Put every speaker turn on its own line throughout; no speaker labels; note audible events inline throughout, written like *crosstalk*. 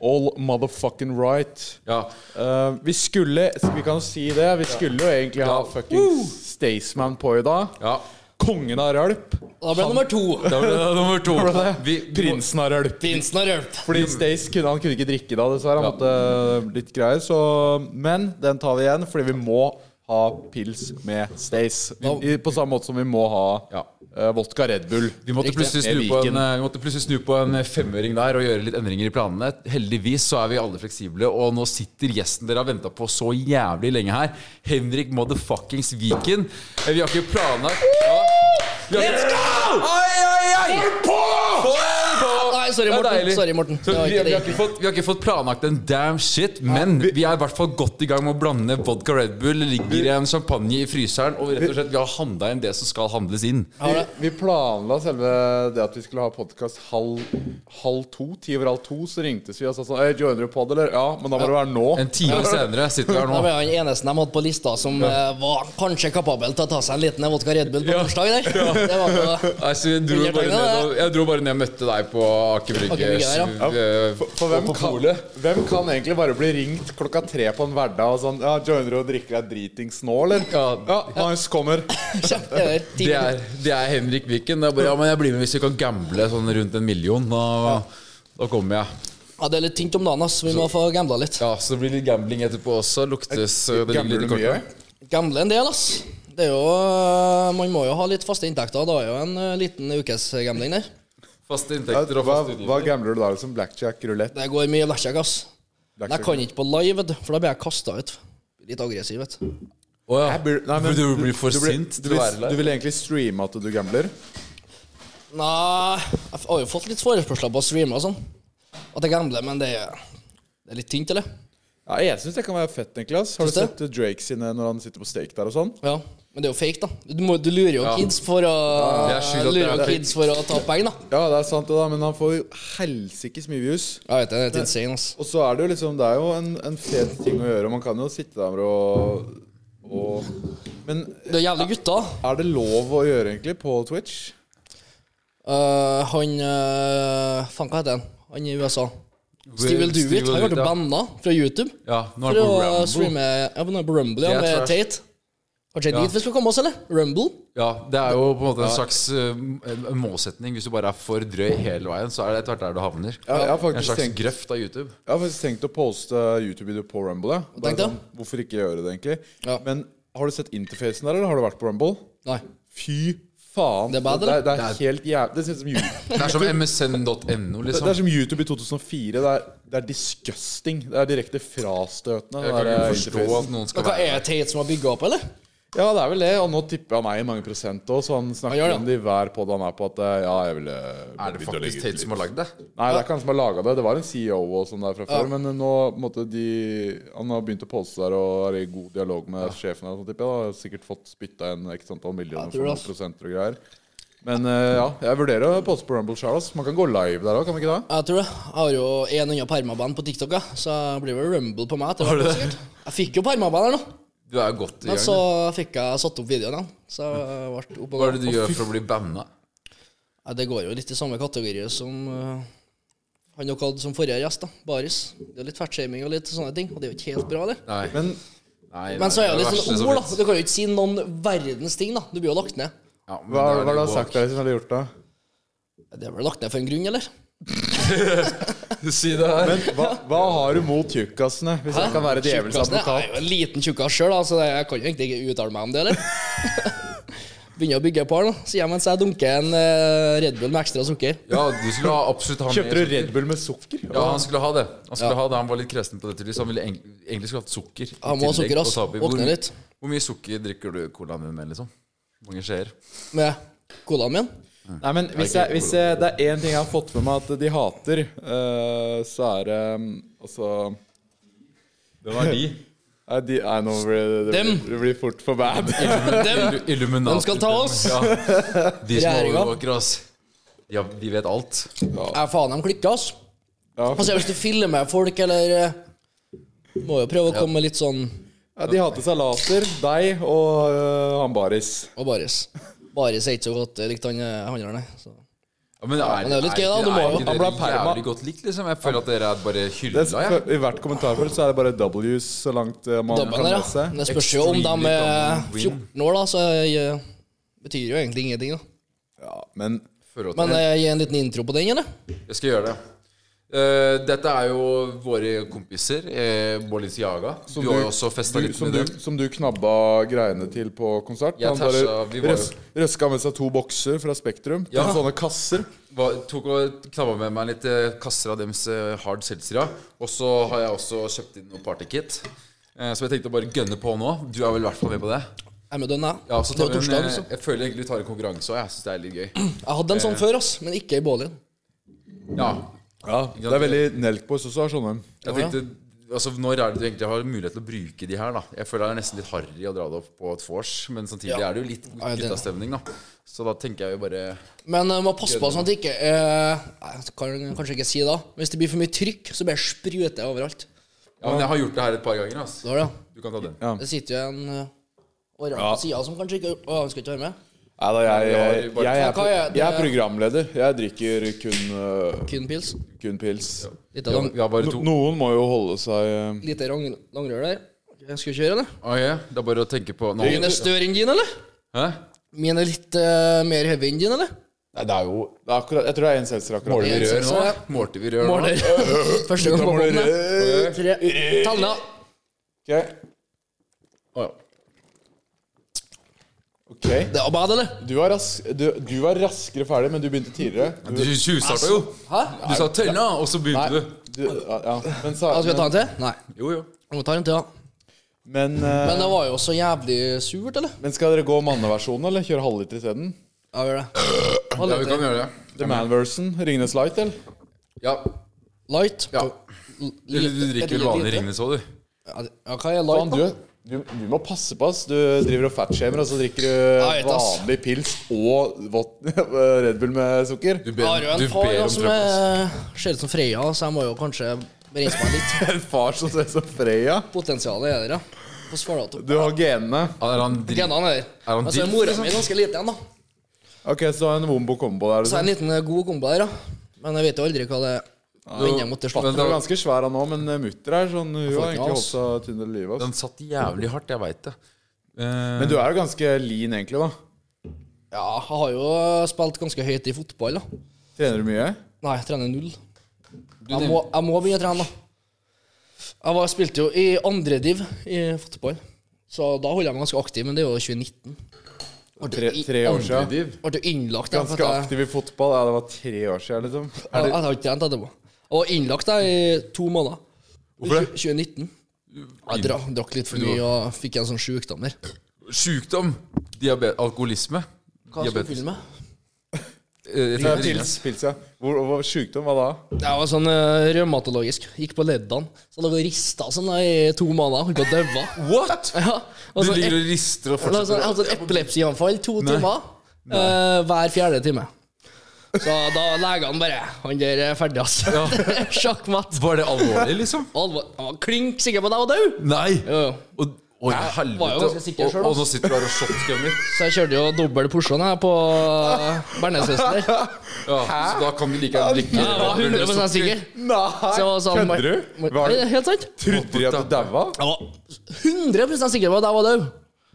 All motherfucking right.
Ja.
Eh, vi skulle Vi kan jo si det. Vi skulle jo egentlig ha
Ja.
fucking Staysman på i dag.
ja.
Kongen av rølp.
Da ble det nummer to.
Da ble det nummer to.
Var det det?
Vi,
Prinsen av rølp.
Prinsen har hjulpet.
Fordi
Mm.
Stace kunne, han kunne ikke drikke da, dessverre. Han måtte eh, litt greier. Så, men den tar vi igjen, fordi vi må ha pils med Stace. I- På samme måte som vi må ha
Ja.
eh, vodka Red Bull.
Vi måtte, plutselig snu
Med
på en,
Viken.
eh, vi måtte plutselig snu på en femøring der og gjøre litt endringer i planene. Heldigvis så er vi alle fleksible, og nå sitter gjesten dere har venta på så jævlig lenge her. Henrik motherfuckings Viken. Eh, Vi har ikke planlagt ja. Let's go! Oi, oi, oi! Få den på!
Nei, sorry,
Det er
Morten.
deilig.
Sorry, Morten.
Så
Det var
vi,
ikke
vi,
det.
har ikke fått, vi har ikke fått planlagt en damn shit, men vi er i hvert fall godt i gang med å blande vodka Red Bull, det ligger en champagne i fryseren, og rett og slett, vi har handla inn det som skal handles inn.
Har
Vi,
det.
vi planla selve det at vi skulle ha podkast halv, halv to. Ti over halv to så ringtes vi og sa sånn «Øy, Joiner du pod, eller? Ja, men da må det være nå.
En time senere sitter vi her
Det
nå.
var han eneste de hadde på lista som eh, var kanskje kapabel til å ta seg en liten vodka Red Bull på
Ja.
bursdag der. *laughs* Det var på,
Nei, så jeg, dro
Under
bare
tøyene,
ned,
det.
og, jeg dro bare ned og møtte deg på Aker
Aker
Brygge.
Brygge der, ja.
sv- eh,
For, for hvem,
på
kan,
polet.
hvem kan egentlig bare bli ringt klokka tre på en hverdag og sånn Ja, joiner du og drikker deg dritings nå, eller?
Ja.
ja Hans kommer.
kjempe, det er ti
Det er, det er Henrik Viken. Det er bare, ja, men jeg blir med hvis vi kan gamble sånn rundt en million. Da, da kommer jeg.
Ja, det er litt tynt om dagen, ass. Vi må få gambla litt.
Ja, Så det blir litt gambling etterpå også. Luktes eh, det ligger
Gambler
litt
du
i
mye?
kortene.
Gamble en del, ass. Det er jo eh, Man må jo ha litt faste inntekter. Det er jo en eh, liten ukes gambling der.
Faste
Ja,
inntekter og
Hva,
faste
hva
utgifter.
gambler du da? Liksom blackjack, rulett?
Det går mye blackjack, ass. Men jeg kan ikke på live, vet du, for da blir jeg kasta ut. Litt aggressiv, vet du.
Å ja.
Jeg blir- nei, men
du, du blir for
du blir-
sint
Du,
til å være
vil- du
der.
vil egentlig streame at du gambler?
Nei, jeg har jo fått litt forespørsler på å streame og sånn. At jeg gambler, men det er, det er litt tynt, eller?
Ja, jeg syns det kan være fett, Niklas. Har du
Syns
sett Drake sine når han sitter på stake der og sånn?
Ja, men det er jo fake, da. Du, må, du lurer jo
Ja.
kids for å
det er skyld at det
Lurer
er
jo
fake.
kids for å ta penger, da.
Ja, det er sant, det da, men han får jo helsikes mye views.
Jeg vet det, det er helt insane, ass.
Og så er det jo liksom Det er jo en, en fet ting å gjøre. Man kan jo sitte der og, og Men
Det er jævlig gutta.
Er det lov å gjøre egentlig på Twitch?
Eh, han eh, Faen, hva heter han? Han i USA. Steve Will Do
Steve
It.
Will Do
Han ble
It, ja.
banna fra YouTube.
Ja, nå er
For
det
å
på Rambo.
streame Ja, men nå er det på Rumble, ja,
Det er
med
trash.
Tate. Kanskje
Ja.
dit vi skal komme oss, eller? Rumble?
Ja, det er jo på en måte en slags eh, en- en målsetning. Hvis du bare er for drøy hele veien, så er det etter hvert der du havner.
Jeg, jeg, har,
En
faktisk
slags
tenkt,
grøft av YouTube.
jeg har faktisk tenkt å poste YouTube-video på Rumble. jeg. Bare
Tenk det.
sånn, hvorfor ikke gjøre det, egentlig?
Ja.
Men har du sett interfacen der, eller har du vært på Rumble?
Nei.
Fy faen.
Det er bad,
det er, det
eller?
er helt jævlig Det ser ut som YouTube.
Det er som msn.no,
Det det
liksom.
er sånn som YouTube i 2004. Det er, det er disgusting. Det er direkte frastøtende.
Jeg
den
kan
der
ikke forstå
interfacen.
at noen
Men
skal
hva
være
er det Tate som har bygga opp, eller?
Ja, det er vel det. Og nå tipper han meg i mange prosent òg, så han snakker
gjør det.
om det i hver pod han er på, at eh, ja, jeg ville
Er det faktisk Tate som har lagd det?
Nei, det er ikke han som har laga det. Det var en CEO og sånn der fra før. Men nå på en måte de Han har begynt å poste der og er i god dialog med sjefen. Og sånt, tipper jeg, da. Har sikkert fått spytta en x antall millioner
Jeg
for
tror det,
noen
ass.
prosenter og greier. Men eh, ja, jeg vurderer å poste på Rumble sjøl. Man kan gå live der òg, kan man ikke det?
Jeg tror det. Jeg har jo en unna permaband på TikTok, ja. så det blir vel Rumble på meg. etter
Har du
hvert,
det?
sikkert. Jeg fikk jo permaband her nå,
Du er jo godt i
men så
gang.
fikk jeg satt opp videoen igjen. Så jeg ble opp og
Hva er
gå.
det du gjør for å bli banna?
Ja, det går jo litt i samme kategori som eh, han dere hadde som forrige gjest, da. Baris. Det er litt fettshaming og litt sånne ting, og det er jo ikke helt bra, det.
Nei.
Men
Nei,
Men så er det
det
liksom
litt
verste
sånn
som
ord, da.
finnes.
Du kan jo ikke si noen verdens ting, da. Du blir jo lagt ned.
Ja, men
hva
da
hva
er
har
det
du
woke.
sagt der som har gjort det?
Det er vel lagt ned for en grunn, eller?
*laughs* Si det her.
Men hva, hva har du mot tjukkasene, hvis jeg kan være djevelens
Tjukkasen, Jeg er
advokat?
jo en liten tjukkas sjøl, så jeg kan jo egentlig ikke uttale meg om det, eller? *laughs* Begynner å bygge et par, da. Sier jeg mens jeg dunker en eh, Red Bull med ekstra sukker.
Ja, du skulle ha absolutt ha
Kjøpte
mer-
du Red Bull med sukker?
Ja, han skulle ha det. Han skulle ha det, han var litt kresen på det. tydeligvis. Han ville eng- egentlig skulle hatt sukker. i
Han må ha
tillegg
sukker, ass.
og ta oppi. Hvor
Våkne
mye-
litt.
Hvor mye sukker drikker du colaen din med, liksom? Mange skjeer?
Med colaen min.
Nei, men hvis, jeg, hvis jeg, det er én ting jeg har fått med meg at de hater, eh, så er det mm, Altså
Hvem er de? *laughs*
Nei, de, nei nå blir det, det,
Dem.
blir, det blir fort for bad.
Dem,
Illuminati.
De skal ta oss.
Ja. De som
Regjeringa.
overvåker oss. Ja, de vet alt.
ja, faen, de klikker, ass.
*laughs* Ja.
Altså, hvis du filmer folk, eller eh, Må jo prøve å komme med litt sånn
Ja, de hater salater, deg og øh, han Baris.
eh, Og Baris. Baris er ikke så godt eh, likt han eh, handleren, nei. Så.
Ja, men, er,
men det er jo litt gøy, da. Du må jo-
ikke
Han
dere
ble perma.
jævlig godt likt, liksom? Jeg føler at dere er bare
Det
hylla,
er,
jeg.
I hvert kommentarfelt så er det bare W's så langt eh, man
Dabben
kan
der, ja.
lese.
Men Det spørs jo om de er
Extremely common win.
14 år, da, så jeg, betyr jo egentlig ingenting, da.
Ja, men
Føler at
Men
dere-
jeg gir en liten intro på den, eller?
Jeg skal gjøre det. Eh, dette er jo våre kompiser, eh, Balenciaga. Du,
som
har jo også festa
du-
litt
som
med
du,
dem.
som du knabba greiene til på konsert.
Jeg
han bare
tæsja- vi var jo-
røs, røska med seg to bokser fra Spektrum.
Ja.
To sånne kasser.
Var, tok og knabba med meg litt eh, kasser av deres eh, hard seltzere. Og så har jeg også kjøpt inn noe partykit. Eh, som jeg tenkte å bare gønne på nå. Du er vel i hvert fall med på det?
Jeg er med den, jeg.
Ja, så
Det
tar vi Mm. en,
var torsdag,
eh, eh,
liksom.
jeg føler egentlig vi tar en konkurranse òg. Jeg syns det er litt gøy.
Jeg hadde en sånn før, ass, men ikke i Bålien.
Ja,
Ja, det er veldig Nelkboys også har sånne.
jeg tenkte Altså, Når er det du egentlig har mulighet til å bruke de her? da? Jeg føler det er nesten litt harry å dra det opp på et vors, men samtidig
Ja.
er det jo litt
Er det det?
guttastemning, da. Så da tenker jeg jo bare
Men uh, må passe på sånn at det ikke eh, Nei, jeg kan kanskje ikke si det. da. Hvis det blir for mye trykk, så bare spruter jeg overalt.
Ja, men jeg har gjort det her et par ganger. ass.
Da, er det, ja.
Du kan ta den.
Ja.
Det sitter jo en eh, oransje
Ja.
på sida som kanskje ikke Å, han skal ikke være med?
Nei da, jeg, jeg, jeg,
Hva
er,
kan jeg-
jeg er programleder. Jeg drikker kun, øh,
Kun pils.
kun pils.
Litt av lang,
Vi har bare
No,
to.
noen må jo holde seg øh,
lite rang, langrør der. Ok, Skal vi kjøre, eller?
Ok, Det er bare å tenke på nå.
Min er større enn din, eller?
Hæ?
Min er litt eh, mer heavy enn din, eller?
Nei, det er jo
det er akkurat, Jeg tror det er en seltzer akkurat.
Måler vi rør nå? Målte vi rør nå? *laughs*
Måler. Første gang på båten. ja. Tre. Tall ned.
Ok.
Å, ja.
ok.
Det var bad, eller?
Du var, rask, du, du var raskere ferdig, men du begynte tidligere.
Du tjuvstarta jo.
Hæ?
Du sa 'tønna', og så begynte du.
Du, ja, ja. Men, sa,
Ja, skal vi ta en til? Nei.
Jo, jo.
Vi må ta en til, ja.
men, øh,
Men det var jo så jævlig surt, eller?
men skal dere gå manneversjonen, eller kjøre halvliter isteden?
Ja, vi gjør det.
Ja, vi kan gjøre det.
The man-version? Ringnes Light, eller?
Ja.
Light.
ja.
L-
Du, du
lite-
drikker
lite-
vel vanlig
lite.
Ringnes òg, du.
Ja, det- ja, hva er
Faen,
light, da?
du, du, du må passe på, ass. Du driver og fatshamer, og så drikker du
jeg vet, ass.
vanlig pils og vått- *laughs* Red Bull med sukker.
Du
Jeg
ber,
har jo
du
en far
ber
ja,
om
som
trøbbel. ass.
er- ser ut som Freya, så jeg må jo kanskje reise meg litt.
*laughs*
*laughs*
En far som ser ut som Freya.
Potensialet er der, ja. På Svalbard.
Du har genene.
Ja, Er han drit...
Genene er der.
Er han
Men så er
diff,
mora
liksom?
mi ganske liten igjen, da.
Ok, så du har en Wombo kombo der.
Så
Liksom.
er det en liten eh, god kombo der, da. Men jeg vet jo aldri hva det ender mot til
Men
slutt.
Du er ganske svær han òg, men mutter er sånn Hun har egentlig holdt seg tynn i livet. ass.
Den satt jævlig hardt, jeg veit det. Eh,
Men du er jo ganske lean, egentlig, da.
Ja, jeg har jo spilt ganske høyt i fotball, da.
Trener du mye?
Nei, jeg trener null. Jeg må, jeg må begynne å trene, da. Jeg var, spilte jo i andre div i fotball, så da holder jeg meg ganske aktiv, men det er jo 2019.
Tre, tre år siden.
Div.
Ble jo innlagt da, for
Ganske
at jeg-
aktiv i fotball. Ja, det var tre år siden, liksom.
Jeg, jeg har ikke trent etterpå. Jeg var innlagt der i to måneder.
Hvorfor det?
Tju- 2019. Jeg dra, drakk litt for mye og fikk en sånn sjukdom der.
Sjukdom. Diabet alkoholisme.
Hva skal du
Diabetes.
fylle med?
Eh, jeg
Det
tenker
er pils.
Ringnes.
pils ja. Hvor, hvor sjukdom var da?
Jeg var sånn eh, revmatologisk. Gikk på leddene. Så lå jeg og rista sånn da i to måneder. Holdt på å daue.
What?!
*laughs* Ja.
Du
Og så
ligger
ep-
og rister og
og så- jeg
fortsetter. å-
hadde sånn epilepsianfall to timer eh, hver fjerde time. Så da legene bare Han der er ferdig, altså.
Ja.
*laughs* Sjakkmatt.
Var det alvorlig, liksom?
Alvor. Han var klink sikker på deg og dau.
Nei!
Jo, jo.
Og, oi,
var jo ganske
helvete.
sikker
Og,
selv,
og nå sitter du her og shotgunner.
Så jeg kjørte jo dobbel porsjon her på Bernesøster.
Ja, så da kan du like gjerne drikke
Jeg var 100 sikker.
Nei!
Så jeg var sånn,
Kødder du? Var
Er
det,
det Helt sant?
trodde de at du daua?
Jeg var 100 sikker på at jeg var død.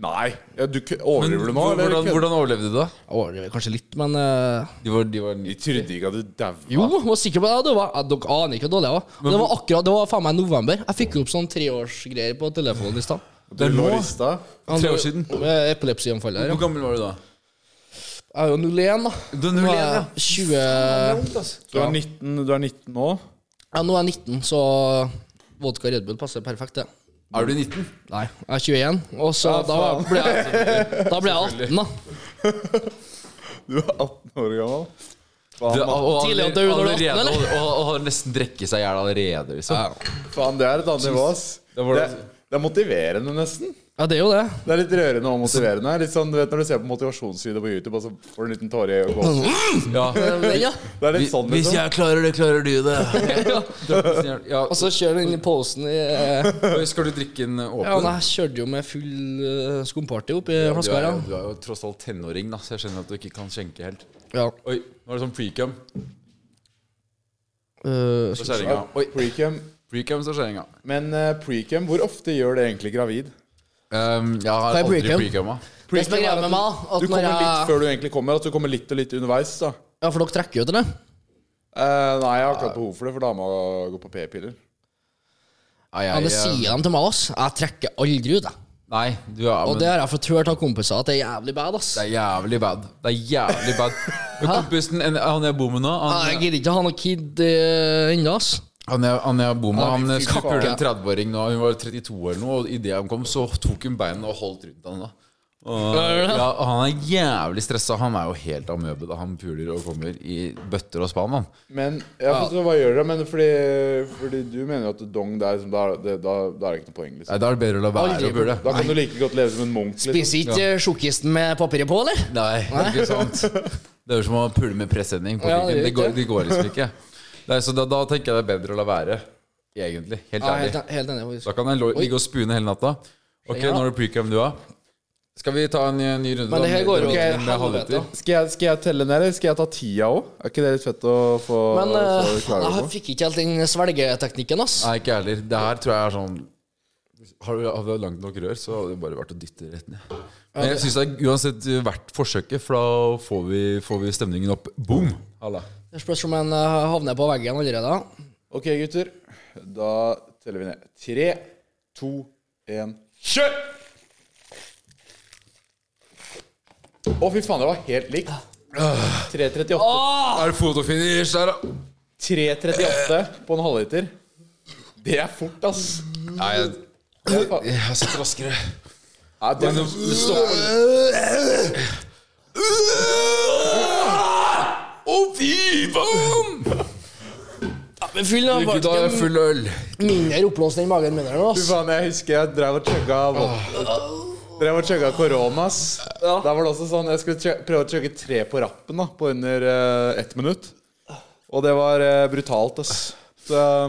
Nei. Ja, du kø-
Men
Overdriver du nå, eller?
hvordan,
kødder du?
hvordan overlevde du, da?
Jeg overdriver kanskje litt, men eh,
De var, de var
De trodde ikke at du daua.
jo, jeg var sikker på at jeg døde. Jeg- Dere aner ikke hvor dårlig jeg var. Og Det var akkurat, det var faen meg november. Jeg fikk opp sånn treårsgreier på telefonen i stad.
Du
Det er
lå
nå.
rista.
Tre år siden.
Med epilepsianfall her.
Hvor
Ja.
gammel var du da?
Jeg er jo 01, da.
Du er 01, ja. Det
Nå er
er
jeg 20
vondt, ass.
Du er 19, du er 19 nå.
Ja, nå er jeg 19, så vodka Red Bull passer perfekt, det.
Er du 19?
Nei, jeg er 21, og så da ble jeg, da ble jeg 18, da.
Du er 18 år gammel.
Du,
Faen,
og, og,
Tidlig at du er under
allerede,
18,
og, og, og har nesten drukket seg i hjel allerede, liksom.
faen, det er et annet nivå, ass.
Da var
Det,
det-
det er motiverende, nesten.
Ja, det er jo det.
Det er litt rørende og motiverende. Litt sånn, du vet Når du ser på motivasjonsvideoer på YouTube, og så får du en liten tåre i øyet.
*laughs* Ja.
ja.
Det er litt sånn,
Hvis
liksom.
jeg klarer det, klarer du *laughs* det. ja.
Og så kjører den posen i eh,
Skal du drikke en åpen?
Ja, nei, jeg kjørte jo med full eh, skumparty opp i
du,
flaska
er,
her.
jo-
ja.
du er jo tross alt tenåring, da, så jeg skjønner at du ikke kan skjenke helt.
Ja.
Oi, nå er det sånn precum
Eh,
på kjerringa. Oi,
Precam.
precum står kjerringa.
Men eh, precam, hvor ofte gjør det egentlig gravid?
Um, jeg har
Hva er
aldri
precum?
precumma.
Det som
Precam
er greia
at
med
du-
meg, at
Du
når
kommer litt
jeg
før du egentlig kommer. At du kommer litt og litt underveis. da
Ja, for dere trekker jo til det?
Eh, Nei, jeg har ikke hatt behov for det, for dama går på p-piller.
Ja, det sier de til meg, ass. Jeg trekker aldri ut, jeg.
Nei, du er,
Og
men,
det har jeg fått hørt av kompiser at det er jævlig bad, ass.
det er jævlig bad. Det er jævlig
*laughs*
bad. Men Kompisen, en- han jeg bor med nå,
Nei, Jeg
han,
gidder ikke ha noe kid eh, ennå, ass.
han, jeg, han jeg bor med,
Ja,
han
fy
pulte
faen.
en 30-åring nå, hun var 32 eller noe, og idet han kom, så tok hun beina og holdt rundt han da. Og,
Hva er det?
ja, og han er jævlig stressa. Han er jo helt amøbe da han puler og kommer i bøtter og spann. Han.
Men jeg forstår hva gjør det, men fordi, fordi du mener jo at dong der liksom, da, er det, da, da er det ikke noe poeng. liksom
Nei, da er det bedre å la være
Aldri.
å pule.
Da kan du like godt leve som en munk. Liksom.
Spiser ikke eh, sjokkisten med papiret på, eller?
Nei, det er ikke sant. Det er jo som å pule med presenning på
Ja,
kukken.
det gjør
det, går,
ikke.
det går liksom ikke. Nei, så da, da tenker jeg det er bedre å la være, egentlig. Helt
Ja, helt,
ærlig.
helt enig. faktisk.
Da kan jeg lo- ligge og spune hele natta. Ok,
Ja.
nå er det precam du har. Skal vi ta en ny, ny runde?
Men det
da,
her
med-
går jo
med-
ikke
med
helvete.
halvliter?
Skal jeg, skal jeg telle ned, eller skal jeg ta tida òg? Er ikke det litt fett å få,
Men eh,
få klare
jeg
på?
fikk ikke helt den svelgeteknikken, ass.
Nei, ikke jeg heller. Det her tror jeg er sånn har du, hadde du langt nok rør, så hadde det bare vært å dytte rett ned. Men jeg syns det er uansett eh, verdt forsøket, for da får vi, får vi stemningen opp. Boom! Halla.
Det spørs om en eh, havner på veggen allerede.
Ok, gutter. Da teller vi ned. Tre, to, én
Kjør!
Å, fy faen, det var helt likt. 3.38
Ah! Er det fotofinish der, da?
3.38 på en halvliter. Det er fort, ass.
Nei, jeg,
Det er faen-
jeg sitter raskere.
Nei, det er,
Det stopper Å, fy faen!
Ja, men fyll den
Gud, da er jeg
faktisk
full øl.
mindre oppblåst enn magen min her nå,
Fy
ass.
faen, jeg husker jeg drev og chugga Drev og chugga korona, ass. Da var det også sånn Jeg skulle chug- prøve å chugge tre på rappen da på under eh, ett minutt. Og det var eh, brutalt, ass. Så eh,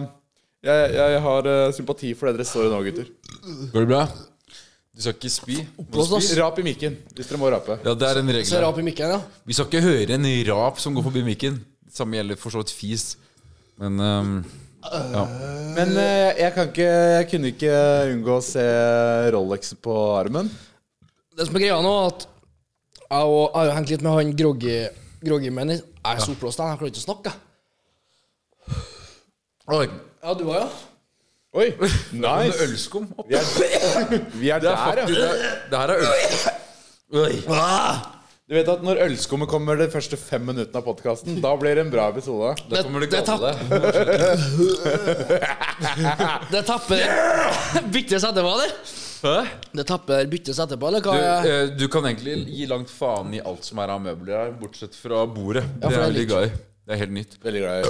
jeg, jeg har eh, sympati for det dere står i nå, gutter.
Går det bra? Du skal ikke spy? Må du
Oppblåst,
spy?
ass.
Rap i mikken hvis dere må rape.
Ja, det er en
Så
regel.
rap i mikken, ja.
Vi skal ikke høre en rap som går forbi mikken. Det samme gjelder for så vidt fis. Men ehm, ja.
Men eh, jeg kan ikke Jeg kunne ikke unngå å se Rolexen på armen.
Det som er greia nå, er at jeg og- jeg har jo hengt litt med han groggy groggy men Jeg er så oppblåst, jeg klarer ikke å snakke. jeg.
Oi,
Ja, du var ja.
Oi!
det er
Nice!
ølskum opp.
Vi er, vi er
Det er
der,
faktisk
ja.
Det her er øl. Oi. Ah!
Du vet at når ølskummet kommer de første fem minuttene av podkasten, da blir det en bra episode.
Da kommer du
Det- det
gale.
Det tapper *laughs* byttes etterpå, eller?
Hæ?
Det tapper byttes etterpå, eller hva?
Du,
er-
eh, du kan egentlig gi langt faen i alt som er av møbler her, bortsett fra bordet.
Ja,
det er
for det er
veldig
litt-
gøy. Det er helt nytt.
Veldig glad i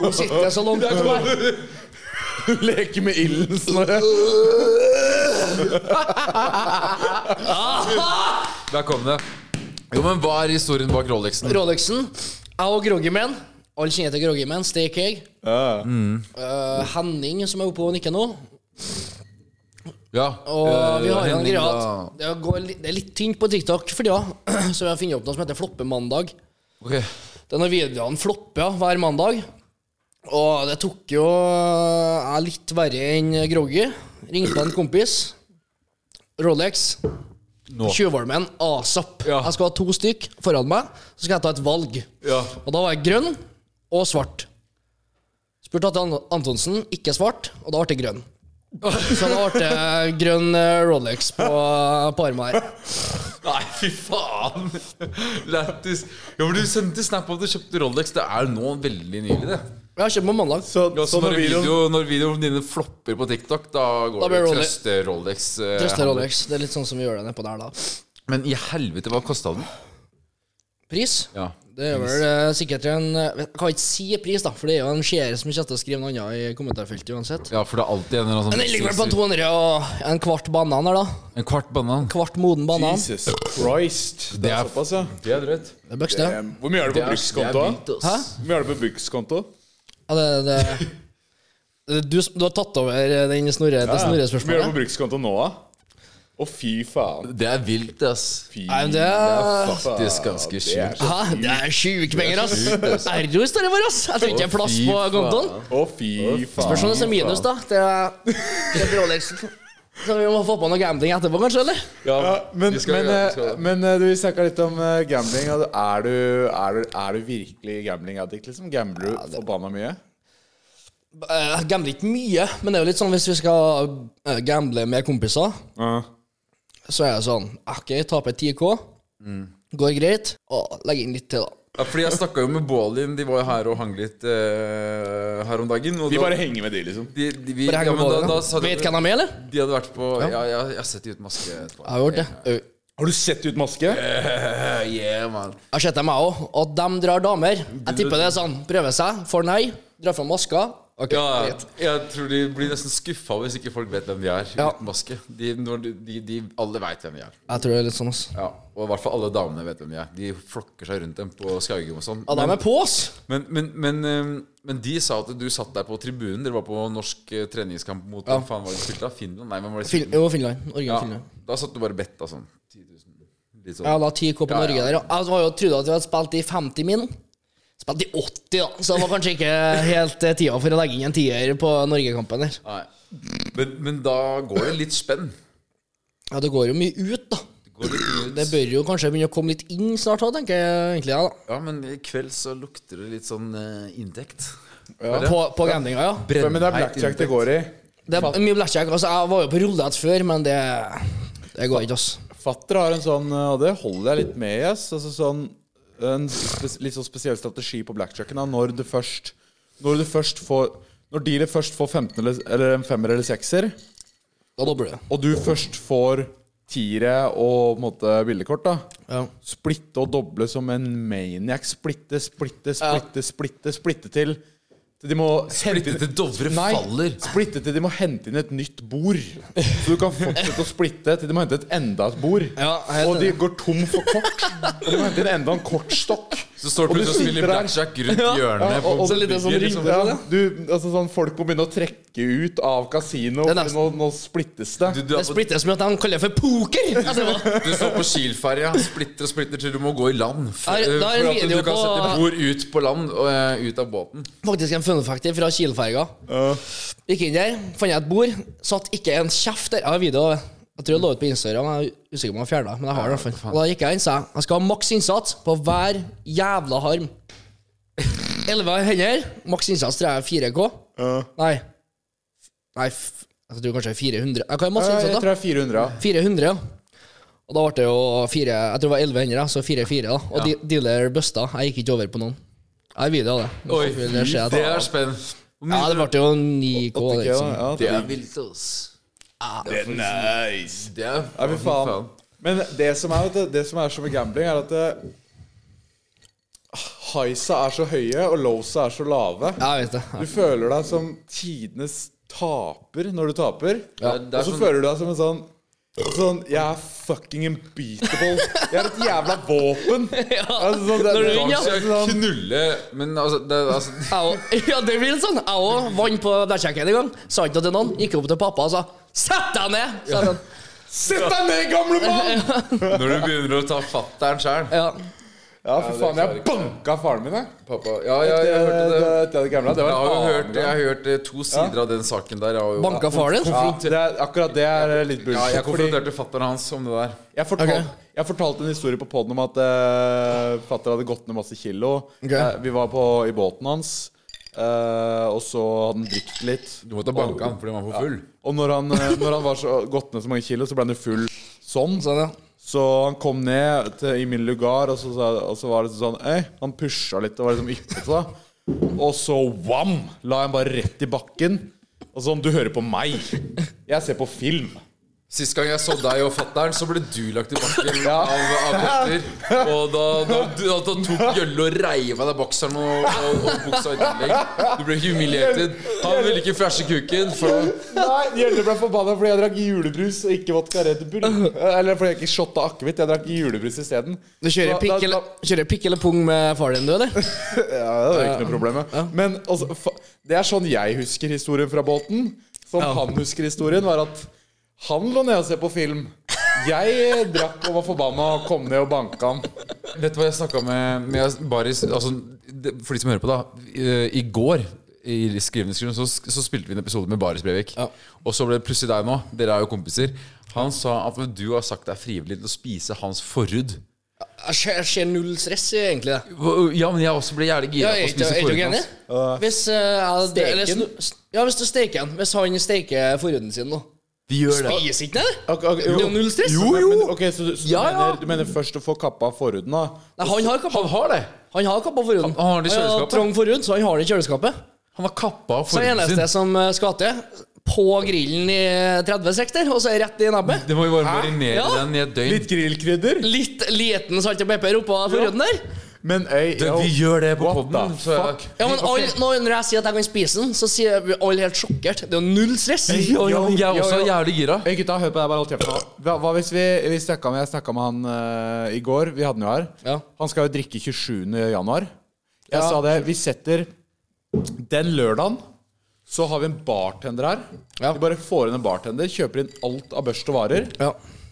*laughs*
Hun sitter så
*laughs*
langt unna meg.
Leke med ilden, Snorre.
Der kom det. Jo, men hva er historien bak Rolexen?
Rolexen, jeg og Groggyman. Alle kjenner til Groggyman. Steak egg. Eh, Henning, som er oppe og nikker nå.
Ja.
Og
eh,
vi har en
Henning,
greie
da.
at det, går litt, det er litt tynt på TikTok for tida, *clears throat* så vi har funnet opp noe som heter Floppemandag.
Ok.
Det er når videoene flopper ja, hver mandag. Og det tok jo Jeg er litt verre enn Groggy. Ringte en kompis. Rolex.
Nå.
Tjuvholmen asap.
Ja.
Jeg skal ha to stykk foran meg, så skal jeg ta et valg.
Ja.
Og da var jeg grønn og svart. Spurte Atle An- Antonsen, ikke svart, og da ble det grønn. Så da ble det grønn eh, Rolex på, eh, på armen her.
Nei, fy faen! Lættis. Ja, for du sendte snap om at du kjøpte Rolex. Det er nå veldig nylig, det.
Jeg har kjøpt på mandag.
*laughs* Så,
Ja, så
så når
når,
videoen
video, når videoene dine flopper på TikTok, da går
Da
det
blir Rolex-
trøste Rolex. eh,
Trøster Rolex. Det er litt sånn som vi gjør det nedpå der, da.
Men i helvete, hva kosta den?
Pris?
Ja.
Det er vel eh, sikkert en eh, Jeg kan ikke si pris, da, for det er jo en seer som kommer til å skrive noe annet i kommentarfeltet uansett.
Ja, for det er alltid en eller annen sånn
Den ligger vel på 200 og en kvart banan her, da.
En kvart banan.
Kvart moden banan.
Jesus Christ. Det er
er-
såpass, ja.
Det er drøyt.
Det er bøkste.
Eh, Hvor mye er altså. det på brukskonto? da?
Hæ?
Hvor mye er det på brukskonto?
Ja, det, det, det, du, som- du har tatt over eh, den snorre,
Hvor mye
det
er det
Snorre-spørsmålet?
på brukskonto nå, da? Å, fy faen.
Det er vilt, ass.
Fy
Nei, men det er
Faktisk ganske
Det er
sjukt.
Hæ? Det er sjuke penger, ass! Erro står det for, ass! Jeg tror ikke det er plass på kontoen.
Å, fy faen.
Spørs om det er minus, da. Det er, det er Rolexen. Så vi må få på noe gambling etterpå, kanskje? eller?
Ja, men,
vi skal
men, eh,
gjøre- vi skal gjøre det.
men eh, du, vi snakka litt om eh, gambling. og Er du, er du, er du virkelig gambling addict, liksom? Gambler du forbanna mye?
Eh, Jeg gambler ikke mye, men det er jo litt sånn hvis vi skal eh, gamble med kompiser, så er det sånn OK, taper 10K.
Mm.
Går greit. Og legger inn litt til, da.
Ja, fordi jeg snakka jo med Bålin, de var jo her og hang litt eh, her om dagen. Og
Vi
da-
bare henger med de, liksom.
de, de, vi,
Bare
ja,
henger
men
med
da,
båten,
da
da.
sa de,
Vet hvem de er, eller?
de hadde vært på Ja, ja, jeg har sett de uten maske. etterpå.
Jeg har gjort det. Au.
Har du sett Ut maske?
Eh, *laughs* yeah, man.
Jeg har sett dem, jeg òg. Og de drar damer. Jeg tipper det er sånn. Prøver seg, får nei, drar fram maska. OK,
Ja,
greit.
jeg tror de blir nesten skuffa hvis ikke folk vet hvem de er
Ja.
uten maske. De, når de, de, de, alle veit hvem de er.
Jeg tror det er litt sånn, ass.
Ja, og i hvert fall alle damene vet hvem de er. De flokker seg rundt dem på Skaugum og sånn.
Ja, de er på, ass.
Men, men, men, eh, men de sa at du satt der på tribunen. Dere var på norsk eh, treningskamp mot hvem faen var det de spilte av? Finland? Nei, hvem var det de
Fin
spilte?
jo, Finland. Norge og
Ja,
Finland.
da satt du bare og betta sånn. 10 000. Litt sånn.
Ja, da 10K på
ja.
Norge der, ja. Jeg var jo trodde at vi hadde spilt i 50 min. Spilt i 80, da, så det var kanskje ikke helt eh, tida for å legge inn en tier på Norgekampen der.
Nei. Men, men da går det litt spenn.
Ja, det går jo mye ut, da.
Det går litt
Det
ut.
bør jo kanskje begynne å komme litt inn snart òg, tenker jeg egentlig. Ja, da.
Ja, men i kveld så lukter det litt sånn eh,
*laughs*
inntekt.
På, på gamblinga, ja.
Men det er blackjack det går i.
Det er mye blackjack. Altså, jeg var jo på rullet før, men det, det går ikke, altså. ass.
Fatter har en sånn, eh, og det holder jeg litt med i, ass. Altså sånn en spes- litt sånn spesiell strategi på blackjacken. da. Når du først Når du først får Når dealet først får 15 eller, eller en femmer eller sekser,
Da dobler du.
og du først får tiere og på en måte bildekort, da
Ja.
Splitte og doble som en maniac. Splitte, splitte, splitte, splitte, splitte til. til de må
Splitte til Dovre
Nei,
faller.
splitte til de må hente inn et nytt bord. Så du kan fortsette å splitte til de må hente et enda et bord.
Ja, jeg er helt
og de
enig.
går tom for kort. Og de må hente inn enda en kortstokk.
Så står
Og
du
du
plutselig og spiller
sitter der.
blackjack
*laughs*
rundt hjørnet.
og, og,
på
så litt sånn ring,
bygget, liksom.
ja, du, altså sånn, folk må begynne å trekke ut av kasino.
Det er
for Nå, nå splittes det.
Du, du,
*laughs* Det
er på,
splittes med at de kaller det for poker! etterpå.
du står på Kiel-ferja, splitter og splitter til du må gå i land. For, eh,
Da
for
er- da er det
at
video
du kan
på-
sette bord ut på land og eh, ut av båten.
Faktisk en fun fact fra Kielferga. Gikk inn der, fant jeg et bord. Satt ikke en kjeft der. Jeg har video. Jeg tror jeg lå ut på Instagram. Jeg er usikker på om jeg fjerna men jeg har det. i hvert fall. Og da gikk jeg inn og sa jeg skal ha maks innsats på hver jævla harm. Elleve hender. Maks innsats tror jeg er 4K. Nei. Nei, f- jeg tror kanskje 400. Jeg kan ha masse
Ja, jeg
innsats, da.
tror det er 400. ja.
400, ja. Og da ble det jo fire Jeg tror det var 11 hender, da, så 4-4, da. Og de- dealer busta. Jeg gikk ikke over på noen. Jeg har video av det.
Oi,
Det skjer at-
det er spenn.
ja, det ble jo 9K.
Ok, ja,
Liksom.
ja.
Det er vilt, ass.
Det er nice.
Det er
Ja, fy faen. Men det som er, vet du, det som er som med gambling, er at det, highsa er så høye, og lowsa er så lave.
Jeg vet det.
Du føler deg som tidenes taper når du taper.
Det er- det er
og så
sånn-
føler du deg som en sånn Sånn, Jeg er fucking unbeatable. Jeg er et jævla våpen.
*laughs*
Altså, sånn, det,
Når du
det-
vinner,
Skal jeg
sånn,
knulle Men altså, det, altså *laughs*
Jeg og- Ja, det blir litt sånn. Jeg òg vant på blackjacken en gang. Sa ikke noe til noen. Gikk opp til pappa og sa 'sett deg ned'. Sa han.
Sett deg ned, gamle mann!
Når du begynner å ta fatter'n sjæl
Ja.
Ja, for faen. Jeg banka faren min, jeg.
Pappa Ja, ja, jeg hørte
Det, det,
det.
det, gamle, det
Jeg
var
har
en
jo
annen
hørt, jeg har hørt eh, to sider av den saken der. Jeg har jo,
Banka faren din?
Ja, det er, akkurat det er eh, litt
Ja,
bullshit.
jeg
fordi-
konfronterte fatter'n hans om det der.
Jeg fortalte,
Ok.
jeg fortalte en historie på poden om at uh, fatter hadde gått ned masse kilo.
Ok.
Eh, vi var på, i båten hans, eh, og så hadde han drukket litt.
Du måtte banke han fordi han var for full.
Og når han, eh, når han var så, gått ned så mange kilo, så ble han jo full sånn.
Sånn, ja.
Så han kom ned til, i min lugar, og så, sa- og så var det sånn Ei, han pusha litt og var liksom yppete, da. Og så wam! La han bare rett i bakken. Og sånn Du hører på meg. Jeg ser på film.
Sist gang jeg så deg og fatter'n, så ble du lagt i bakken av, av Petter. Og da, da, da, da tok Jølle og reiv av deg bokseren og, og, og buksa i tillegg. Du ble humiliated. Han ville ikke flashe kuken. For
Nei, Gjelle ble forbanna fordi jeg drakk julebrus og ikke vodka Red
*laughs*
Bull. Eller fordi jeg ikke shotta akevitt. Jeg drakk julebrus isteden.
Du kjører
Da-
pikk,
da-
eller, kjører pikk eller pung med far din, du, eller?
Ja, det er ikke noe problem. ja. Men altså, fa- det er sånn jeg husker historien fra Bolten. Som han husker historien, var at han lå nede og så på film. Jeg drakk og var forbanna og kom ned og banka han.
Vet du hva jeg snakka med, med Baris altså, det, For de som hører på, da. eh, I går i skrivningsgrunnen så, så spilte vi en episode med Baris Brevik.
Ja.
Og så ble det plutselig deg nå. Dere er jo kompiser. Han sa at du har sagt det er frivillig til å spise hans forhud.
Jeg ser- Jeg ser null stress, i, egentlig. det.
Hva- Ja, men jeg også ble jævlig gira på
Ja, er
å
ikke
spise
er ikke du
forhuden
enig?
hans.
Hvis eh, jeg- det- eller
Steken?
snu- Ja, hvis du steker den. Hvis han steker forhuden sin nå.
Vi gjør det.
Spiser ikke den, eller?
Ok, ok,
Det er jo null stress.
Jo, jo. Men, ok, så du, så du,
Ja, ja.
mener, du mener først å få kappa forhuden, da?
Nei, han har kappa,
Han har det!
han har kappa forhuden.
Han har det i
har
kjøleskapet.
trang forhud, så han har det i kjøleskapet.
Han har kappa av
Så det
forhuden
eneste
sin.
som eh, skal til, på grillen i 30 sekter, og så rett i nebbet.
Det må vi bare marinere
Ja.
den i et døgn.
Litt grillkrydder?
Litt liten salt og pepper oppå forhuden der.
Men øy,
Du, vi gjør det på
What
poden.
the
Så
fuck?
Ja, men alle- nå Når jeg sier at jeg kan spise den, så sier vi alle helt sjokkert. Det er jo null stress.
jeg
Yo, yo,
jeg er
yo,
også
yo.
jævlig gira.
Hey, gutta, hør på det, bare hold kjeft nå. Hva, hva hvis vi, vi snakket med, Jeg snakka med han eh, i går. Vi hadde han jo her.
Ja.
Han skal jo drikke 27. januar. Jeg
Ja.
sa det. Vi setter den lørdagen så har vi en bartender her.
Ja.
Vi bare får inn en bartender, kjøper inn alt av børst og varer.
Ja.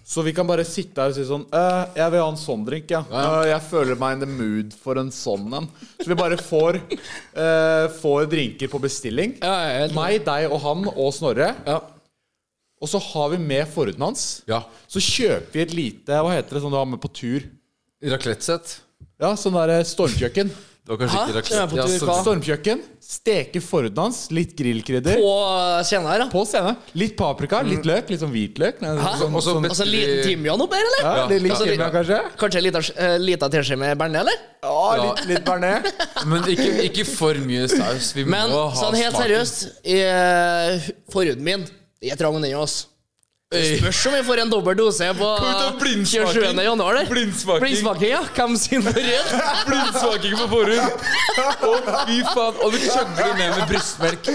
Så vi kan bare sitte her og si sånn «Eh, Jeg vil ha en sånn drink, ja. Eh, jeg føler meg in the mood for en sånn en. Så vi bare får, eh, får drinker på bestilling.
Ja, jeg er helt-
Meg, deg og han og Snorre.
Ja.
Og så har vi med forhuden hans.
Ja.
Så kjøper vi et lite Hva heter det sånn du har med på tur?
Raclette-sett.
Ja, sånn der eh, stormkjøkken.
Det var kanskje
Hæ?
ikke
Skal jeg
raclette.
på
Ja, sånn-
tur,
så-
hva?
Stormkjøkken. Steker forhuden hans. Litt grillkrydder.
På scenen her, da.
På scene. Litt paprika, litt løk. Litt sånn hvitløk. Nei,
Hæ?
Sånn,
Og så-
sånn,
Altså en liten timian oppi her, eller?
ja, litt litt
Ja,
krydder,
ja.
kanskje?
Kanskje en liten eh, liten teskje med bearnés, eller?
Ja, litt, litt bearnés.
Men ikke, ikke for mye saus. Vi
Men
må ha
sånn helt
smaken. *laughs*
seriøst, i, eh, forhuden min Jeg trang den ennå, ass.
Øy.
Spørs om vi får en dobbel dose
Kan
på
vi ta blindsmaking?
27. januar. der.
Blindsmaking.
Blindsmaking, ja. Hvem
*laughs*
sin forhud?
Blindsmaking på forhud! Å, fy faen. Og du chugger ned med brystmelk.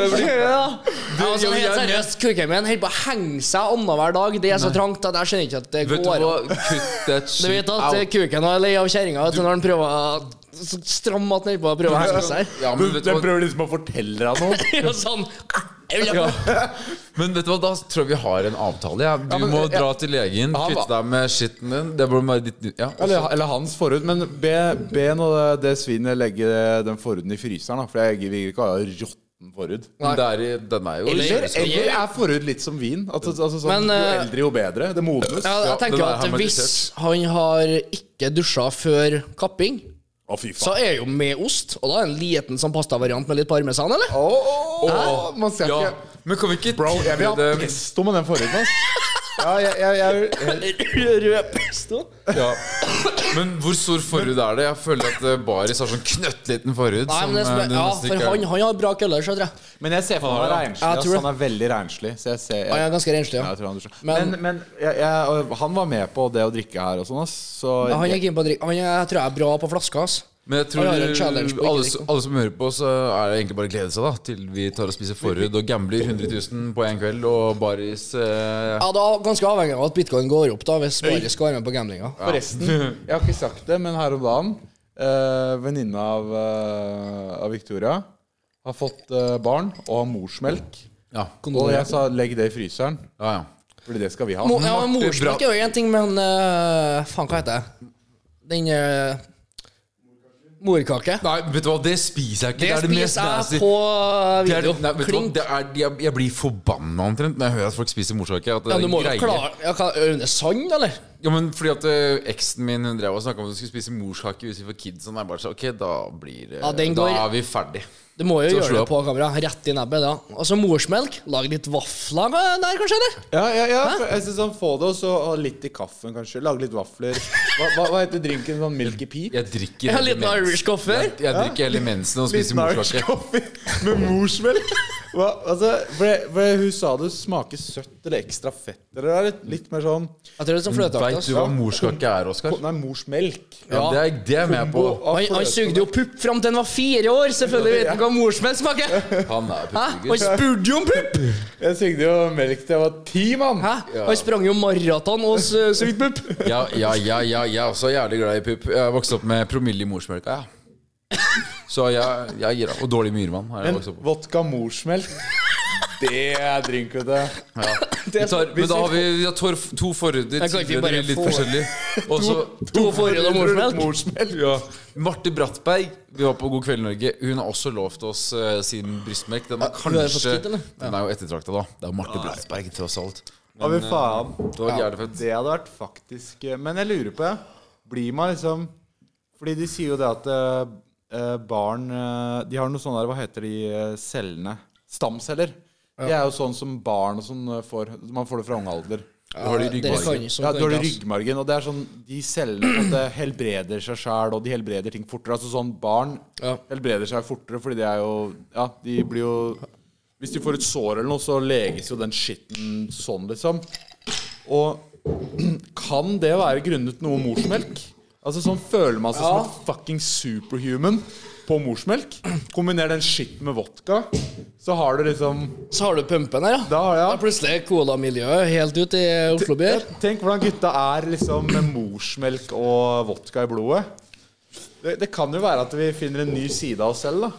Ja. Ja,
jo,
altså, helt
jeg-
seriøst, kuken min holder på å henge seg annenhver dag. Det er så trangt at jeg skjønner ikke at det
Vet du
går
hva?
an.
Kutt that shit
Du vet at eh,
out.
kuken er lei av kjerringa vet du, når han prøver å så stram at han holder på å prøve å henge
*laughs*
seg.
Ja, men, vet du
Den
hva?
prøver liksom å fortelle deg noe.
Det er jo *laughs* sånn jeg vil ha-
Ja. men vet du hva, da tror jeg vi har en avtale. Ja. Du
men,
må
ja.
dra til legen,
Ja,
kvitte deg med skitten din. Det burde være ditt ja, også.
Eller, eller hans forhud. Men be, be nå det, det svinet legge den forhuden i fryseren, da. For jeg vil ikke ha råtten forhud.
Men det er, i- den er jo
Eller-
Eller, eller er forhud litt som vin? Altså, altså sånn,
Men,
Jo
eh,
eldre, jo bedre. Det modnes.
ja,
Å,
Jeg
det
tenker
der
at
har man
hvis han har ikke dusja før kapping,
fy faen.
så er jo med ost. Og da er en liten sånn pastavariant med litt parmesan, eller?
Å, å, å, man ser
Ja.
ikke
Men kan vi ikke
Bro, jeg vil ha
det-
pesto med den forhuden, ass. Ja, jeg, jeg, jeg, jeg,
Rød pesto.
Ja. Men hvor stor forhud er det? Jeg føler at eh, Baris har sånn knøttliten forhud.
Nei, men det som
eh,
er,
du
ja,
nesten
for
ikke-
han, han har bra køller, skjønner jeg.
Men jeg ser for meg han er
Ja,
renslig.
jeg
ass.
tror det.
Han er veldig renslig. Så jeg ser,
Han
jeg,
er ganske renslig,
Ja,
ja.
jeg tror han dusjer.
Men-
Men, men jeg, jeg, han var med på det å drikke her og sånn, ass. Så
Ja, Han er keen på å drikke. Han er, jeg tror jeg er bra på flaska. ass.
Men jeg tror
Han har en challenge på ikke
alle,
drikke.
alle som hører på, så er det egentlig bare å glede seg da til vi tar og spiser forhud og gambler 100 000 på en kveld, og Baris eh,
Ja, da er ganske avhengig av at bitcoin går opp, da, hvis bare skal være med på gamblinga.
Forresten, *laughs* jeg har ikke sagt det, men her om dagen eh, Venninna av, eh, av Victoria har fått eh, barn og har morsmelk.
Ja.
Og jeg sa legg det i fryseren,
ja, ja.
Fordi det skal vi ha.
Mo, ja,
Martin Bra-
Morsmelk er jo én ting, men eh, faen, hva heter det? Den eh, Morkake.
Nei, vet du hva, det spiser jeg ikke.
Det,
Det, er det mest
spiser
nasty.
jeg på eh,
Det er,
video.
nei, vet du hva?
Kling.
Det er, jeg, jeg blir forbanna omtrent når jeg hører at folk spiser morskake. at det
Ja,
er
du
en
må jo
greie.
klare ja, hva, Aune Sand, eller?
Ja, men fordi at ø, eksen min hun drev og snakka om at hun skulle spise morskake utenfor kidsen. Og jeg bare sa ok, da blir det-
Ja, den
Da
går-
er vi ferdig.
Du må jo
Så
gjøre
slå
det
opp.
på kamera. Rett i nebbet, da. Og så morsmelk. Lag litt vafler eh, der, kanskje? eller?
Ja, ja, ja for jeg synes han får det, og så ha litt i kaffen, kanskje. Lage litt vafler. Hva, hva, hva heter drinken? Sånn Milky Pea?
Jeg
*laughs*
drikker
Jeg har
hele
litt
mens-
Irish coffee.
Jeg, jeg drikker hele mensen og spiser
Liten Irish
morskake.
coffee med morsmelk? Hva, altså, for, det- for det- hun sa det smaker søtt eller ekstra fett. Eller det er litt, litt mer sånn
Jeg tror det er sånn fløteaktig.
Veit
ass.
du hva morskake er, Oskar?
Nei, morsmelk.
Ja, det er det er jeg med på.
Kombo av
Han, han
fløte-
sugde jo pupp fram til han var fire år. Selvfølgelig vet han hva morsmelk smaker.
Han er
Hæ? Han
puttegutt.
spurte jo om pupp!
Jeg sugde jo melk til jeg var ti, mann.
Hæ? Han sprang jo maraton og s- sugde pupp.
Ja, ja, ja, ja, jeg er også jævlig glad i pupp. Jeg vokste opp med promille i morsmelka, ja. Så jeg, jeg gir opp. Og dårlig myrvann har jeg
Men
vokst opp med.
vodka morsmelk, det er drink, vet du.
Ja. Vi
Det- sånn-
tar, men da har vi, vi har tor, to forhuder.
Jeg kan ikke
tidligere,
bare
litt
få-
forskjellig. Og så
To forhold og morsmelk.
Morsmelk.
ja. Marte Brattberg, vi var på God kveld Norge, hun har også lovt oss eh, sin brystmelk. Den er
hun har fått
kanskje
skritt, eller?
Den er jo ettertrakta, da. Det er jo Marte Brattberg, tross alt.
Ja, men faen.
Det var jævlig fett.
det hadde vært faktisk eh, Men jeg lurer på, jeg. Blir man liksom Fordi de sier jo det at eh, barn eh, De har noe sånn der Hva heter de eh, cellene? Stamceller. Det er jo sånn som barn og sånn eh, får. Man får det fra ung alder.
Da har de
Dere kan
ryggmargen.
ikke
Ja,
sånn.
du har det i ryggmargen, og det er sånn De cellene på en måte helbreder seg sjæl, og de helbreder ting fortere. Altså sånn barn
Ja.
helbreder seg fortere, fordi de er jo Ja, de blir jo Hvis de får et sår eller noe, så leges jo den skitten sånn, liksom. Og kan det være grunnet noe morsmelk? Altså sånn føler man seg
Ja.
som et fucking superhuman på morsmelk. Kombiner den skitten med vodka, så har du liksom
Så har du pumpen her, ja.
Da har jeg
Da er plutselig colamiljøet helt ut i Oslo by. her.
Ja, Tenk hvordan gutta er liksom med morsmelk og vodka i blodet. Det, det kan jo være at vi finner en ny side av oss selv, da.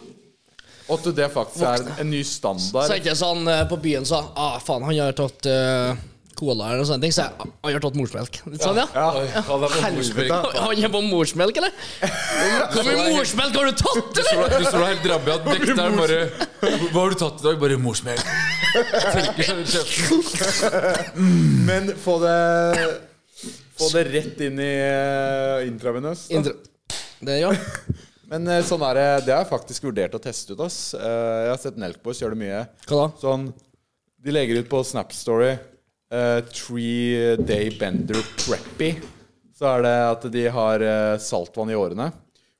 Og at det faktisk er en, en ny
Så
standard.
er det ikke sånn eh, på byen sa ah, faen, han har tatt eh, cola eller noe sånt. Så jeg, han har tatt morsmelk. Litt sånn, ja.
Ja,
Helvete.
helvete.
Han er på morsmelk, eller? Hvor mye morsmelk har du tatt,
Du
eller?
står- Du står der helt drabbi at vekteren bare Hva har du tatt i dag? Bare morsmelk. Tørker seg rundt kjeften.
Men få det Få det rett inn i eh, intravenøs. da.
Indre. Det, ja.
Men eh, sånn er det. Det har jeg faktisk vurdert å teste ut. ass Eh, Jeg har sett Nelkboys gjøre det mye.
Hva da?
Sånn De legger ut på Snap Story eh, Three Day Bender Preppy. Så er det at de har eh, saltvann i årene.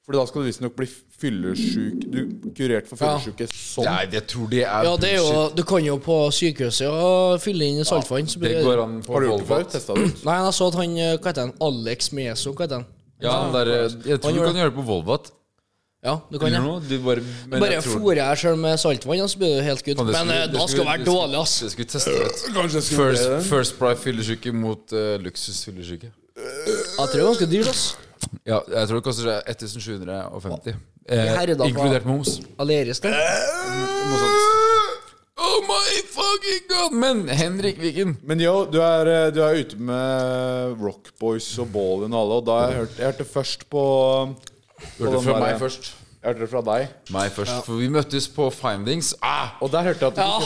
For da skal du visstnok bli fyllesyk Du kurert for
Ja.
fyllesyke sånn.
Nei, jeg tror det er
Ja, det er jo, du kan jo på sykehuset og fylle inn saltvann. så
Det
blir-
går an på
Har du gjort det før?
Volvat.
Testa det ut?
Nei, jeg så at han eh, Hva heter han? Alex Meso, hva heter han?
Ja, han der, jeg tror du kan gjøre det på Volvat.
Ja, du kan
Eller
det.
noe. Du bare men
Bare
jeg tror-
fôrer jeg sjøl med saltvann, og så blir du helt skutt.
Faen, det
Men
skulle-
eh,
det
da skal det
skulle-
være
det skulle-
dårlig, ass.
Det skulle testet ut.
Kanskje jeg skulle
First, first Pride fyllesyke mot eh, luksusfyllesyke.
Jeg tror det er ganske dyrt, ass.
Ja, jeg tror det koster seg 1750.
Herre da,
Eh,
hva-
inkludert moms.
Aleris, det.
Noe sånt. Oh my fucking god! Men Henrik Viken
Men yo, du er, eh, du er ute med Rockboys og Ballin og alle, og da har jeg hørt Jeg hørte først på
Du hørte
den
det fra
der-
meg først.
Jeg hørte det fra deg.
Meg først, For vi møttes på Findings. Ah!
Og der hørte jeg at du
Ja.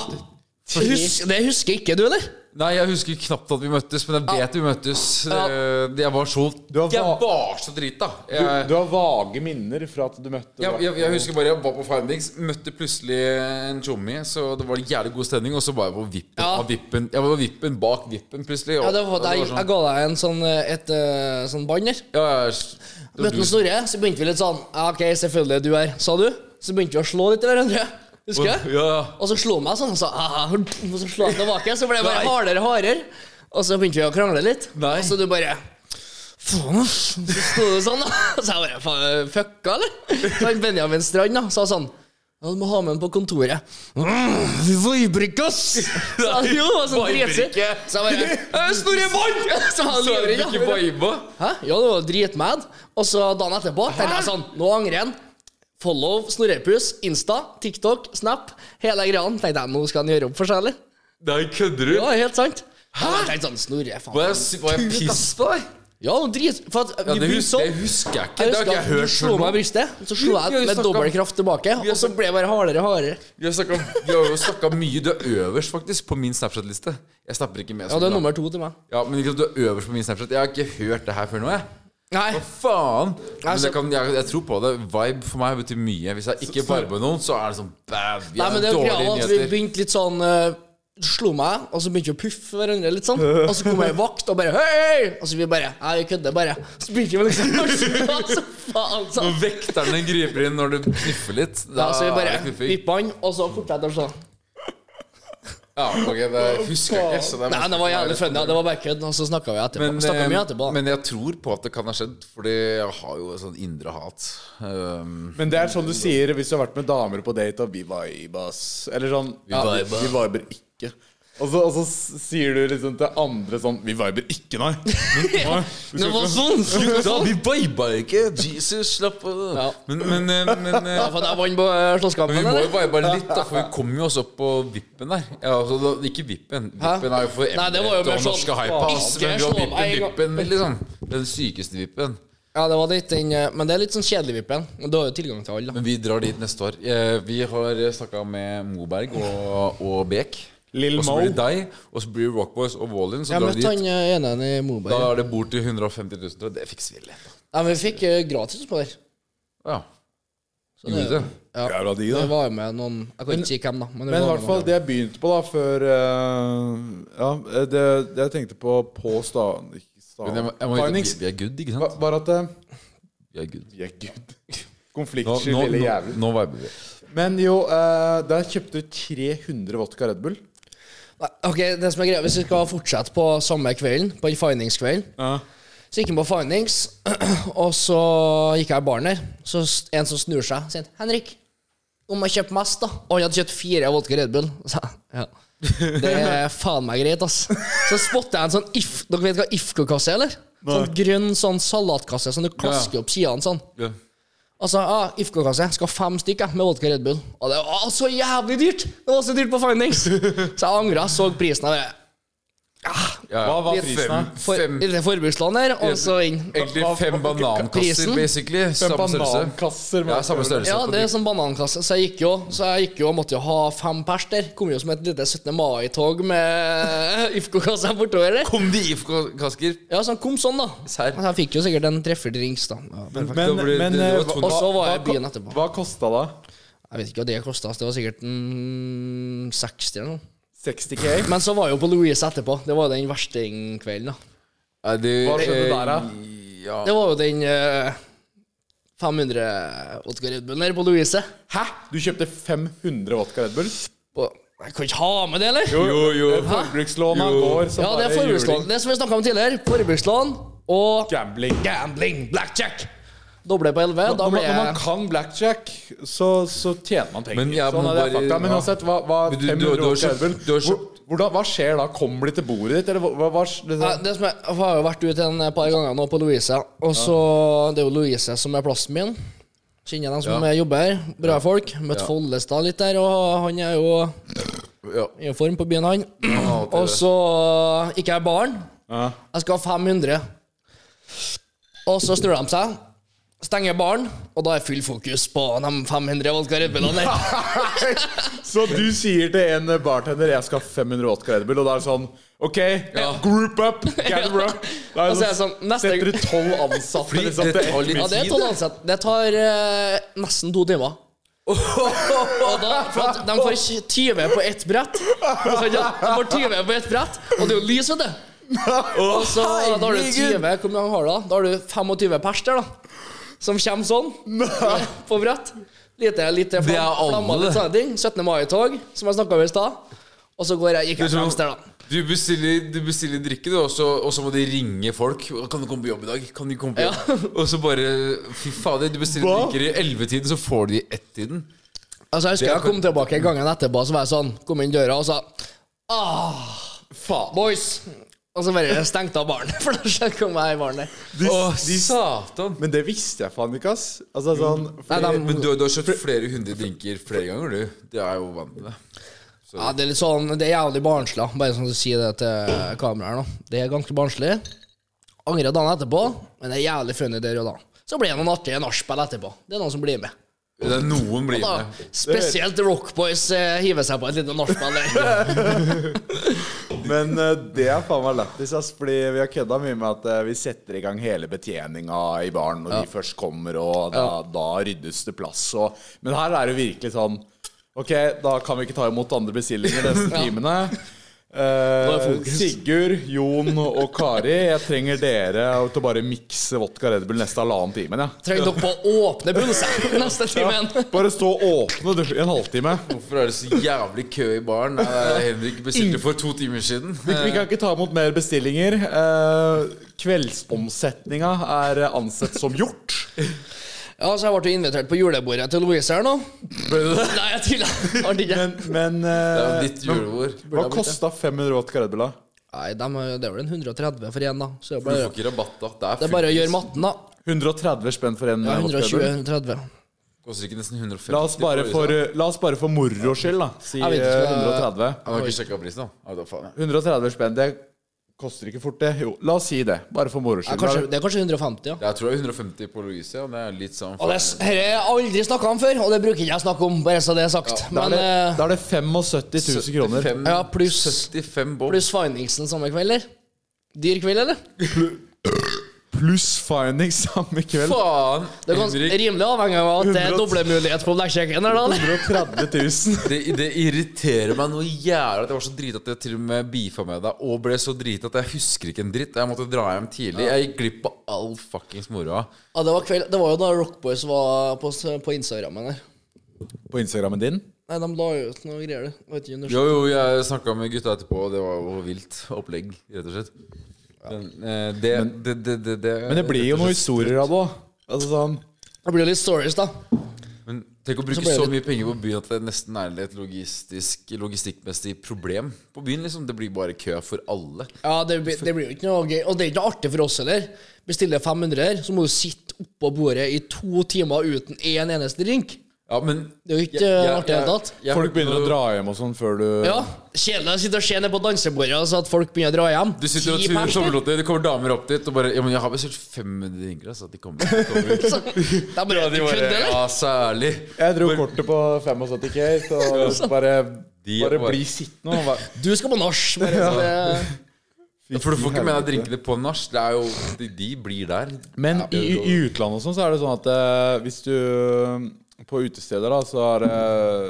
Husk, det husker ikke du, eller?
Nei, jeg husker knapt at vi møttes, men jeg vet vi møttes.
Ja.
Eh, Jeg var så
Du har
Jeg
va-
var så drita.
du,
Jeg,
du har vage minner fra at du møtte
jeg, jeg, jeg husker bare jeg var på Findings, møtte plutselig en tjommi, så det var jævlig god stemning, og så var jeg på vippen
Ja.
av vippen. Jeg var på vippen bak vippen, plutselig. og-
Ja, det var,
og
jeg,
sånn-
jeg ga deg en sånn, eh, et eh, sånn bånd der.
Ja, ja, s- det var
Møtte
du-
han Snorre, så begynte vi litt sånn «Ja, OK, selvfølgelig er du her, sa du. Så begynte vi å slå litt i hverandre. Husker jeg?
Ja, ja.
Og så slo han meg sånn, og så, «Ah», og så slo han tilbake. Så ble jeg
Nei.
bare hardere og hardere. Og så begynte vi å krangle litt.
Nei.
Og så du bare Faen, ass. Så sto du sånn, da. Så jeg bare faen, fucka, eller? Så han Benjamin Strand da, sa sånn ja, du må ha med den på kontoret. Mm, Vibrik, ass! Så han jo, og så dritsur.
Vibrik.
Så jeg bare «Øh, Snorre vant! Så han
Så er det
livredd. da.
ikke viba.
Hæ? Ja, det var dritmad. Og så dagen etterpå tenkte jeg sånn Nå angrer jeg. Follow Snorrepus, Insta, TikTok, Snap. Hele greia. Tenkte jeg, nå skal han gjøre opp for seg, eller?
Nei, kødder du?
Ja, helt sant. Hæ? Jeg tenkte sånn, Snorre,
Var
faen.
jeg, s- var jeg
Kuk,
piss
ass.
på deg?
Ja, og drit. For at
Ja,
vi
det,
blir
hus,
sånn.
det husker jeg ikke.
Jeg
Det har
husker
ikke jeg
at du
hørt
slo
før nå.
meg i brystet, så slo
Ja, vi
jeg med
snakket-
dobbel kraft tilbake.
Vi har
Og så
snakket-
ble jeg bare hardere og hardere.
Vi har, snakket, vi har jo snakka mye. Du er øverst faktisk på min Snapchat-liste. Jeg snapper ikke med.
Ja, det er nummer to til meg.
Ja, men ikke sant, du er øverst på min Snapchat. Jeg har ikke hørt det her før nå. jeg
Nei.
Hva faen? Men
Altså-
jeg, kan, jeg, jeg tror på det. Vibe for meg betyr mye. Hvis jeg ikke viber med noen, så er det sånn bæv.
Nei, men det er greia
dårlige
var at vi
nyheter.
begynte litt sånn eh, slo meg, og så begynte vi å puffe hverandre litt sånn. Og så kom ei vakt og bare Hei! Og så vi bare Nei, vi kødder bare. Så begynte vi liksom å slå, så faen sånn.
Når vekterne griper inn når du kniffer litt, da
Ja, så vi
er
bare
det knuffing.
vippa han, og så fortsatte han sånn.
Ja, ok, det husker jeg ikke. Så det er
Nei, det var jævlig funny. Ja, det var bare kødd, og så snakka vi etterpå.
Men,
Snakket mye
eh,
etterpå. da.
men jeg tror på at det kan ha skjedd, Fordi jeg har jo et sånn indre hat.
*laughs*
Um,
Men det er sånn du sier hvis du har vært med damer på date, og vi vibas. Eller sånn ja, Vi
viber.
vi viber ikke. Og så, og så s- sier du liksom til andre sånn Vi viber ikke,
*laughs*
nei. Nei, vi
Det
skal
var
ikke-
sånn!
da, vi viba ikke! Jesus, slapp av.
Ja.
Men, men, eh, men, eh,
Ja, for jeg vant på eh,
men vi
slåsskampen,
må jo
eller?
vibe litt, da, for vi kom jo oss opp på vippen der. Ja, altså, da, ikke vippen.
Hæ?
Vippen er jo for
Nei, det var jo
Emirates
mer
og norske
sånn,
hypas.
ikke
Men vi
slå
har
meg en
vippen,
gang.
vippen, liksom. Den sykeste vippen.
Ja, det var litt den eh, Men det er litt sånn kjedelig, Vippen. Men du har jo tilgang til alle, da.
Men vi drar dit neste år. Eh, Vi har snakka med Moberg og, og Bek.
Lil
Og så
Mo.
blir det deg, og så blir det Rockboys og Wallin. Så
Jeg
drar vi
møtte
dit.
han eh, ene i
Da
Moberg.
er det bord til 150 000, tror jeg. Det fikser vi litt.
Nei, men vi fikk eh, gratis på der.
Ja. Gjorde det.
Ja.
Jævla digg, da.
Det var jo med noen Jeg kan ikke si hvem, da. det
Men i
var
hvert
noen
fall
andre.
det jeg begynte på da før eh, Ja, det, det jeg tenkte på på Stavn... Ikke
Men jeg
Stavn...
må, jeg må vite,
Findings
vi- vi er good, ikke
var
sant?
var at eh,
Vi er good.
Vi er good.
*laughs* Nå,
Konfliktsky,
nå, nå,
lille jævel.
nå viber vi.
Men jo, eh, der kjøpte du 300 vodka Red Bull.
Nei, Ok, det som er greia Hvis vi skal fortsette på samme kvelden, på den findingskvelden Så gikk han på findings, *clears throat* og så gikk jeg i baren der. Så s- en som snur seg, sier 'Henrik, du må kjøpe mest', da. Og han hadde kjøpt fire vodka Red Bull. Så, jeg, ja. Det
*laughs*
er faen meg greit, ass. Så spotter jeg en sånn if, Dere vet hva Ifko-kasse er, eller? Sånn grønn sånn salatkasse som du klasker opp sidene sånn.
Ja.
Altså, ah, IFK-kasse skal ha fem stykk jeg, med vodka Red Bull. Og det var så jævlig dyrt! Det var så dyrt på Findings! Så jeg angra, så prisen av det.
Ja.
Hva var
Litt
prisen,
fem-
da?
For,
fem-
lite forbrukslån der, og så inn.
Egentlig
Hva- hva-
fem banankasser,
Prisen?
basically.
Fem
Samme størrelse.
banankasser. med
Ja, samme
vodka Red Bull.
størrelse.
Ja,
på
det er
drikken.
sånn banankasse, så jeg gikk jo Så jeg gikk jo og måtte jo ha fem pers der. Kom jo som et lite 17. mai-tog med *laughs* IFK-kassa bortover der.
Kom det IFK-kasker?
Ja, så han kom sånn, da.
Serr.
Men jeg fikk jo sikkert en treffer drinks, da. Ja,
Men,
Da blir det-
men
det- det
eh,
var
hva-
tungt.
Og så var
hva-
jeg i byen etterpå.
Hva kosta det?
Jeg vet ikke hva det kosta, det var sikkert mm, 60 eller noe.
60K?
Men så var jeg jo på Louise etterpå. Det var jo den verstingkvelden, da.
Nei, det-
Hva skjedde der, da?
eh, Ja.
Det var jo den eh, 500 Oddgar Edmund her på Louise.
Hæ? Du kjøpte 500 vodka Red Bull?
Og jeg kan ikke ha med det, eller?
Jo, jo.
Eh, Forbrukslåna
Jo.
går som
ja, det er
bare
forbrukslån.
juling.
Det som vi snakka om tidligere. Forbrukslån og
Gambling.
gambling. Blackjack. Doble på 11.
Når
Da ble
man, når man
jeg
kan blackjack, så, så tjener man penger.
Men jeg
sånn
må
er det
bare-
fakta. Men
ja.
uansett, hva, hva
Men du- du-
500
du har
vodka
kjøpt-
Red Bull,
du har
hvor-
kjøpt-
hvordan, Hva skjer da? Kommer de til bordet ditt, eller hva, hva, hva liksom-
Nei, det som er, jeg har jo vært ute en eh, par ganger nå på Louise, og så Det er jo Louise som er plassen min. Kjenner dem som
Ja.
jobber her. Bra folk. Møtt
Ja.
Follestad litt der, og han er jo
Ja.
i form på byen, han.
Ja, det-
Og så gikk jeg i baren.
Ja.
Jeg skal ha 500. Og så snur de seg, stenger baren, og da er full fokus på de 500 vodka Red Bullene der.
Så du sier til en bartender 'jeg skal ha 500 vodka Red Bull', og da er det sånn OK,
Ja.
group
*laughs*
up, gather up. Da
Og så er det sånn, neste-
Setter du tolv ansatte
Fordi
liksom,
det
til
tar
ett
litt-
minutt?
Ja, det er tolv ansatte. Det tar eh, nesten to timer. Og da, for at de får 20 på ett brett. Så ja, De får 20 på ett brett, og det er jo lys, vet du. Og så da har du 20 Hvor mange har du da? Da har du 25 pers der, da. Som kommer sånn, på brett. Lite, lite
Det er
flam- flammer,
alle.
litt sånne ting. 17. mai-tog, som jeg snakka om i stad. Og så går jeg, gikk jeg fremst der, da.
Du bestiller, du bestiller drikke, du, og så- og så må de ringe folk. Kan du komme på jobb i dag? Kan du komme på
Ja.
jobb? Og så bare Fy fader, du bestiller
Hva?
drikker i ellevetiden, så får du det i ett-tiden.
Altså, jeg husker
er
jeg kom tilbake gangen etterpå, så var jeg sånn, kom inn døra og sa Ah, faen, boys. Og så bare stengte av baren. *laughs* For da kom jeg i baren der.
De-
Å,
de-
satan!
Men det visste jeg faen ikke, ass. Altså sånn fordi-
Nei, de-
Men du, du har kjøpt flere hundre drinker flere ganger, du. Det er jeg jo vant med.
Ja, det er litt sånn, det er jævlig barnslig, da. bare sånn å si det til kameraet her nå. Det er ganske barnslig. Angrer dagen etterpå, men det er jævlig funny der og da. Så blir det noen artige nachspiel etterpå. Det er noen som blir med.
Det er noen blir
Da,
med.
spesielt Rockboys eh, hiver seg på et lite nachspiel der.
Men eh, det er faen meg lættis, ass. Fordi vi har kødda mye med at eh, vi setter i gang hele betjeninga i baren når de først kommer, og da, da ryddes det plass og Men her er det virkelig sånn Ok, da kan vi ikke ta imot andre bestillinger de
*laughs*
neste timene.
Da
Eh,
er fokus.
Sigurd, Jon og Kari, jeg trenger dere til å bare mikse vodka Red Bull neste halvannen timen. Ja.
Trenger dere på å åpne pulsen neste timen?
Bare stå og åpne du, i en halvtime.
Hvorfor er det så jævlig kø i baren? Eh, Henrik bestilte for to timer siden. *laughs*
Vi, vi kan ikke ta imot mer bestillinger. Eh, kveldsomsetninga er ansett som gjort.
Ja, så jeg ble jo invitert på julebordet til Louise her nå. *laughs* Nei, jeg tuller. Har de ikke?
Men, men
Det er
eh,
jo ditt julebord.
hva kosta 500 vodka Red Bull, da?
Nei, dem er- det er vel en 130 for én, da. Så det er
Du får
bare,
ikke rabatt, da. Det er,
det er bare å gjøre matten, da.
130 spenn for en
Ja,
eh, vodka Red Bull?
120-130.
Koster ikke nesten 150
La oss bare
på
for,
Øystein.
la oss bare for moro skyld, da, si
Jeg vet ikke,
eh,
jeg-
130.
Han har ikke sjekka prisen, da. Ja, da faen, ja.
130 spenn, det koster ikke fort, det. Jo, la oss si det. Bare for moro
Ja,
skyld.
kanskje, det er kanskje 150, ja.
Jeg tror det er 150 på Louisia. Det er litt sånn
Og det s- her har jeg aldri snakka om før, og det bruker ikke jeg å snakke om, bare så det er sagt.
Da er
Men
det,
eh,
da er det 75 000 kroner.
75
Ja, pluss-
75 bob.
pluss Finingsen samme kveld, eller? Dyr kveld, eller?
Pluss finding samme kveld.
Faen!
Det er gans-
Henrik,
rimelig avhengig av at det er
100
doblemulighet på blackjacken her, da. eller?
130 000.
det, det irriterer meg noe jævlig at jeg var så drita at jeg til og med beefa med deg og ble så drita at jeg husker ikke en dritt. Jeg måtte dra hjem tidlig. Jeg gikk glipp av all fuckings moroa.
*laughs* Ja, det var, kveld, det var jo da Rockboys var på, s- på Instagrammen her.
På Instagrammen din?
Nei, de la jo ut noe greier, det. Vet ikke, om du-
Jo, jo, jeg snakka med gutta etterpå, og det var jo vilt opplegg, rett og slett. Men, eh, det, det, det, det, det
Men det blir jo noen historier av det òg. Altså sånn
Det blir jo litt stories, da.
Men tenk å
Så
bruke
ble
så
det-
mye penger på byen at det nesten er et logistisk, logistikkmessig problem på byen. liksom Det blir bare kø for alle.
Ja, det, blir- det blir jo ikke noe gøy. Og det er ikke noe artig for oss heller. Bestiller 500 her, så må du sitte oppå bordet i to timer uten én eneste drink.
Ja, men
Det er jo ikke eh, artig i det hele tatt.
jeg-
Folk begynner å dra hjem og sånn før du
Ja, kjedelig å sitte og se ned på dansebordet og så at folk begynner å dra hjem.
Du sitter og
Ti
turer
pers,
*laughs* sommerlåter, det kommer damer opp dit og bare Ja, men jeg har bestilt 500 drinker, altså. De kommer. De kommer.
Så, det er bare
Ja,
at du kødder, eller?
ja, særlig.
Jeg dro kortet på 75 K, så bare,
De
bare
var-
bli sittende og bare
Du skal på nach. bare så det-
For du får ikke med deg drinkene på nach. Det er jo De, de blir der.
Men i, i utlandet og sånn, så er det sånn at eh, hvis du eh, På utesteder, da, så er det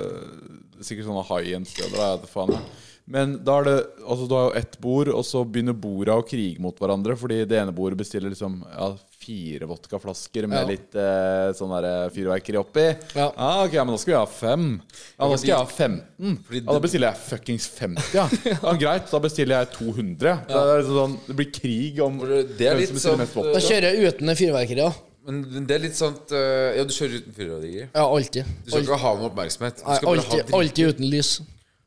eh, sikkert sånne high end-steder. da, jeg vet ikke faen, jeg. Men da er det Altså, du har jo ett bord, og så begynner borda å krige mot hverandre. Fordi det ene bordet bestiller liksom ja, fire vodkaflasker med
Ja.
litt eh, sånn derre fyrverkeri oppi.
Ja.
Ah, ok, ja, men da skal vi ha fem. Ja, nå skal jeg ha 15.
fordi
Ja, da bestiller jeg fuckings 50,
*laughs*
ja. ja. Greit, da bestiller jeg 200. Det, er liksom sånn, det blir krig om
For det er
hvem
litt
som bestiller
sånn,
mest vodka.
Da kjører jeg uten fyrverkeri. Ja,
Men men det er litt sånn at, eh, Ja, du kjører uten fyrverkeri.
ja alltid.
Du skal
Alt-
ikke ha noe oppmerksomhet. Du
Nei,
skal bare ha,
alltid,
drink-
alltid uten lys.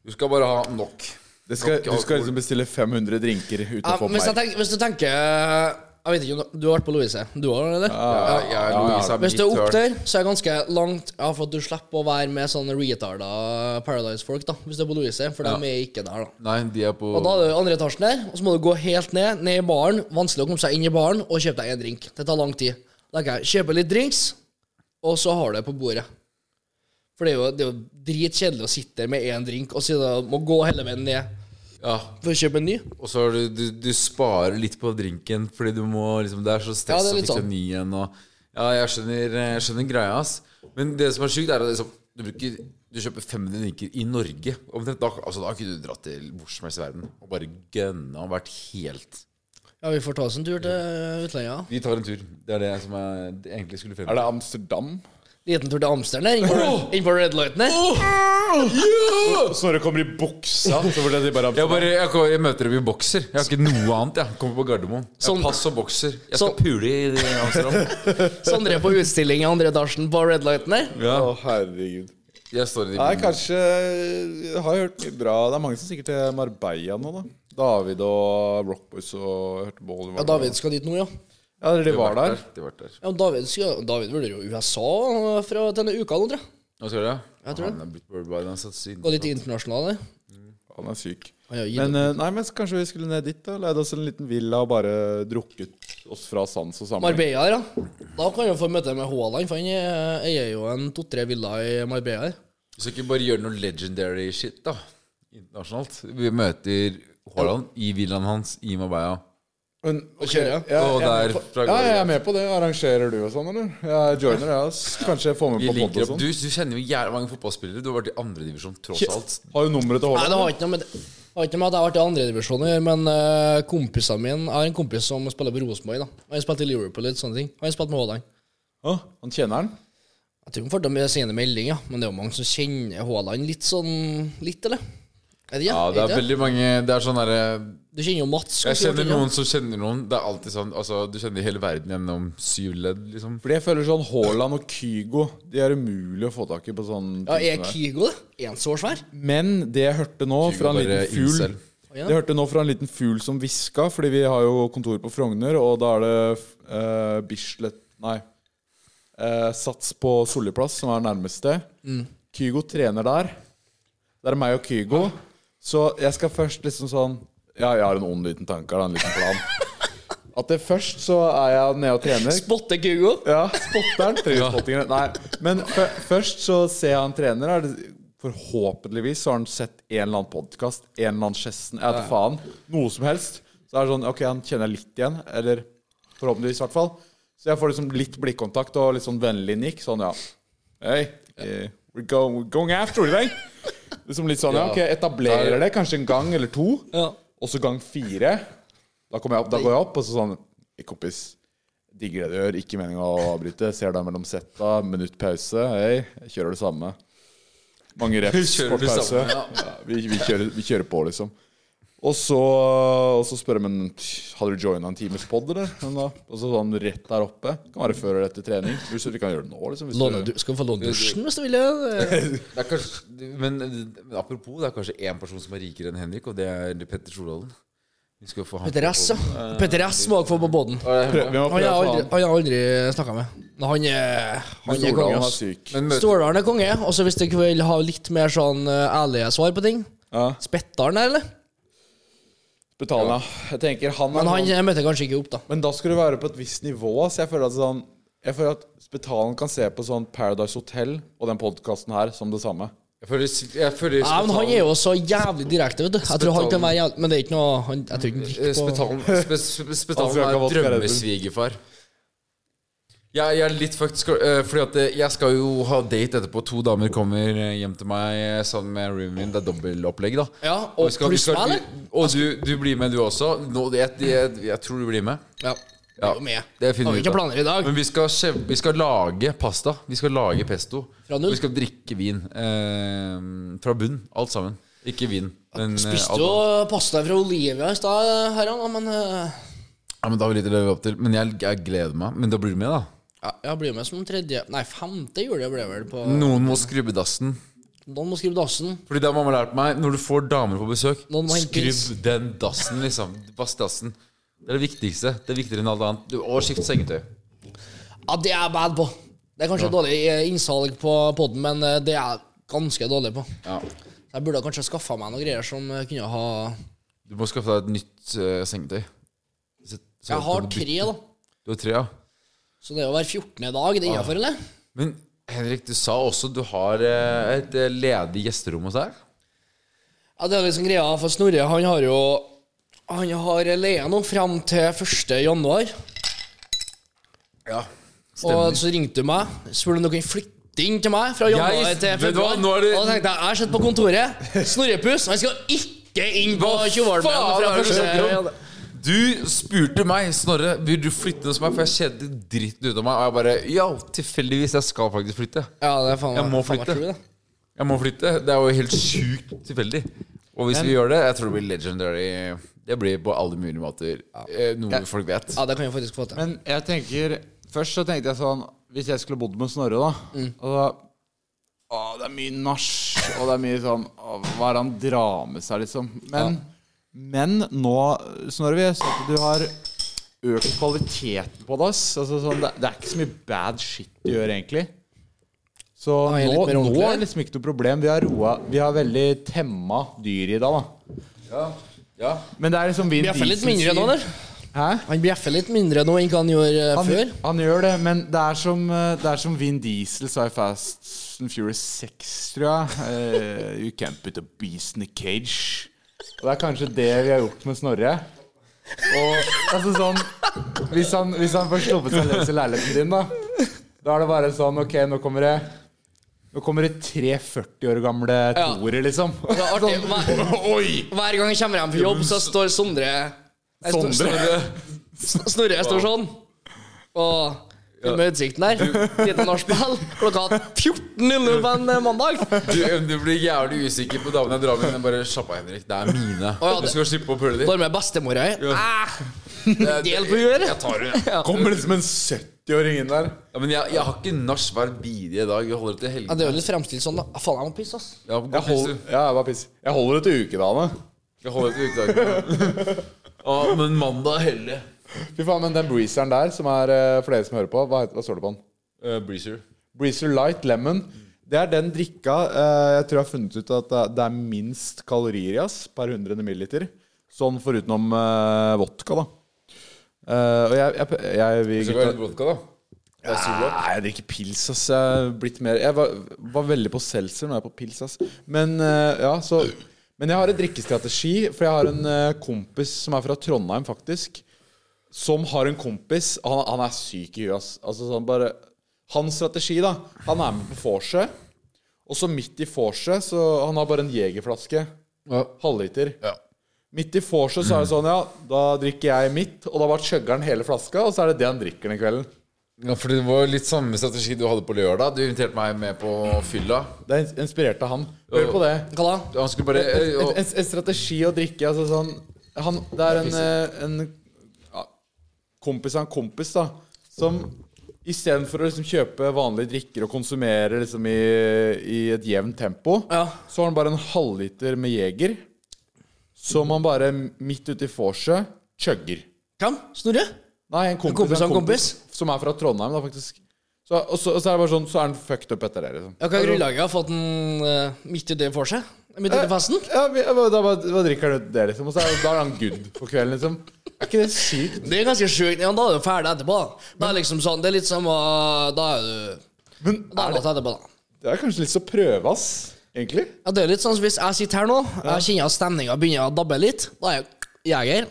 du skal bare ha nok.
Det skal,
Nok
du skal
alkohol.
liksom bestille 500 drinker uten
Ja,
å få
hvis, jeg
mer.
tenker, hvis du tenker eh, Jeg vet ikke om du- du har vært på Louise. Du har, eller?
Ja, jeg er Louisa
Hvis du er opp
Midtørn.
der, så er det ganske langt Ja, for at du slipper å være med sånne retarda Paradise-folk, da. Hvis du er på Louise, for de er ikke der, da.
Nei, de er på
Og da er det andre etasjen der, og så må du gå helt ned, ned i baren. Vanskelig å komme seg inn i baren og kjøpe deg en drink. Det tar lang tid. Da kan jeg kjøpe litt drinks, og så har du det på bordet. For det er jo, det er jo dritkjedelig å sitte der med én drink og så da må gå hele veien ned
Ja,
for å kjøpe en ny.
og så har du, du, du sparer litt på drinken fordi du må liksom Det er så
Ja,
stress
det
å
er litt
fikse
sånn.
en ny en og Ja, jeg skjønner, jeg skjønner greia, ass. Men det som er sjukt, er at liksom, du bruker du kjøper 500 drinker i Norge. Omtrent. Da, altså, da kunne du dratt til hvor som helst i verden og bare gønna og vært helt
Ja, vi får ta oss en tur til utlandet.
Vi tar en tur. Det er det som jeg egentlig skulle frem
Er det Amsterdam?
ja. Liten tur til Amsterdam der, inn på- inn på Red Lighten der.
Snorre kommer i buksa. Så burde de bare
Jeg, bare, jeg, kom- jeg møter dem i bokser. Jeg har ikke noe annet. Jeg kommer på Gardermoen. Jeg
Sånn-
har pass og bokser. Jeg skal
Sånn-
pule i i Amsterdam.
Sondre er på utstilling i andre etasjen på Red Lighten der.
Å, herregud.
Jeg står i de
Nei, kanskje Jeg har hørt mye bra. Det er mange som stikker til Marbella nå, da. David og Rockboys og hørte på Oliver.
Ja, David skal dit nå, ja.
Ja, eller de
De
var
har vært
der.
De har vært der.
ja David, skal, David vurderer jo USA fra denne uka nå, tror jeg.
Hva skal du gjøre?
Jeg tror det.
Han er blitt bourbon, han satt siden.
Gå litt internasjonalt, det.
Han er syk.
Han har jo gitt
Men, eh, nei, men så kanskje vi skulle ned dit, da. Leide oss en liten villa og bare drukket oss fra sans og samling.
Marbella, her, ja. Da kan jeg få møte med Haaland, for han eh, eier jo en to-tre villa i Marbella. her.
Så ikke bare gjøre noe legendary shit, da. Internasjonalt. Vi møter Haaland i villaen hans i Mabaya.
Men, ok,
kjøre.
ja,
Og
jeg er
der
med på-
fra
ja, jeg er
gårde.
med på det. Arrangerer du og sånn, eller? Jeg joiner, jeg. ass. Kanskje jeg får med
Vi
på pod
linker
og
opp.
sånn.
Du, du kjenner jo jævlig mange fotballspillere. Du har vært i andredivisjon tross alt.
Har du nummeret til
Nei, det
Haaland?
har ikke noe med det. det har ikke noe med at jeg har vært i andredivisjon å gjøre, men eh, kompisene mine Jeg har en kompis som spiller på Rosenborg. da. Han spilte i Liverpool litt sånne ting. Han spilte med Haaland.
Hå? Han kjenner han?
Jeg tror han får til å sende melding, ja. Men det er jo mange som kjenner Haaland litt sånn Litt, eller? Er det,
Ja, det er veldig mange Det er sånn derre
Du kjenner jo Mats.
Jeg
kanskje,
kjenner
Martin, ja.
noen som kjenner noen. Det er alltid sånn Altså, du kjenner hele verden gjennom syv ledd, liksom.
Fordi jeg føler sånn Haaland og Kygo De er umulig å få tak i på sånn
Ja, Er Kygo det? Er han så svær?
Men det jeg hørte nå
Kygo
fra en
bare
liten fugl
incel.
Det jeg hørte nå fra en liten fugl som hviska, fordi vi har jo kontor på Frogner, og da er det eh, Bislett Nei. eh, Sats på Solli plass, som er nærmeste. Kygo trener der. Det er meg og Kygo. Så jeg skal først liksom sånn Ja, jeg har en ond liten tanke, eller en liten plan. At det først så er jeg nede og trener.
Spotte Kygo?
Ja, spotteren. Treningsspottingene. Nei. Men fø- først så ser jeg han trener. Er det, forhåpentligvis så har han sett en eller annen podkast, en eller annen Chesson, jeg vet faen. Noe som helst. Så er det sånn Ok, han kjenner jeg litt igjen. Eller forhåpentligvis, i hvert fall. Så jeg får liksom litt blikkontakt og litt sånn vennlig nikk. Sånn, ja. Hey, eh, we're going, we're going after it, eh? Liksom litt sånn, ja. Ok, etablerer det kanskje en gang eller to.
Ja.
Og så gang fire. Da, kommer jeg opp, da går jeg opp, og så sånn «Hey, Kompis, digger det du gjør. Ikke meninga å avbryte. Ser deg mellom setta. Minutt pause. Hei, jeg kjører det samme.
*laughs*
Mange reps,
Kjører
kort
det
pause.
samme, ja.
Ja, vi, vi, kjører, vi kjører på, liksom. Og så, og så spør jeg men hadde du joina en times pod, eller? Men da- Og så sånn rett der oppe. Kan være før eller etter trening. Du synes vi kan gjøre det nå, liksom. Hvis
Låne,
du,
du, skal du få låne dusjen hvis du vil?
*laughs*
ja.
Det er kanskje, men, men apropos, det er kanskje én person som er rikere enn Henrik, og det er Petter Stordalen. Vi skal få han
Petter S, ja. Petter S må dere få på båten.
prøv, vi må
Han har
prøve
jeg
å få
aldri, han har jeg aldri snakka med. Men han er, han er konge.
Stordalen er
ass.
syk.
Men møter,
Stordalen er konge. Og så hvis dere vil ha litt mer sånn eh, ærlige svar på ting
Ja,
Spettaren der, eller?
Betalende. Jeg tenker han er
Men
sånn-
han eh, møtte kanskje ikke opp, da.
Men da skal du være på et visst nivå. Så jeg føler at sånn Jeg føler at Spetalen kan se på sånn Paradise Hotel og den podkasten her som det samme.
jeg føler, jeg føler
Ja, men han er jo så jævlig direkte, vet du. Jeg tror han kan være jævlig Men det er ikke noe han, Jeg tror ikke han gikk på
*laughs*
Spetalen, spe,
Altså,
spe,
jeg
spetalen
kan
er
vodka Red Bull.
drømmesvigerfar. Jeg, jeg er litt fucked, skal, eh, fordi at eh, jeg skal jo ha date etterpå. To damer kommer eh, hjem til meg eh, sammen med roomien min. Det er dobbeltopplegg, da.
Ja, og
Vi skal- vi
pluss
skal-
meg, eller?
Og du, du blir med, du også. Nå, jeg, jeg, jeg tror du blir med.
Ja. Det er jo med.
det finner
Har
vi
vi
ut
ikke
av.
planer i dag?
Men vi skal, skjev- vi skal lage pasta. Vi skal lage pesto.
Fra null?
Og vi skal drikke vin. Eh, fra bunn. Alt sammen. Ikke vin. Men, eh,
Spiste
alt
jo
sammen.
pasta fra Olivia i stad, herran, da, men eh,
Ja, men da har vi litt å leve opp til. Men jeg, jeg gleder meg. Men da blir du med, da.
ja, Jeg blir med som tredje Nei, femte juli ble jeg vel på
Noen må skrubbe dassen.
Noen må skrive dassen.
Fordi det har mamma lært meg. Når du får damer på besøk,
Noen må hente
skrubb den dassen, liksom. Vask dassen. Det er det viktigste. Det er viktigere enn alt annet. Du, og skift sengetøy.
Ja, det er jeg bad på. Det er kanskje dårlig eh, innsalg på poden, men eh, det er jeg ganske dårlig på.
Ja.
Så jeg burde kanskje skaffa meg noen greier som eh, kunne ha
Du må skaffe deg et nytt eh, sengetøy. Så, så
Jeg
kan
har
du bytte.
tre, da.
Du har tre, ja.
Så det er jo hver 14. dag. Det er innafor, eller?
Men Henrik, du sa også du har eh, et eh, ledig gjesterom hos deg.
Ja, det er liksom greia, for Snorre han har jo Han har leia nå fram til 1. januar.
Ja,
Og så ringte du meg, spurte om du kunne flytte inn til meg fra januar
Jeg-
til
vet du hva,
februar.
nå er det-
Og da tenkte jeg, jeg har sett på kontoret. Snorrepuss, han skal ikke inn på
Hva faen
Tjuvholmen fra
er det du snakker om?
første
Du spurte meg, Snorre, vil du flytte hos meg, for jeg kjente dritten ut av meg. Og jeg bare Ja, tilfeldigvis, jeg skal faktisk flytte.
Ja, det er faen
Jeg må
faen meg
flytte.
true, det.
Jeg må flytte. Det er jo helt sjukt tilfeldig. Og hvis vi gjør det, jeg tror det blir legendary. Det blir på alle mulige måter eh, noe folk vet.
Ja, det kan jeg faktisk få til.
Men jeg tenker Først så tenkte jeg sånn Hvis jeg skulle bodd med Snorre, da
Mm.
og da Å, det er mye nach, og det er mye sånn å, Hva er det han drar med seg, liksom? Men, men nå, Snorre, vi har sett at du har økt kvaliteten på det. ass. Altså, sånn, det, det er ikke så mye bad shit du gjør, egentlig. Så
Ah, jeg er
nå,
litt mer
nå
ordentlig,
er det liksom ikke noe problem. Vi har roa Vi har veldig temma dyr i dag, da.
Ja. ja.
Men det er liksom vi
Bjeffer litt mindre nå, eller?
Hæ?
Han bjeffer litt mindre nå enn hva han gjorde eh,
han,
før.
han gjør det, men det er som, eh, det er som Vin Diesel sa i Fast and Furious 6, tror jeg. Eh, you can't put a beast in a cage. Og det er kanskje det vi har gjort med Snorre. Og altså sånn Hvis han, hvis han får sluppet seg løs i leiligheten din, da Da er det bare sånn Ok, nå kommer det Nå kommer det tre 40 år gamle
Ja.
toere, liksom.
Det er artig. Hver,
Oi!
hver gang jeg kommer hjem fra jobb, så står Sondre Nei, Stor-
Sondre.
*laughs* Snorre- Snorre står sånn. Og med utsikten der. *laughs* Lite nachspiel. Klokka 14.00 på en mandag.
Du, du blir jævlig usikker på damene jeg drar med. Men bare slapp av, Henrik. Det er mine.
ja,
Du skal slippe å pøle
Da
dem.
er med bestemora her. Ah,
Det-
Del på huet,
Jeg
eller?
tar det.
Ja.
Kommer liksom en 70-åring inn der.
Ja, men jeg, jeg har ikke nach hver bidige dag. Jeg holder det til
Ja,
helgen.
det er jo litt fremstilt sånn, da. Ah, Faen, jeg må pisse, ass.
Ja, gå
Jeg,
og
hold,
piss, du.
ja, jeg, bare piss. jeg holder det til ukedagene.
Jeg holder det til ukedagen.
*laughs*
Å, men mandag er hellig.
Fy faen, men den breezeren der, som er eh, for dere som hører på, hva, heter- hva står det på den?
Eh, breezer.
Breezer Light Lemon. Det er den drikka eh, jeg tror jeg har funnet ut at det- det er minst kalorier i, ass, per 100 milliliter. Sånn forutenom eh, vodka, da. Eh, og jeg, jeg, jeg, vi
Så
gutta-
går jeg ut vodka, da. Det er Zero.
Nei, jeg drikker pils, ass. Jeg, har blitt mer, jeg var, var veldig på seltzer når jeg er på pils, ass. Men, eh, ja, så, men jeg har en drikkestrategi, for jeg har en eh, kompis som er fra Trondheim, faktisk. Som har en kompis Han, han er syk i huet, ass. Altså, sånn bare, hans strategi, da Han er med på vorset, og så midt i vorset så Han har bare en jegerflaske. Halvliter.
Ja.
Midt i vorset så er det sånn, ja, da drikker jeg mitt, og da bare chugger han hele flaska, og så er det det han drikker den kvelden.
ja, for det var litt samme strategi du hadde på lørdag. Du inviterte meg med på fylla.
Det er ins- inspirert av han. Hør på det.
Hva da?
Han skulle bare eh,
En,
og-
en, en strategi å drikke altså sånn, han, Det er en, eh, en ja, kompis av en kompis da som istedenfor å liksom kjøpe vanlige drikker og konsumere liksom i, i et jevnt tempo,
Ja.
så har han bare en halvliter med Jeger som han bare midt ute i vorset chugger.
Hvem? Snorre?
Nei, en kompis,
kompis
av en
av en
kompis, som er fra Trondheim, da, faktisk. Så, og, så, og så er det bare sånn, så er han fucked up etter det, liksom.
Ja, Hva er grunnlaget for at han eh, midt i det får seg? Midt i det festen?
Ja, vi- da, bare- da drikker han ut det, liksom. Og så er, da er han good for kvelden, liksom. Er ikke det sykt?
Det er ganske sjukt. Ja, da er du ferdig etterpå. Da, da er liksom sånn, det er litt som å Da er du
Men
Da er
er det,
det etterpå, da.
det er kanskje litt så prøve, ass. Egentlig.
Ja, det er litt sånn som hvis jeg sitter her nå, jeg kjenner at stemninga begynner å dabbe litt. Da er jeg jeger.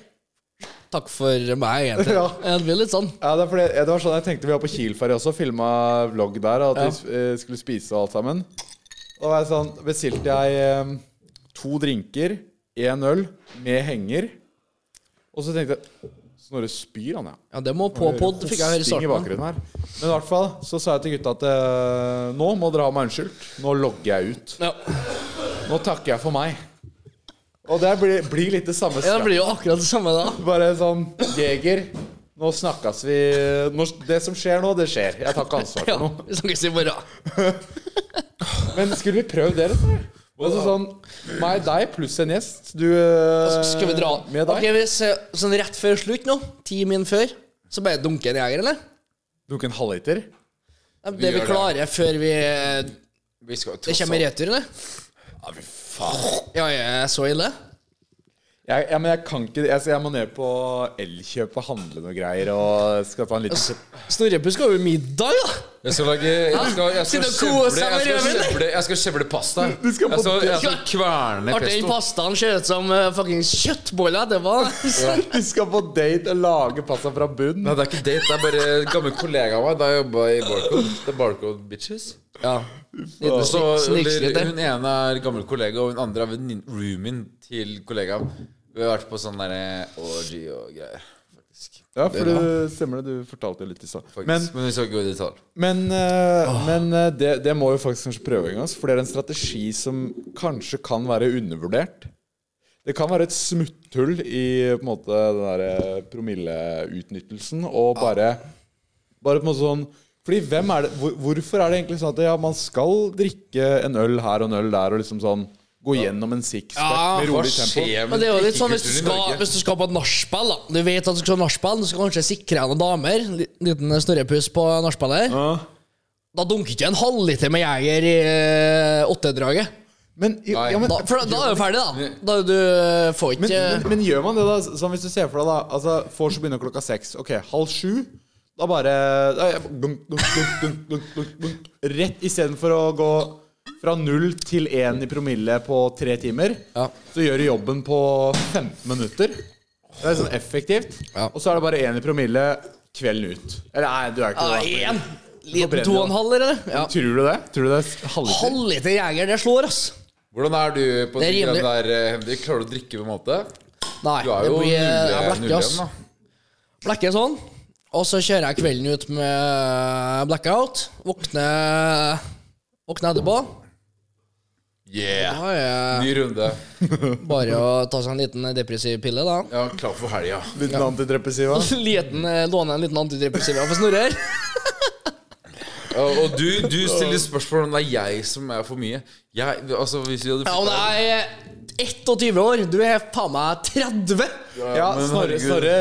Takk for meg, egentlig.
Ja.
Det blir litt sånn.
Ja, det, er fordi, det var sånn jeg tenkte vi var på Kielferja også, filma vlogg der. og At vi eh, skulle spise og alt sammen. Da var jeg sånn, bestilte jeg eh, to drinker, én øl, med henger. Og så tenkte jeg Snorre spyr, han, ja.
Ja, det må på pod, fikk jeg høre i
Hosting i
starten.
bakgrunnen her. Men i hvert fall så sa jeg til gutta at eh, nå må dere ha meg unnskyldt. Nå logger jeg ut.
Ja.
Nå takker jeg for meg. Og det blir, blir litt det samme
ja, det
straff.
blir jo akkurat det samme da.
Bare sånn Jeger, nå snakkes vi nå, Det som skjer nå, det skjer. Jeg tar ikke ansvar
Ja,
for noe.
Vi snakkes i morgen.
Men skulle vi prøvd det, eller? Altså sånn meg, deg pluss en gjest. Du eh,
Altså, Skal vi dra
med deg.
Ok, hvis, eh, Sånn rett før slutt nå, ti min før, så bare dunke en jeger, eller?
Dunke en halvliter.
Ja,
Vi
Det vi
gjør det.
klarer før vi eh,
Vi skal jo
Det
tross
kommer i retur, eller?
Ja, fy faen.
Ja, jeg er så ille.
Jeg, ja, men jeg kan ikke Jeg, jeg må ned på Elkjøp og handle noe greier og skal ta en
Altså-
liten
Snorrepuss skal jo i middag, da!
Jeg skal lage Jeg skal, jeg skal,
Sitte og
skjevle-
kose med
jeg skal
rødvin,
skjevle Jeg skal skjevle pasta.
Du skal på
Jeg skal, jeg skal
det.
kverne
Artig den
pesto.
pastaen ser ut som uh, fuckings kjøttboller. Det var
*laughs* Vi skal på date og lage pasta fra bunn.
Nei, det er ikke date. Det er bare en gammel kollega av meg. Da jeg jobba i Barcode. Det er Barcode Bitches.
Ja.
Og så,
Snikslitt
eller,
der.
hun ene er gammel kollega, og hun andre er vennin- roomien til kollegaen. Vi har vært på sånn derre orgy og greier. Faktisk.
Ja, for du stemmer det. Du fortalte det litt i stad.
faktisk.
Men
Men, vi skal ikke gå i detalj.
Men, eh, men eh, det, det må vi faktisk kanskje prøve en gang. ass, For det er en strategi som kanskje kan være undervurdert. Det kan være et smutthull i på en måte, den der eh, promilleutnyttelsen.
Ah.
Og bare, bare på en måte sånn Fordi hvem er det, hvor, Hvorfor er det egentlig sånn at ja, man skal drikke en øl her og en øl der og liksom sånn gå gjennom en sixpack
Ja,
med rolig tempo?
Men det er jo litt sånn hvis du skal, hvis du skal på et nachspiel, da. Du vet at du skal på nachspiel, du skal kanskje sikre deg noen damer. Li- Liten snorrepuss på nachspiel her.
Ja.
Da dunker ikke en halvliter med Jeger i eh, åttedraget.
Men, ja,
Nei.
ja, men
Da, for da, da er du ferdig, da. Da er du eh, får
Men,
ikke
men, men gjør man det, da? Sånn hvis du ser for deg, da. Altså, Vors begynner klokka seks. Ok, halv sju. Da bare da, er jeg- dunk, dunk, dunk, dunk, dunk, dunk, dunk. Rett istedenfor å gå fra null til én i promille på tre timer,
Ja.
så gjør du jobben på 15 minutter. Det er sånn effektivt.
Ja.
Og så er det bare én i promille kvelden ut. Eller nei, du er ikke det.
Ja, en
brenner
liten
det.
to og en halv, eller? Ja.
Tror du det? Tror du det er halvliter?
Halvliter jeger, det slår, ass.
Hvordan er du på
Det er
sykkelen
rimelig.
der, eh, Henrik? Klarer du å drikke på en måte?
Nei,
Du er
det
jo
blir eh, jeg
null-
blekker, ass.
nullem, da.
Blekker sånn. Og så kjører jeg kvelden ut med blackout. Våkner Våkner etterpå.
Yeah!
Da er
Ny runde.
det bare å ta seg en liten depressiv pille, da.
Ja, klar for helga.
Liten antidepressiva?
Liten, eh, låne en liten antidepressiva for Snorre her.
Og og du, *laughs* du stiller spørsmål om det er jeg som er for mye. Jeg, altså, hvis vi hadde
Ja, men jeg er 21 år. Du er faen meg 30.
Ja,
men
Snorre,
herregud.
Snorre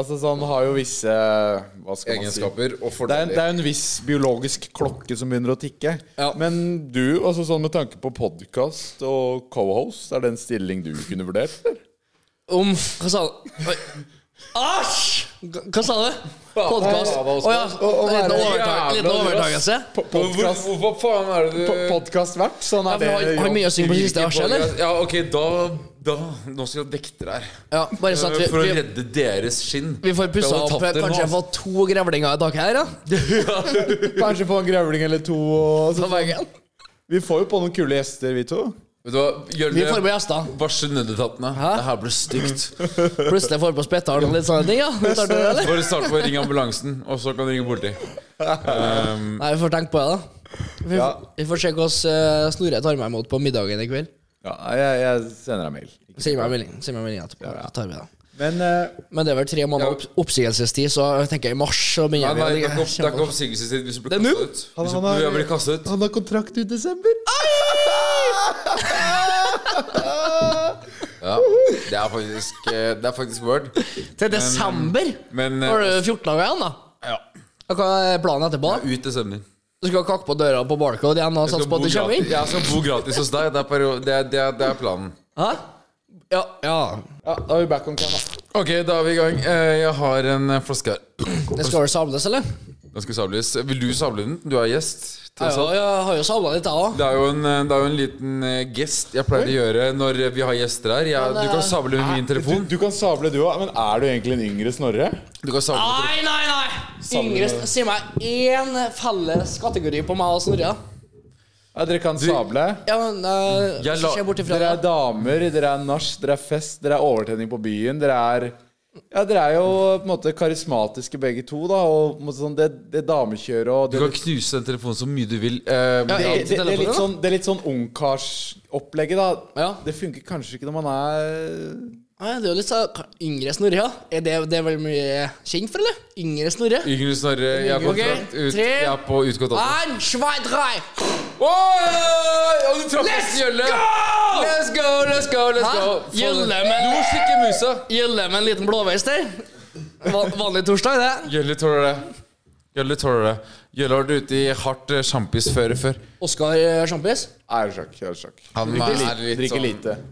altså, sånn, har jo visse Hva skal man si?
egenskaper
Det er,
og
det
fordeler.
er en viss biologisk klokke som begynner å tikke.
Ja.
Men du, altså sånn med tanke på podkast og cohost, er det en stilling du kunne *laughs* vurdert? eller?
Om Hva sa du? Oi. Æsj! Hva sa du? Podkast.
Ja,
Å
hva
ja.
skal- Å, å være
Liten overtak-
jævla
liten overtakelse.
Po-
Men hvor-
podcast-
Hvorfor faen er det
po-
du
Podcastvert? Sånn
Ja,
er
for
det.
Har har mye å synge på siste verset, eller?
Ja, ok, da, da Nå skal jeg vekte deg.
Ja, bare sånn at vi,
For å
vi,
redde deres skinn.
vi får pussa
Jeg hadde tatt
opp.
dere nå,
Kanskje jeg
ass.
får to grevlinger i tak her, da.
*laughs* Kanskje få en grevling eller to. Og,
På
så,
veggen.
vi får jo på noen kule gjester, vi to.
Vet du hva,
Vi får
Gjølve,
på gjester.
varsel nødetatene.
Hæ?
Det her ble stygt.
Plutselig får vi på Spetthalen og litt sånne ting, ja. Vi tar det, eller?
Bare start på å ringe ambulansen, og så kan du ringe politiet. Mm.
Nei, vi får tenke på det, da. Vi,
Ja.
vi får se hvordan uh, Snorre tar meg imot på middagen i kveld.
Ja, jeg, jeg sender deg mail.
Send meg en melding send meg en melding etterpå. Så tar vi det.
Men eh,
Men det er vel tre måneder opp oppsigelsestid, så jeg tenker i mars så
Nei,
begynner
nei,
vi.
det er ikke
å-
opp- det er ikke oppsigelsestid hvis du blir
Det er nå.
kastet ut.
Han-
Hvis
han
du
er-
jeg blir kastet ut.
han har kontrakt ut i desember.
Ja, det er faktisk eh, Det er faktisk word.
Til desember?
Men
Da
eh,
har du 14 dager igjen, da.
ja,
Og Hva er planen etterpå? da?
ut desember.
Du skal kakke på døra på Barcode igjen og
Jeg
satse
skal,
på
bo
at du kommer
gratis.
inn?
jeg skal bo gratis hos deg. Det er, perio- det er, det er, det er planen.
Hæ? Ja. ja.
Ja, da er vi back on cam. da.
Ok, da er vi i gang. Eh, Jeg har en eh, flaske her.
Det skal vel samles, eller?
Den skal sables. Vil du sable den? Du er gjest.
Ja,
tross alt.
ja, jeg har jo samla litt, jeg òg.
Det er jo en, eh, det er jo en liten eh, gest jeg pleier å gjøre når eh, vi har gjester her. Jeg, du kan sable med min telefon.
Du, du kan sable, du òg. Men er du egentlig en yngre Snorre?
Du kan sable med
Nei, nei, nei! Yngre Si meg én felles kategori på meg og Snorre. da.
Ja, dere kan sable.
Ja, men uh,
Jeg la-
Se bort ifra
Dere er
det.
damer, dere er nach, dere er fest, dere er overtenning på byen. Dere er ja, dere er jo på en måte karismatiske begge to, da. Og på en måte sånn, det, det damekjøret og
Du
det,
kan knuse den telefonen så mye du vil. eh,
det, det,
ja,
det, er litt
telefonen,
sånn, det er litt sånn ungkarsopplegget, da.
Ja.
Det funker kanskje ikke når man er
Nei, det er jo litt sånn Yngre Snorre, ja. Er det, det er vel mye kjent for, eller? Yngre Snorre?
Yngre Snorre, jeg er på,
Ok,
kontrakt ut,
tre. Ah.
jeg er på utgått dato.
Ein, zwei, drei.
Oi! Og du traff
Let's
nesten Gjølle.
go!
Let's go, let's go, let's
Hæ?
go.
Gjølle
det.
med-
Du må slikke musa.
Gjølle med en liten blåveis der. Van, vanlig torsdag, det.
Gjølle tåler det. Gjølle tåler det. Gjølle har vært ute i hardt eh, sjampisføre før.
Oskar eh, Sjampis.
Æresjakk. Æresjakk.
Han
Drikker
er
lite.
litt
Drikker
sånn-
lite.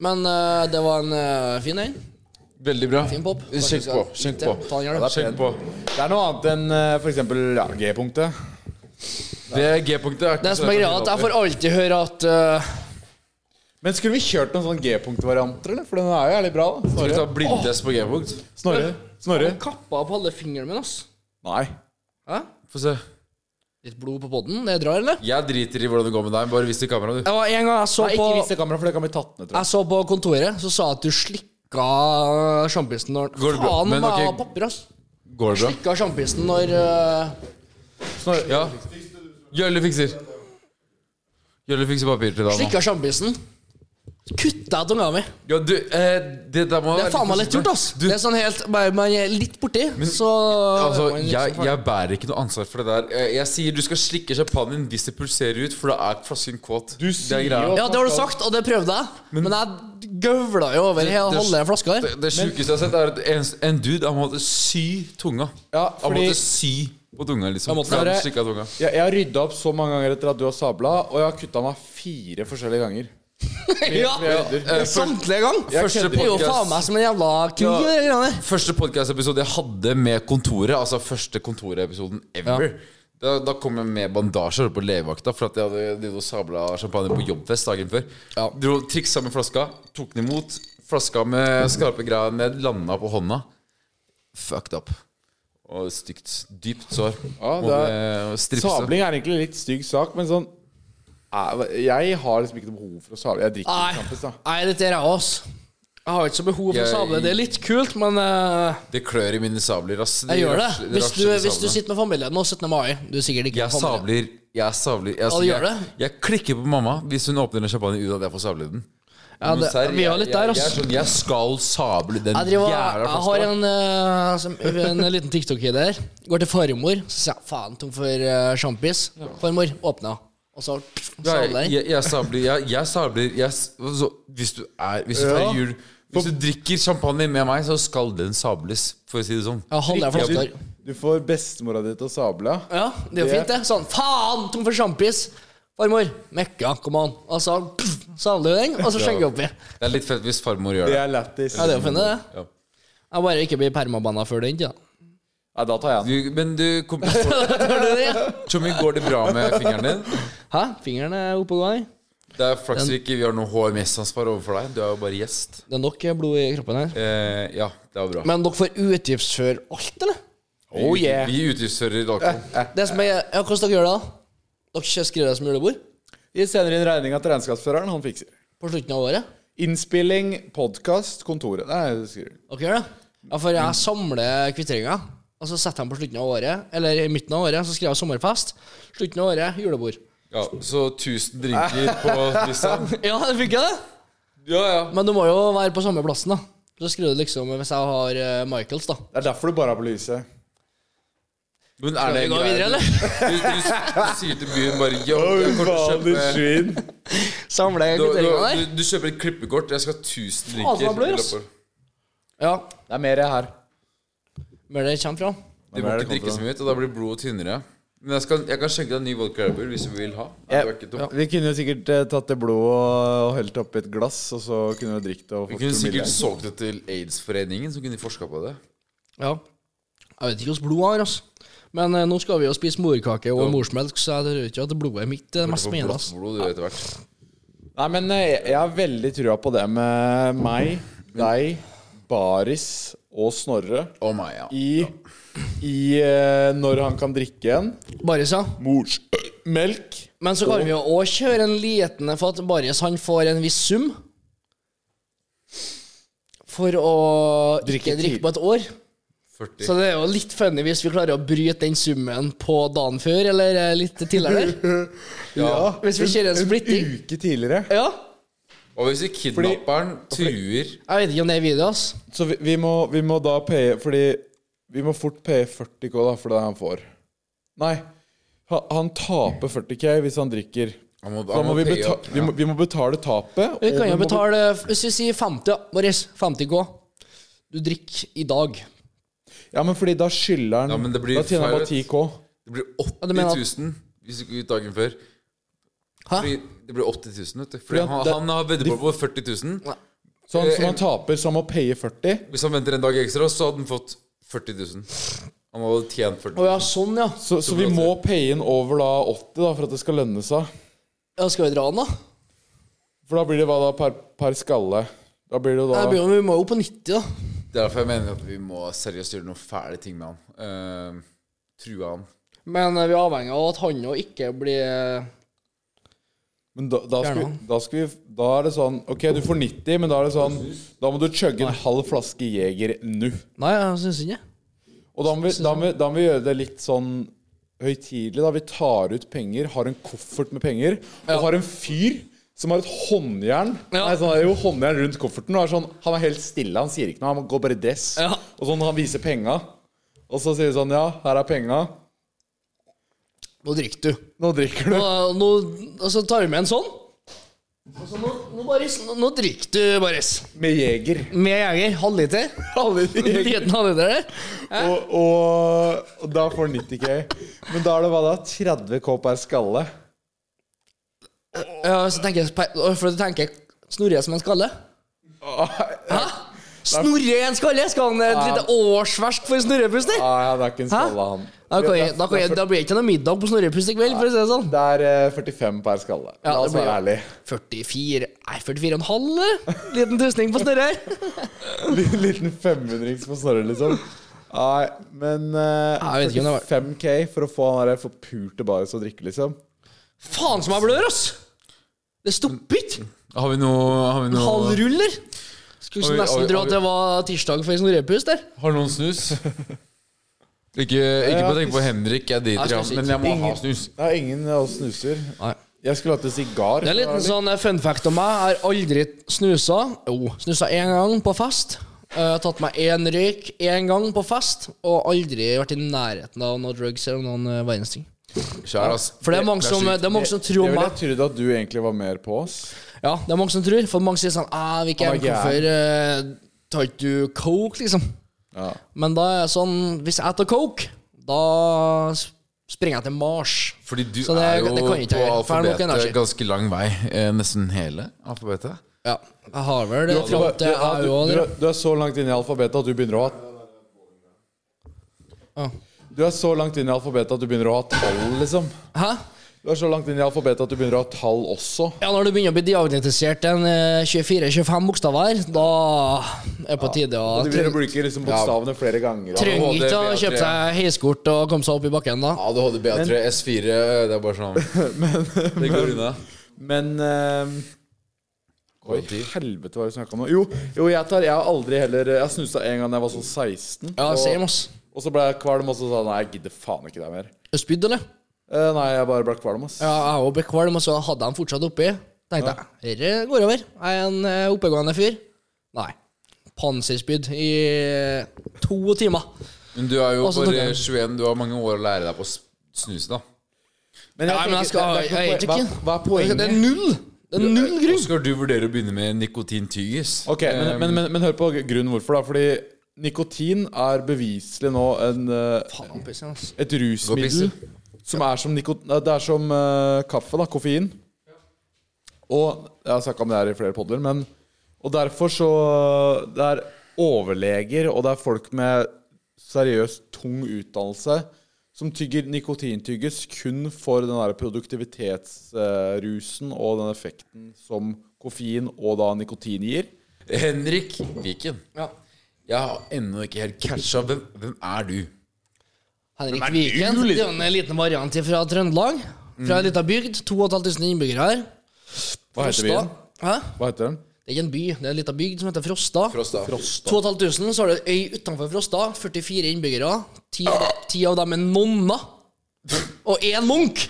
Men eh, det var en eh, fin en.
Veldig bra.
Fin pop.
Skjenk på. Skjenk på.
Ta den gjerne.
Ja, det er
Skjenk
pen.
på.
Det er noe annet enn eh, for eksempel ja, G-punktet.
Det er G-punktet. er ikke
Det
så
som er
lett å
greia, er at
finne
jeg får alltid høre at eh,
Men skulle vi kjørt noen sånn G-punktvarianter, eller? For den er jo jævlig bra. da.
Skal vi ta
Snorre.
blindtest på G-punkt?
Snorre. Snorre.
Han kappa på alle fingrene mine, ass.
Nei.
Hæ?
Få se.
Litt blod på podden. Det drar, eller?
Jeg driter i hvordan det går med deg. Bare vis til kameraet, du.
Det var en gang jeg så
Nei,
på
ikke vis det kameraet, for det kan bli tatt ned. tror jeg.
Jeg så på kontoret, så sa jeg at du slikka sjampisen når
Går det bra?
Faen
Men,
meg
ok.
okay. papir, ass.
Går det bra?
Slikka sjampisen når eh,
Snorre.
Ja. Gjølle fikser. Gjølle fikser papir til deg nå.
Slikka sjampisen. Kutta jeg tunga mi.
Ja, du, eh, det der må
Det er faen meg lett gjort, ass. Det er sånn helt Bare man er litt borti, så
Altså,
man liksom
jeg,
faen-
jeg bærer ikke noe ansvar for det der. Eh, Jeg sier du skal slikke sjampanjen hvis det pulserer ut, for da er flasken kåt.
Du
Det er
sier
greia.
jo-
Ja, det har du sagt, og det prøvde jeg. Men, jeg gøvla jo over hele
det-
halve flaska her.
Det, det sjukeste jeg har sett, er at en, en dude han måtte sy tunga.
Ja,
Han
fordi-
måtte sy på tunga, liksom.
Han måtte-
For
Dere-
han slikket tunga.
Jeg, jeg har rydda opp så mange ganger etter at du har sabla, og jeg har kutta meg fire forskjellige ganger.
*laughs* ja,
Eh, for,
Samtlige gang.
Jeg
Første
kødder
Det er jo
ikke.
podcast.
faen meg som en jævla kniv.
Ja.
det greiene der.
første podcast-episode jeg hadde med Kontoret, altså første Kontoret-episoden ever, Da, da kom jeg med bandasje på legevakta, for at jeg hadde de hadde sabla champagne på jobbfest dagen før.
Ja.
Dro Triksa med flaska, tok den imot. Flaska med skarpe greier ned, landa på hånda. Fucked up. Og stygt. Dypt sår.
Ja, det
Måtte stripse.
Sabling er egentlig en litt stygg sak, men sånn eh, Jeg har liksom ikke noe behov for å sable. Jeg drikker
Nei.
ikke sjampis, da.
Nei, dette er jeg også. Jeg har ikke så behov for å
Jeg-
sable. Det er litt kult, men eh,
Det klør i mine sabler, ass.
jeg gjør
rasler-
det. Hvis du,
rasler i
hvis du
sablene.
sitter med familien nå 17. mai Du er sikkert ikke
Jeg
med familien.
sabler. Jeg sabler. Jeg, altså,
du gjør
jeg,
det?
jeg klikker på mamma hvis hun åpner en champagne ut av at jeg får sable den.
Ja,
Men
det-
serr,
vi
jeg-
var litt
jeg-
der, altså. ass.
Jeg, er sånn, jeg skal sable den
Jeg, driver,
jævla
jeg
flaska.
har en, eh, som, en liten TikTok-kid her. Går til farmor, så sier jeg faen tom for eh, sjampis. Farmor, åpna. Og så sabler
jeg,
jeg.
jeg, jeg sabler, jeg, jeg sabler jeg, s- altså, Hvis du er Hvis du
Ja.
feirer jul Hvis du drikker champagne med meg, så skal den sables, for å si det sånn.
Ja, han er for ofte her.
Du, du får bestemora di til å sable.
Ja, det er jo
Det-
fint, det. Sånn faen tom for sjampis. Farmor, mekka, kom an. Og så pff, sabler du den, og så skjenker jeg oppi.
Det er litt fett hvis farmor gjør
Det
det.
er lættis.
Ja, det er jo fint, det.
Ja.
Jeg bare ikke blir permabanna før den tid. da.
Nei, da tar jeg den.
Du, men du, kompis, går-
*laughs* Tror du det?
Tjommi, går det bra med fingeren din?
Hæ? Fingeren er oppe og går.
Det er flaks vi ikke har noe HMS-ansvar overfor deg. Du er jo bare gjest.
Det er nok blod i kroppen her.
Eh, ja, det er bra.
Men dere får utgiftsfør alt, eller?
Oh yeah.
Vi utgiftsfører alkohol.
Det som er, ja, Hvordan dere gjør det, da? Dere skriver det som julebord?
Vi sender inn regninga til regnskapsføreren. Han fikser.
På slutten av året?
Innspilling, podkast, kontoret. Nei, det skriver du.
Dere gjør det? Ja, for jeg samler kvitteringer. Og så setter jeg dem på slutten av året, eller i midten av året. Så skriver jeg sommerfest. Slutten av året, julebord.
Ja, så 1000 drinker på
*laughs*
Lissan.
Ja, det funker, det.
Ja, ja.
Men du må jo være på samme plassen, da. Så skriver du liksom Hvis jeg har eh, Michaels, da.
Det er derfor du bare har på lyset.
Men er det
vi
en
gå
greie?
videre, eller?
Du, du, du, du sier til byen bare Yo, jeg kommer til å kjøpe
svin.
Samler
du, du,
kvitteringer
du,
der.
du kjøper et klippekort. Jeg skal ha 1000
Faen,
drinker.
han blør, ass. Ja.
Det er mer jeg her.
Hvor det kommer fra.
Du
Hvem
må
er det
ikke
det
drikke
kommer
så mye, ut, og da blir blodet tynnere. Men jeg, skal, jeg kan skjenke deg en ny vodka Red Bull hvis du vil ha. Nei, det var ikke dumt.
Vi kunne jo sikkert eh, tatt det blodet og og helt oppi et glass, og så kunne vi drikket det. og
Vi
fått
kunne
promille.
sikkert solgt det til Aids-foreningen, så kunne de forska på det.
Ja. Jeg vet ikke hvordan blodet har, altså. Men eh, nå skal vi jo spise morkake og morsmelk, så jeg tror ikke at blodet mitt er det mest
Få blått
spennende. Altså.
blod du, etter hvert.
Nei, men eh, jeg jeg har veldig trua på det med meg,
*laughs*
deg, Baris og Snorre
Å meg, ja.
i, i eh, når han kan drikke en
Baris, ja.
morsmelk.
Men så kan vi jo òg kjøre en liten eh, For at Baris han får en viss sum. For å
Drikke
ikke
ti-
drikke på et år.
40.
Så det er jo litt funny hvis vi klarer å bryte den summen på dagen før, eller eh, litt tidligere.
*laughs*
der.
Ja,
Hvis vi kjører en splitting.
En uke tidligere.
Ja.
Og hvis kidnapperen truer
Jeg vet ikke om det er video, ass.
Så vi, vi, må, vi må da paye Fordi vi må fort paye 40K da for det han får. Nei, han, han taper 40K hvis han drikker.
Han må-
Da
han
må
må
vi,
paye
beta
opp,
vi, må, vi må betale tapet.
Vi
og
kan jo
må
betale eh, Hvis vi sier 50, da, Boris. 50 K. Du drikker i dag.
bet- Ja, men fordi da skylder han
Ja, men det blir
Da tjener han bare
feil.
10K.
Det blir
du mener at-
80 000 hvis du går ut dagen før.
Hæ?
Fordi det blir 80 000, vet du.
Fordi
Fordi
at
han,
det-
han har veddemål på 40 000.
Så
Eh,
han, som han taper, så han må paye 40.
Hvis han venter en dag ekstra, så hadde han fått 40 000. Han hadde tjent 40
Å
000.
ja, sånn, ja.
Så, så vi må paye inn over da 80 da for at det skal lønne seg.
ja. Skal vi dra den, da?
For da blir det hva da? Per, per skalle. Da blir det jo
Nei,
da
Bjørn, vi må jo på 90, da.
Det er derfor jeg mener at vi må seriøst gjøre noen fæle ting med han. Eh, true han.
Men eh, vi er avhengig av at han jo ikke blir eh,
Men da, da, skal vi,
Gjerne.
da skal vi Da er det sånn Ok, du får 90, men da er det sånn Da må du chugge en halv flaske Jeger nå.
Nei, jeg syns ikke
Og da må, vi, da, må, vi- da må vi gjøre det litt sånn høytidelig. da Vi tar ut penger, har en koffert med penger, og har en fyr som har et håndjern
Ja.
Nei, sånn, jo, håndjern rundt kofferten. Og er sånn, han er helt stille, han sier ikke noe. Han går bare i dress.
Ja.
Og sånn, han viser penga. Og så sier vi sånn Ja, her er penga.
Nå drikker du.
Nå drikker du.
Nå, nå, og så tar vi med en sånn. Og så nå, nå, Boris, nå, nå drikker du, Boris.
Med Jeger.
Med jeger. Halvliter.
Alle de
En
Jeger.
*laughs* liten halvliter der.
Og, og, og da får han 90K. Men da er det hva da? 30K per skalle?
Ja, så tenker jeg, for du tenker Snorre som en skalle? Hæ? Snorre i en skalle? Skal han eh, et lite årsverk for en snorrepuster?
Nei, han er ikke en skalle, han.
Da, kan jeg, da, kan jeg, da blir det ikke noe middag på snorrepust i kveld, for å si det sånn.
Det er eh, 45 per skalle.
Ja,
La
det
oss
blir
være
jo-
ærlige.
44 Nei, 44,5, eller? eh? Liten tusning på Snorre her.
Liten- Liten 500-rings på Snorre, liksom. Nei, men eh,
Nei, jeg vet ikke om det var-
45K for å få han der forpulte baris å drikke, liksom.
Faen som jeg blør, ass! Det stopper ikke.
Har vi noe Har, vi
Halv
noe,
rull, eller? Skulle
Oi,
nesten
oi,
tro
oi.
at det var tirsdag for en snorrepust der.
har noen snus? Ikke, ikke på å tenke på Henrik, jeg driter i
Jeg
ham,
skal
men jeg må
Ingen-
ha snus.
Det er ingen av oss snuser.
Nei.
Jeg skulle hatt en sigar.
Det er en liten sånn eh, fun fact om meg. Jeg har aldri snusa. Jo, snusa én gang på fest. Eh, Jeg har tatt meg én røyk én gang på fest, og aldri vært i nærheten av noe drugs eller noen eh, verdens ting.
Kjære, ass.
For det er mange som,
sykt.
det er mange som
Jeg
tror
ville
meg
trodd at du egentlig var mer på oss.
Ja, det er mange som tror. For mange sier sånn «Ah, Viken,
Han er gæren.»
hvorfor eh, tar ikke du coke, liksom?
Ja.
Men da er jeg sånn Hvis jeg tar coke, da s- springer jeg til Mars.
Fordi du
Så det-
er jo
det kan jeg ikke
på
gjøre, for jeg er nok
alfabetet
energi.
ganske lang vei. Eh, nesten hele alfabetet.
Ja, jeg har vel det.
Altså, Du,
Fram
du,
til jeg
du,
òg.
du, du er så langt inne i alfabetet at du begynner å ha
Ah.
Du er så langt inne i alfabetet at du begynner å ha tall, liksom.
Hæ?
Du er så langt inne i alfabetet at du begynner å ha tall også.
Ja, når du begynner å bli diagnostisert en eh, 24-25 bokstaver, da er det på tide å
Og du begynner å bruke liksom bokstavene flere ganger. og-
Trenger
ADHD,
ikke å kjøpe
ja.
seg heiskort og komme seg opp i bakken da.
ADHD, B3, S4 Det er bare
*laughs*
sånn Det går unna.
Men ehm, Oi,
Kvalitet.
helvete, hva er det vi snakka om nå? Jo, jo jeg, tar, jeg har aldri heller Jeg snusa en gang da jeg var sånn 16.
Ja, same,
og,
ass.
og så ble jeg kvalm, og så sa jeg nei, jeg gidder faen ikke det mer.
Er du spydd, eller?
Eh, nei, jeg bare ble kvalm, ass.
Ja, jeg òg ble kvalm, og så hadde jeg den fortsatt oppi. Tenkte jeg, dette går over. Jeg er en eh, oppegående fyr. Nei. Panserspydd i eh, to timer.
Men du er jo
Også
bare
tok jeg-
21, du har mange år å lære deg på å s- snus, da.
Men
Nei, men jeg skal
det- det er
jeg er
ikke noe poeng.
ikke
hva, hva er poenget?
Det er null! Det er null
Og
grunn.
så skal du vurdere å begynne med nikotintyggis.
Ok, men, men, men, men hør på grunnen hvorfor, da. Fordi nikotin er beviselig nå en, eh,
Faen, pissen, ass.
et
Gå og
rusmiddel
pisse.
som er som, nikot nei, det er som eh, kaffe, da. Koffein. Og jeg har snakka om det her i flere podder, men Og derfor så Det er overleger, og det er folk med seriøst tung utdannelse som tygger nikotintyggis kun for den der produktivitetsrusen og den effekten som koffein og da nikotin gir.
Henrik Viken,
Ja.
jeg har ennå ikke helt catcha. Hvem, hvem er du?
Henrik
Men er det
Viken.
du,
Det
liksom?
er jo en eh, liten variant fra Trøndelag. Fra ei lita bygd. 2500 innbyggere her.
Hva heter
Frosta.
byen?
Hæ?
Hva heter den?
Det er ikke en by, det er ei lita bygd som heter Frosta.
Frosta.
2500, så har du ei øy utenfor Frosta. 44 innbyggere. Ti av, ti av dem er nonner. Og én munk!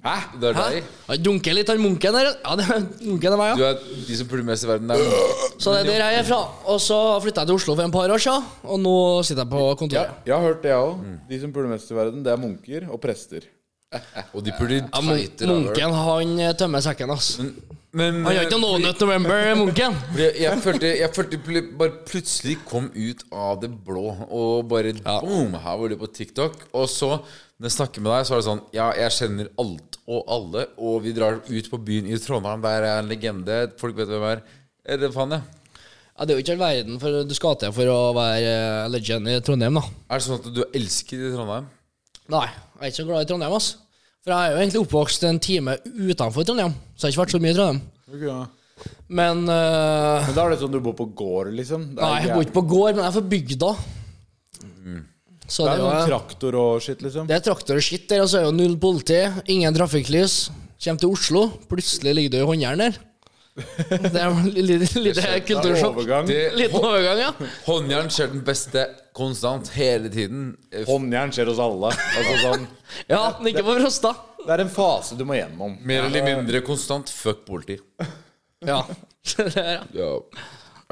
Hæ? Det er
Hæ?
deg?
Han dunker litt, han munken der. Ja, det er munken er meg,
Du
ja.
er de som puler mest i verden. Der.
Så det er der jeg er fra. Og så flytta jeg til Oslo for en par år siden, og nå sitter jeg på kontoret.
Jeg har hørt det, jeg
Mm.
òg. De som puler mest i verden, det er munker og prester.
Og de puler
Ja, mun-
tightere.
munken, han eh, tømmer sekken, ass. Han
Men eh,
gjør ikke noe
fordi-
Not November, munken.
fordi jeg følte jeg følte pl- bare plutselig kom ut av det blå, og bare boom, her var du på TikTok. Og så, når jeg snakker med deg, så er det sånn Ja, jeg kjenner alt og alle, og vi drar ut på byen i Trondheim, der er jeg en legende, folk vet hvem jeg er. Eller faen, jeg.
Ja, det er jo ikke all verden for du skal til for å være eh, legend i Trondheim, da.
Er det sånn at du elsker i Trondheim?
Nei, jeg er ikke så glad i Trondheim, ass. For jeg er jo egentlig oppvokst en time utenfor Trondheim, så jeg har ikke vært så mye i Trondheim.
Men
Men eh,
da er det sånn du bor på gård, liksom? Det er,
Nei, jeg
jæv-
bor ikke på gård, men jeg er fra bygda. Så
det
det,
er noen
er jo
traktor og shit, liksom?
det er traktor og skitt der, og så er det jo null politi, ingen trafikklys. Kjem til Oslo, plutselig ligger du i håndjern der. Det er jo li- li- lite kultursjokk.
overgang.
Liten overgang, ja.
Håndjern skjer den beste konstant hele tiden. Eh,
Håndjern skjer hos alle. Altså sånn
Ja, men ikke på Frosta.
Det er en fase du må gjennom.
Mer eller mindre konstant fuck politi.
Ja. Så *laughs* det er-
Ja.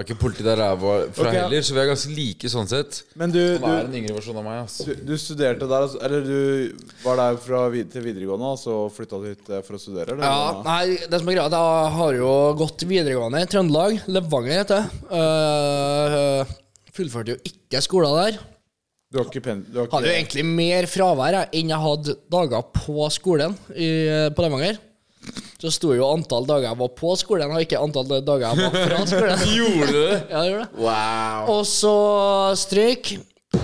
Er ikke politi der jeg var fra
Ok, ja.
heller, så vi er ganske like sånn sett.
Men du,
Han er
du,
en yngre versjon av meg, ass.
du, du studerte der, altså- eller du var der fra vid til videregående, og så flytta du hit eh, for å studere? Eller?
Ja, nei, det som er greia, er at jeg har jo gått videregående i Trøndelag. Levanger heter det. Eh, fullførte jo ikke skolen der.
Du har ikke pen... Du har
Hadde jo
ikke,
egentlig mer fravær jeg, enn jeg hadde dager på skolen i, på eh, Levanger. Så sto jo antall dager jeg var på skolen, og ikke antall dager jeg var fra
*laughs*
skolen.
Gjorde du det?
Ja, jeg gjorde det.
Wow.
Og så strøyk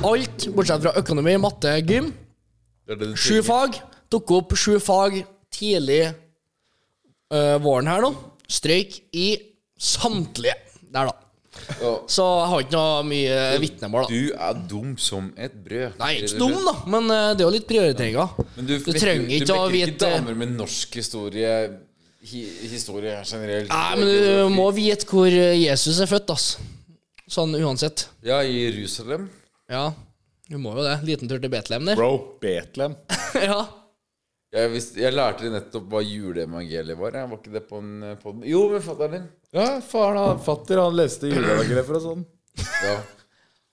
alt, bortsett fra økonomi, matte, gym.
Det er det du
Sju
trenger.
fag. Tok opp sju fag tidlig eh, våren her nå. Strøyk i samtlige der, da.
Ja.
Så jeg har ikke noe mye vitnemål, da.
Du er dum som et brød.
Nei, ikke dum, da, men eh, det er jo litt prioriteringer.
Men
Du, trenger
du
ikke å
vekker
vite
damer med norsk historie hi, Historie generelt.
Nei, men du må vite hvor eh, Jesus er født, ass. Sånn uansett.
Ja, i Jerusalem.
Ja, du må jo det. Liten tur til Betlehem der.
Bro, Betlehem.
*laughs* ja.
Jeg, visste- jeg lærte det nettopp hva juleevangeliet var. Jeg var ikke det på en eh, podden? Jo, men fatter'n din.
Ja, faren han fatter, han leste juleevangeliet for oss sånn.
Ja.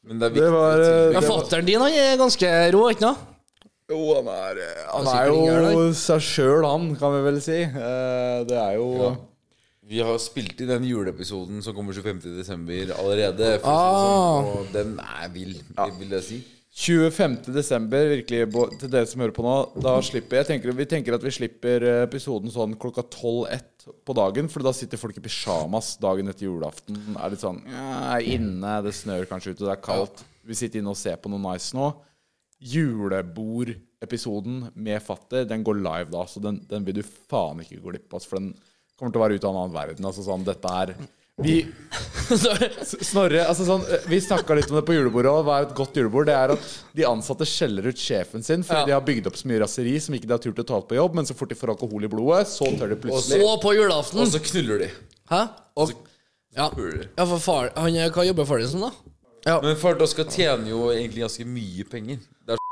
Men det er viktig.
Det var,
å
eh,
tilbringe-
ja Fatter'n din han er ganske rå, ikke *laughs* noe?
Jo, han er eh, Han
Han
er
sitter i
jo
hjørnet.
seg sjøl, han, kan vi vel si. Eh, Det er jo
Ja. Vi har spilt inn den juleepisoden som kommer 25.12. allerede. For
Ah.
å si det sånn, og den er vill, vil jeg si.
25. desember, virkelig, bo- til dere som hører på nå, da slipper jeg tenker, Vi tenker at vi slipper eh, episoden sånn klokka 12-1 på dagen, for da sitter folk i pysjamas dagen etter julaften. Er litt sånn ja, er inne, det snør kanskje ute, det er kaldt. Vi sitter inne og ser på noe nice nå. Julebordepisoden med Fatter, den går live da, så den, den vil du faen ikke gå glipp av, altså, for den kommer til å være ute av en annen verden. Altså sånn, dette er Vi Snorre, altså sånn, vi snakka litt om det på julebordet òg. Hva er et godt julebord? Det er at de ansatte skjeller ut sjefen sin fordi
Ja.
de har bygd opp så mye raseri som ikke de har turt å ta opp på jobb, men så fort de får alkohol i blodet, så tør de plutselig
Så på julaften.
Og så knuller de.
Hæ? Og, ja.
puler.
ja, for far han, eh, Hva jobber faren din som, da?
Men far da skal tjene jo egentlig ganske mye penger. Det er,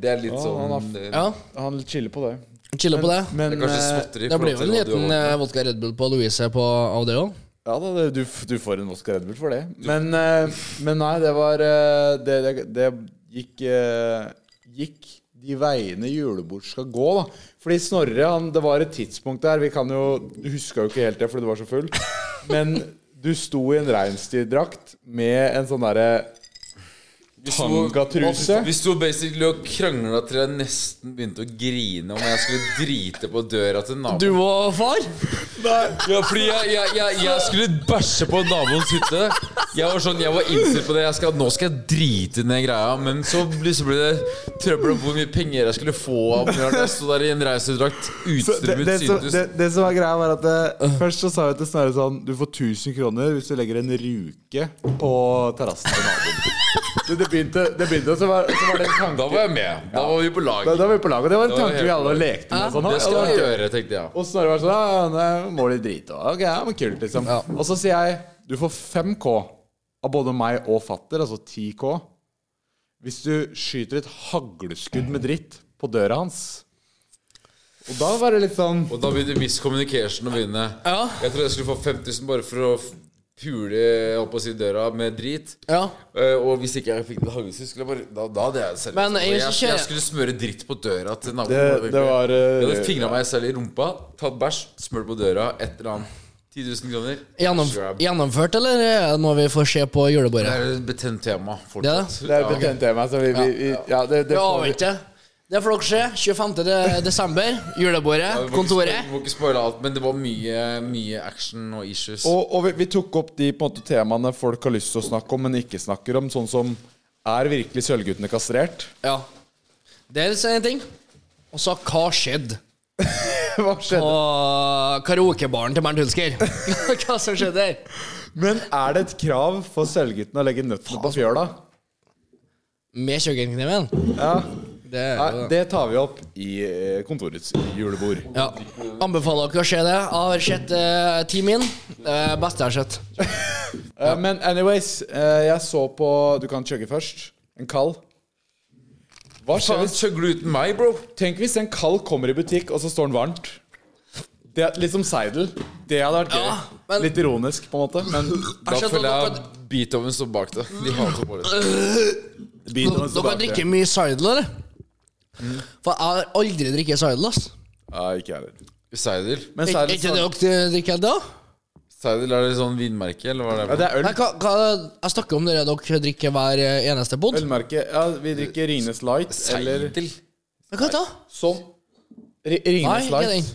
det er litt
Ja,
sånn
han
eh,
Ja,
Han chiller på det.
Chiller på det.
Men
Det er kanskje
eh,
småtteri. i
Det
forhold
blir jo
til hva du
en liten
har
eh, vodka Red Bull på Louise på, av det òg.
ja da, det- du, f- du får en Oscar Edmund for det. Men, eh, men nei, det var eh, Det, det, det gikk eh, Gikk de veiene julebord skal gå, da. Fordi Snorre, han, det var et tidspunkt der Vi kan jo Du huska jo ikke helt det fordi du var så full. Men du sto i en reinsdyrdrakt med en sånn derre
Vi sto-
Tangatruse?
Vi sto basically og krangla til jeg nesten begynte å grine om jeg skulle drite på døra til naboen.
Du og far?
Ja, fordi jeg, jeg, jeg, jeg skulle bæsje på naboens hytte. Jeg var sånn, jeg var innstilt på det. Jeg skal, nå skal jeg drite i den greia. Men så ble, så ble det trøbbel om hvor mye penger jeg skulle få. av når Jeg sto der i en reisedrakt
Så det,
utstrømmet
det, som,
syntes.
det, det som var greia, var at eh, først så sa jeg til Snorre sånn Du får 1000 kroner hvis du legger en ruke på terrassen til naboen. *laughs* Det, det begynte, det begynte og så var, så var det en
Da
tanke
var jeg med. Da var vi på lag.
da, da var vi på lag, og det var en
Da var vi
tanke vi
helt
alle
på lag.
lekte med.
Ja,
Sånn,
Det skal
og,
jeg gjøre, tenkte jeg.
og Snorre var sånn Ja, nei, må de drite og Ok, ja, men kult, liksom.
Ja.
Og så sier jeg Du får 5K av både meg og fatter, altså 10K, hvis du skyter et hagleskudd med dritt på døra hans. Og da var det litt sånn
Og da begynte miscommunication å begynne.
Ja.
Jeg trodde jeg skulle få 5000 bare for å f- pule jeg holdt på å si, døra med drit.
Ja.
Eh, og hvis ikke jeg fikk det hagleskudd, skulle jeg bare Da, da hadde jeg seriøst
Men jeg
jeg,
synes
jeg,
ikke-
skulle smøre dritt på døra til naboen.
Det, det var
Jeg
eh,
hadde fingra meg selv i rumpa, tatt bæsj, smurt på døra, et eller annet. 10 000 kroner.
Gjennom,
Grab.
gjennomført, eller er det noe vi får se på
Det
julebordet?
er et betent tema
Det er
fortsatt.
det.
Det er et betent tema. Så vi, vi, vi, ja, det, det
Vi
får vi.
avventer. Det får dere se. 25. de- desember. Julebordet.
Ja, vi må ikke spoil-
Kontoret.
Vi må ikke spoile alt, men det var mye, mye action og issues.
Og, og vi, vi tok opp de på en måte, temaene folk har lyst til å snakke om, men ikke snakker om. Sånn som er virkelig Sølvguttene kastrert? *laughs*
Ja. Det er en ting. Og så hva skjedde?
Hva skjedde?
Og karaokebaren til Bernt Hulsker. *laughs* hva som skjedde der?
Men er det et krav for Sølvguttene å legge nøttene på fjøla?
Med kjøkkenkniven.
Ja,
Det er
Nei,
jo
det tar vi opp i eh, kontorets julebord.
ja. Anbefaler dere å se det. Jeg har sett eh, Team In. Eh, beste jeg har sett.
Eh, men anyways, eh, jeg så på Du kan chugge først. En kald. Hva skjer
Faen,
hvis
chugger du uten meg, bro?
Tenk hvis en kald kommer i butikk, og så står den varmt. Det er Litt som Seidel. Det hadde vært gøy.
Ja, men-
Litt ironisk, på en måte. Men
Da
Jeg skjønner
føler
at
jeg Beethoven står bak det. De hater på det.
Beethoven står
Dere
bak det.
drikker mye Seidel, eller? For jeg har aldri drikket Seidel. ass.
Ja, ikke jeg heller.
Mm.
Seidel?
Men
Er
Seidel
ikke det dere drikker da?
Seidel, er det sånn vinmerke, eller hva er
Ja,
det?
det er øl.
Nei, hva, hva, jeg snakker om dere dere drikker hver eh, eneste bod.
Ølmerke. Ja, vi drikker Rines Light eller
Seidel?
Men Hva da?
sånn. Ri-
Nei,
Rines
ikke den.
Light.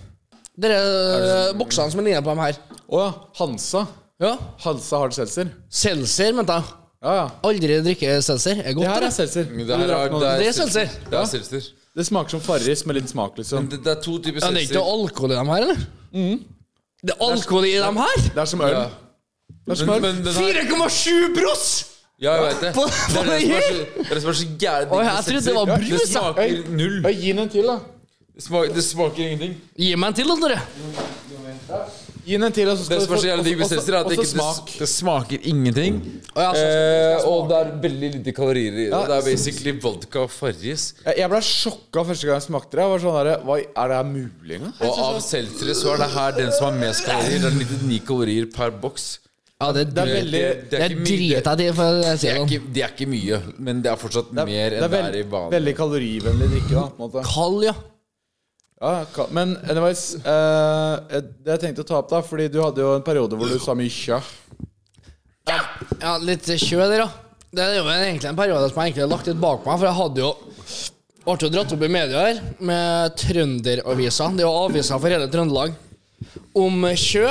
Dere eh, boksene som er linja på dem her.
Å ja. Hansa.
Ja.
Hansa Hard Seltzer.
Seltzer, mente jeg.
Ja, ja.
Aldri drikke seltzer. Er godt,
Det her
eller?
er seltzer.
Men Det, her er, det,
Det
er
er seltzer.
Det er seltzer.
Det smaker som Farris med litt smak, liksom.
Det, det er to typer
Ja, det er ikke
seltzer.
noe alkohol i dem her, eller?
Mm.
Det er alkohol i dem her?
Det er som øl.
Ja.
Det er som
Men,
øl.
men den her
4,7 bros!
Ja, jeg vet det.
På-
det er det som er
på-
så, det er det som er så gærent.
Oi, jeg trodde det var brus,
Det
jeg.
smaker null.
Ja, Gi den en til, da.
Det smaker, det smaker ingenting.
Gi meg en til, da, dere.
Gi den en til, og så
Det
skal
som er så jævlig digg med seltzer, er at det ikke
smak.
det, det smaker ingenting.
Å, ja, så-
Eh, og det er veldig lite kalorier i det.
Ja,
Det er basically vodka og Farris.
Jeg jeg ble sjokka første gang jeg smakte det. Jeg var sånn der, Hva, Er det her mulig engang?
Og av seltzere så er det her den som har mest kalorier. Det er 99 kalorier per boks.
Ja,
Det
det, det,
er
Det-
veldig
det- det er
det
ikke mye- det-
driter jeg i, for å si
det
det
er
sånn.
ikke- Det er ikke mye, men det er fortsatt
det er,
mer enn
det er,
det er i
veld,
vanlig.
veldig kalorivennlig drikke. da, på en måte.
Kald, ja.
Ja, ka- men anyways, eh, det jeg tenkte å ta opp da, fordi du hadde jo en periode hvor du sa mye kjø.
Ja, litt kjø der, ja. Det er jo en- egentlig en periode som jeg egentlig har lagt litt bak meg, for jeg hadde jo ble jo dratt opp i media her med Trønderavisa, det er jo aviser for hele Trøndelag, om kjø.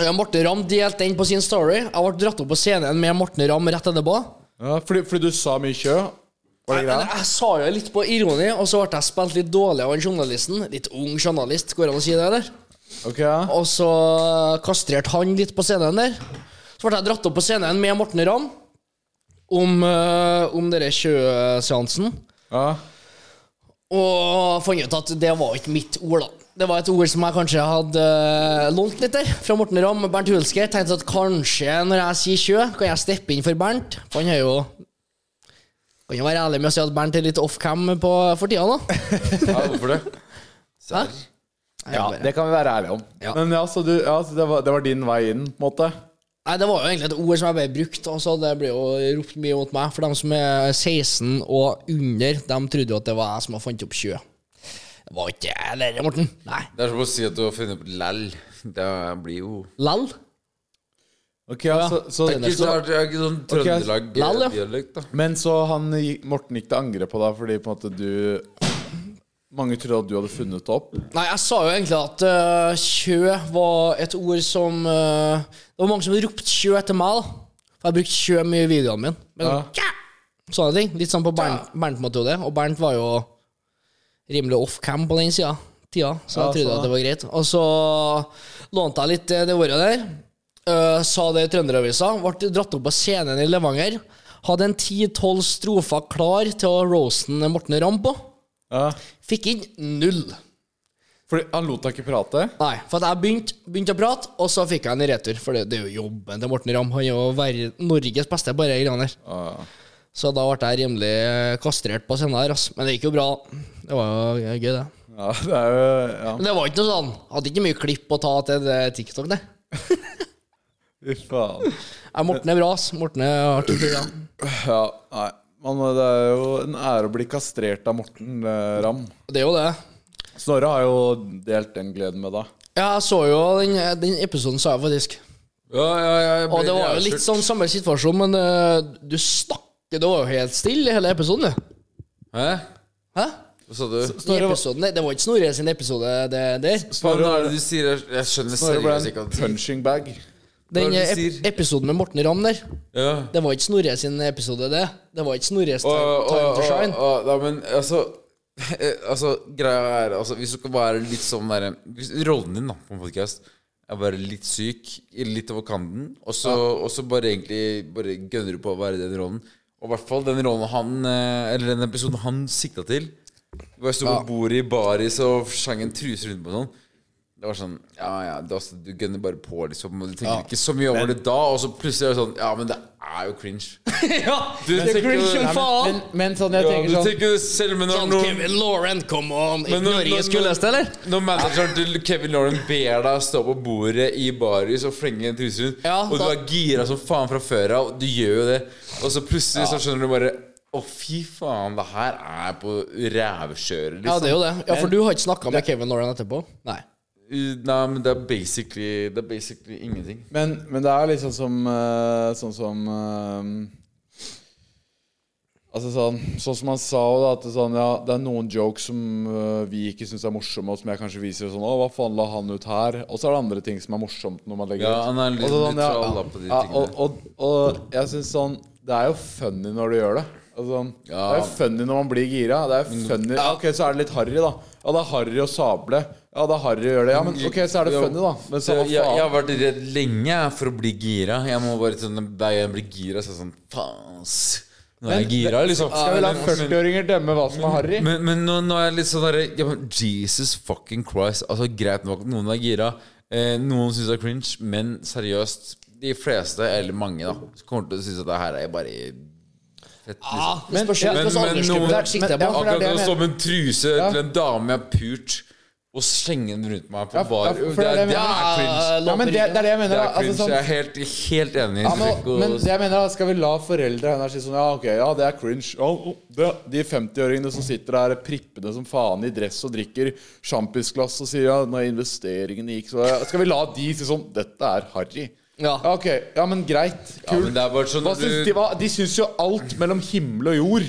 Ja, Morten Ramm delte den på sin story. Jeg ble dratt opp på scenen med Morten Ramm rett etterpå.
Ja, fordi, fordi du sa mye kjø. Var det
Nei,
greia?
Jeg sa jo litt på ironi, og så ble jeg spilt litt dårlig av en journalisten. Litt ung journalist, går det an å si det, eller?
Ok, ja.
Og så kastrerte han litt på scenen der. Så ble jeg dratt opp på scenen med Morten Ramm om, uh, om denne sjøseansen.
ja.
Og fant ut at det var ikke mitt ord, da. Det var et ord som jeg kanskje hadde eh, lånt litt der, fra Morten Ramm og Bernt Hulsker. Tenkte at kanskje når jeg sier sjø, kan jeg steppe inn for Bernt. For han er jo Kan jo være ærlig med å si at Bernt er litt off-cam på- for
*laughs*
tida, da.
Ja, hvorfor det?
Hæ?
Serr?
ja, det kan vi være ærlige om.
Ja.
Men ja, så, du, ja, så det, var, det var din vei inn, på en måte?
Nei, Det var jo egentlig et ord som jeg bare brukte. Altså, det ble jo ropt mye mot meg. For dem som er 16 og under, de trodde jo at det var jeg som hadde funnet opp sjø. Det var ikke jeg, det, Morten. Nei.
Det er som å si at du har funnet opp læll. Det blir jo
Lell.
Ok, ja, så, så,
Det er ikke, så, det er ikke sånn
Lall, ja.
Trøndelag-dialekt, da.
Men så han, gikk- Morten gikk til angrep på deg fordi på en måte du Mange trodde at du hadde funnet det opp.
Nei, jeg sa jo egentlig at eh, sjø var et ord som eh, Det var mange som ropte sjø etter meg, da. For jeg brukte sjø mye i videoene mine. Men,
Ja.
«Tja!» Sånne ting. Litt sånn på Bernt, Bernt-metode. Og Bernt var jo rimelig off-cam på den sida. Tida, så
Ja,
jeg trodde
sånn,
at det var greit. Og så lånte jeg litt eh, det ordet der. eh, sa det i Trønderavisa. Ble dratt opp på scenen i Levanger. Hadde en ti-tolv strofer klar til å roasten Morten Ramm på.
Ja.
Fikk inn null.
Fordi han lot deg ikke prate?
Nei, for at jeg begynte begynte å prate, og så fikk jeg en i retur. For det, det er jo jobben til Morten Ramm. Han er jo ver- Norges beste på disse greiene der.
Ja.
Så da ble jeg rimelig eh, kastrert på scenen her, ass. Men det gikk jo bra. Det var jo eh, gøy, det.
Ja, det er jo ja.
Men det var ikke noe sånn Hadde ikke mye klipp å ta til det TikTok, det.
Fy faen.
Ja, Morten er bra, ass. Morten er artig. fyr, ja.
Ja, nei. Man, det er jo en ære å bli kastrert av Morten eh, Ramm.
Det er jo det.
Snorre har jo delt den gleden med deg.
Ja, jeg så jo den, den episoden, sa jeg faktisk.
Ja, ja, ja, jeg ble
Og det var jo
jævlig
litt
sur.
sånn samme situasjon, men eh, du snakker Det var jo helt stille i hele episoden, du.
Hæ?
Hæ?
Hva sa du?
I episoden, det, det var ikke Snorre sin episode det der.
Hva er det du sier? Jeg- Jeg skjønner
Snorre ble
seriøst ikke
en
at
punching bag.
Den
Hva er det
ep
du sier?
episoden med Morten Ramm der,
ja.
det var ikke Snorre sin episode, det. Det var ikke Snorres time,
Og-
time
og-
to
og- *laughs*
shine.
og- Nei, men altså *laughs* Altså, greia er altså, Hvis du skal være litt sånn derre hvis- Rollen din da, på en podcast er å være litt syk, litt over kanten, og så, og så bare egentlig Bare gønner du på å være den rollen. Og i hvert fall den rollen han eh, Eller den episoden han sikta til. Hvor jeg sto på bordet i baris og sang en truse rundt på sånn. Det var sånn Ja, ja, du, altså, du gønner bare på, liksom. Og du tenker ikke så mye over det da, og så plutselig er det sånn Ja, men det er jo cringe.
ja,
Du
det er
tenker jo-
cringe som
Nei, men-
faen!
men sånn, jeg
Ja, du tenker jo selv, men når
Sånn
noen
Kevin Lauren, come on!
Men
Ikke Norges kuleste, eller?
Når manageren til Kevin Lauren ber deg stå på bordet i baris og flenge en truse rundt,
Ja,
og du
da-
er gira som faen fra før av, du gjør jo det, og så plutselig så skjønner du bare å, fy faen, det her er på rævkjøret,
Ja,
liksom.
det er jo det. Ja, For du har ikke snakka med Kevin Lauren etterpå? Nei.
Uh, Nei, men det er basically, det er basically ingenting.
Men, sånn men det er liksom som eh, Sånn som eh, Altså sånn, sånn som han sa også, da, at det, sånn, ja, det er noen jokes som øh, vi ikke syns er morsomme, og som jeg kanskje viser sånn Å, hva faen la han ut her? Og så er det andre ting som er morsomt når man legger
Ja,
ut.
han er litt
Altså sånn, ja,
nøytral, da, på de
ja,
tingene.
og, og, og jeg syns sånn Det er jo funny når du gjør det. Altså, sånn,
Ja.
Det er jo funny når man blir gira. Det er funny ja, Ok, så er det litt harry, da. Ja, det er harry å sable. Ja, det er harry å gjøre det. Ja, men ok, så er det
Jo.
funny, da. Men så,
Så
hva
jeg, jeg har
faen?
vært redd lenge for å bli gira. Jeg må bare sånn Da jeg blir gira, så er jeg sånn Faen, ass. Nå er jeg gira, liksom.
Skal vi la
Men-
40-åringer dømme hva som er harry?
Men, men nå, nå er jeg litt sånn derre ja, men Jesus fucking Christ. Altså Greit nok, noen er gira. Eh, noen syns det er cringe, men seriøst, de fleste, eller mange, da, kommer til å synes at det her er bare fett, liksom.
Ah, det spørs jo
Men,
hvilken
men
aldersgruppe
noen
det er sikter jeg
men-
på.
ja, for det er
Akkurat
det jeg
det
mener.
som en truse til en dame jeg har pult, og slenge den rundt meg på
Ja,
bar.
ja, for det er
det, er,
det jeg
det er
mener.
cringe.
Ja, men det, det er det jeg
Det
mener.
er
da.
cringe.
Altså, sånn,
jeg er helt, helt enig.
Ja, men,
Trekker og-
men det jeg mener da, Skal vi la foreldre henne si sånn Ja, ok, ja, det er cringe. Ja, oh, det, de 50-åringene som sitter der prippende som faen i dress og drikker sjampisglass og sier ja, når investeringene gikk så Skal vi la de si sånn Dette er harry.
Ja.
ja, ok. Ja, men greit.
Ja, men
Kult.
det er bare sånn
Hva
når
syns
du-
de, hva? de syns jo alt mellom himmel og jord.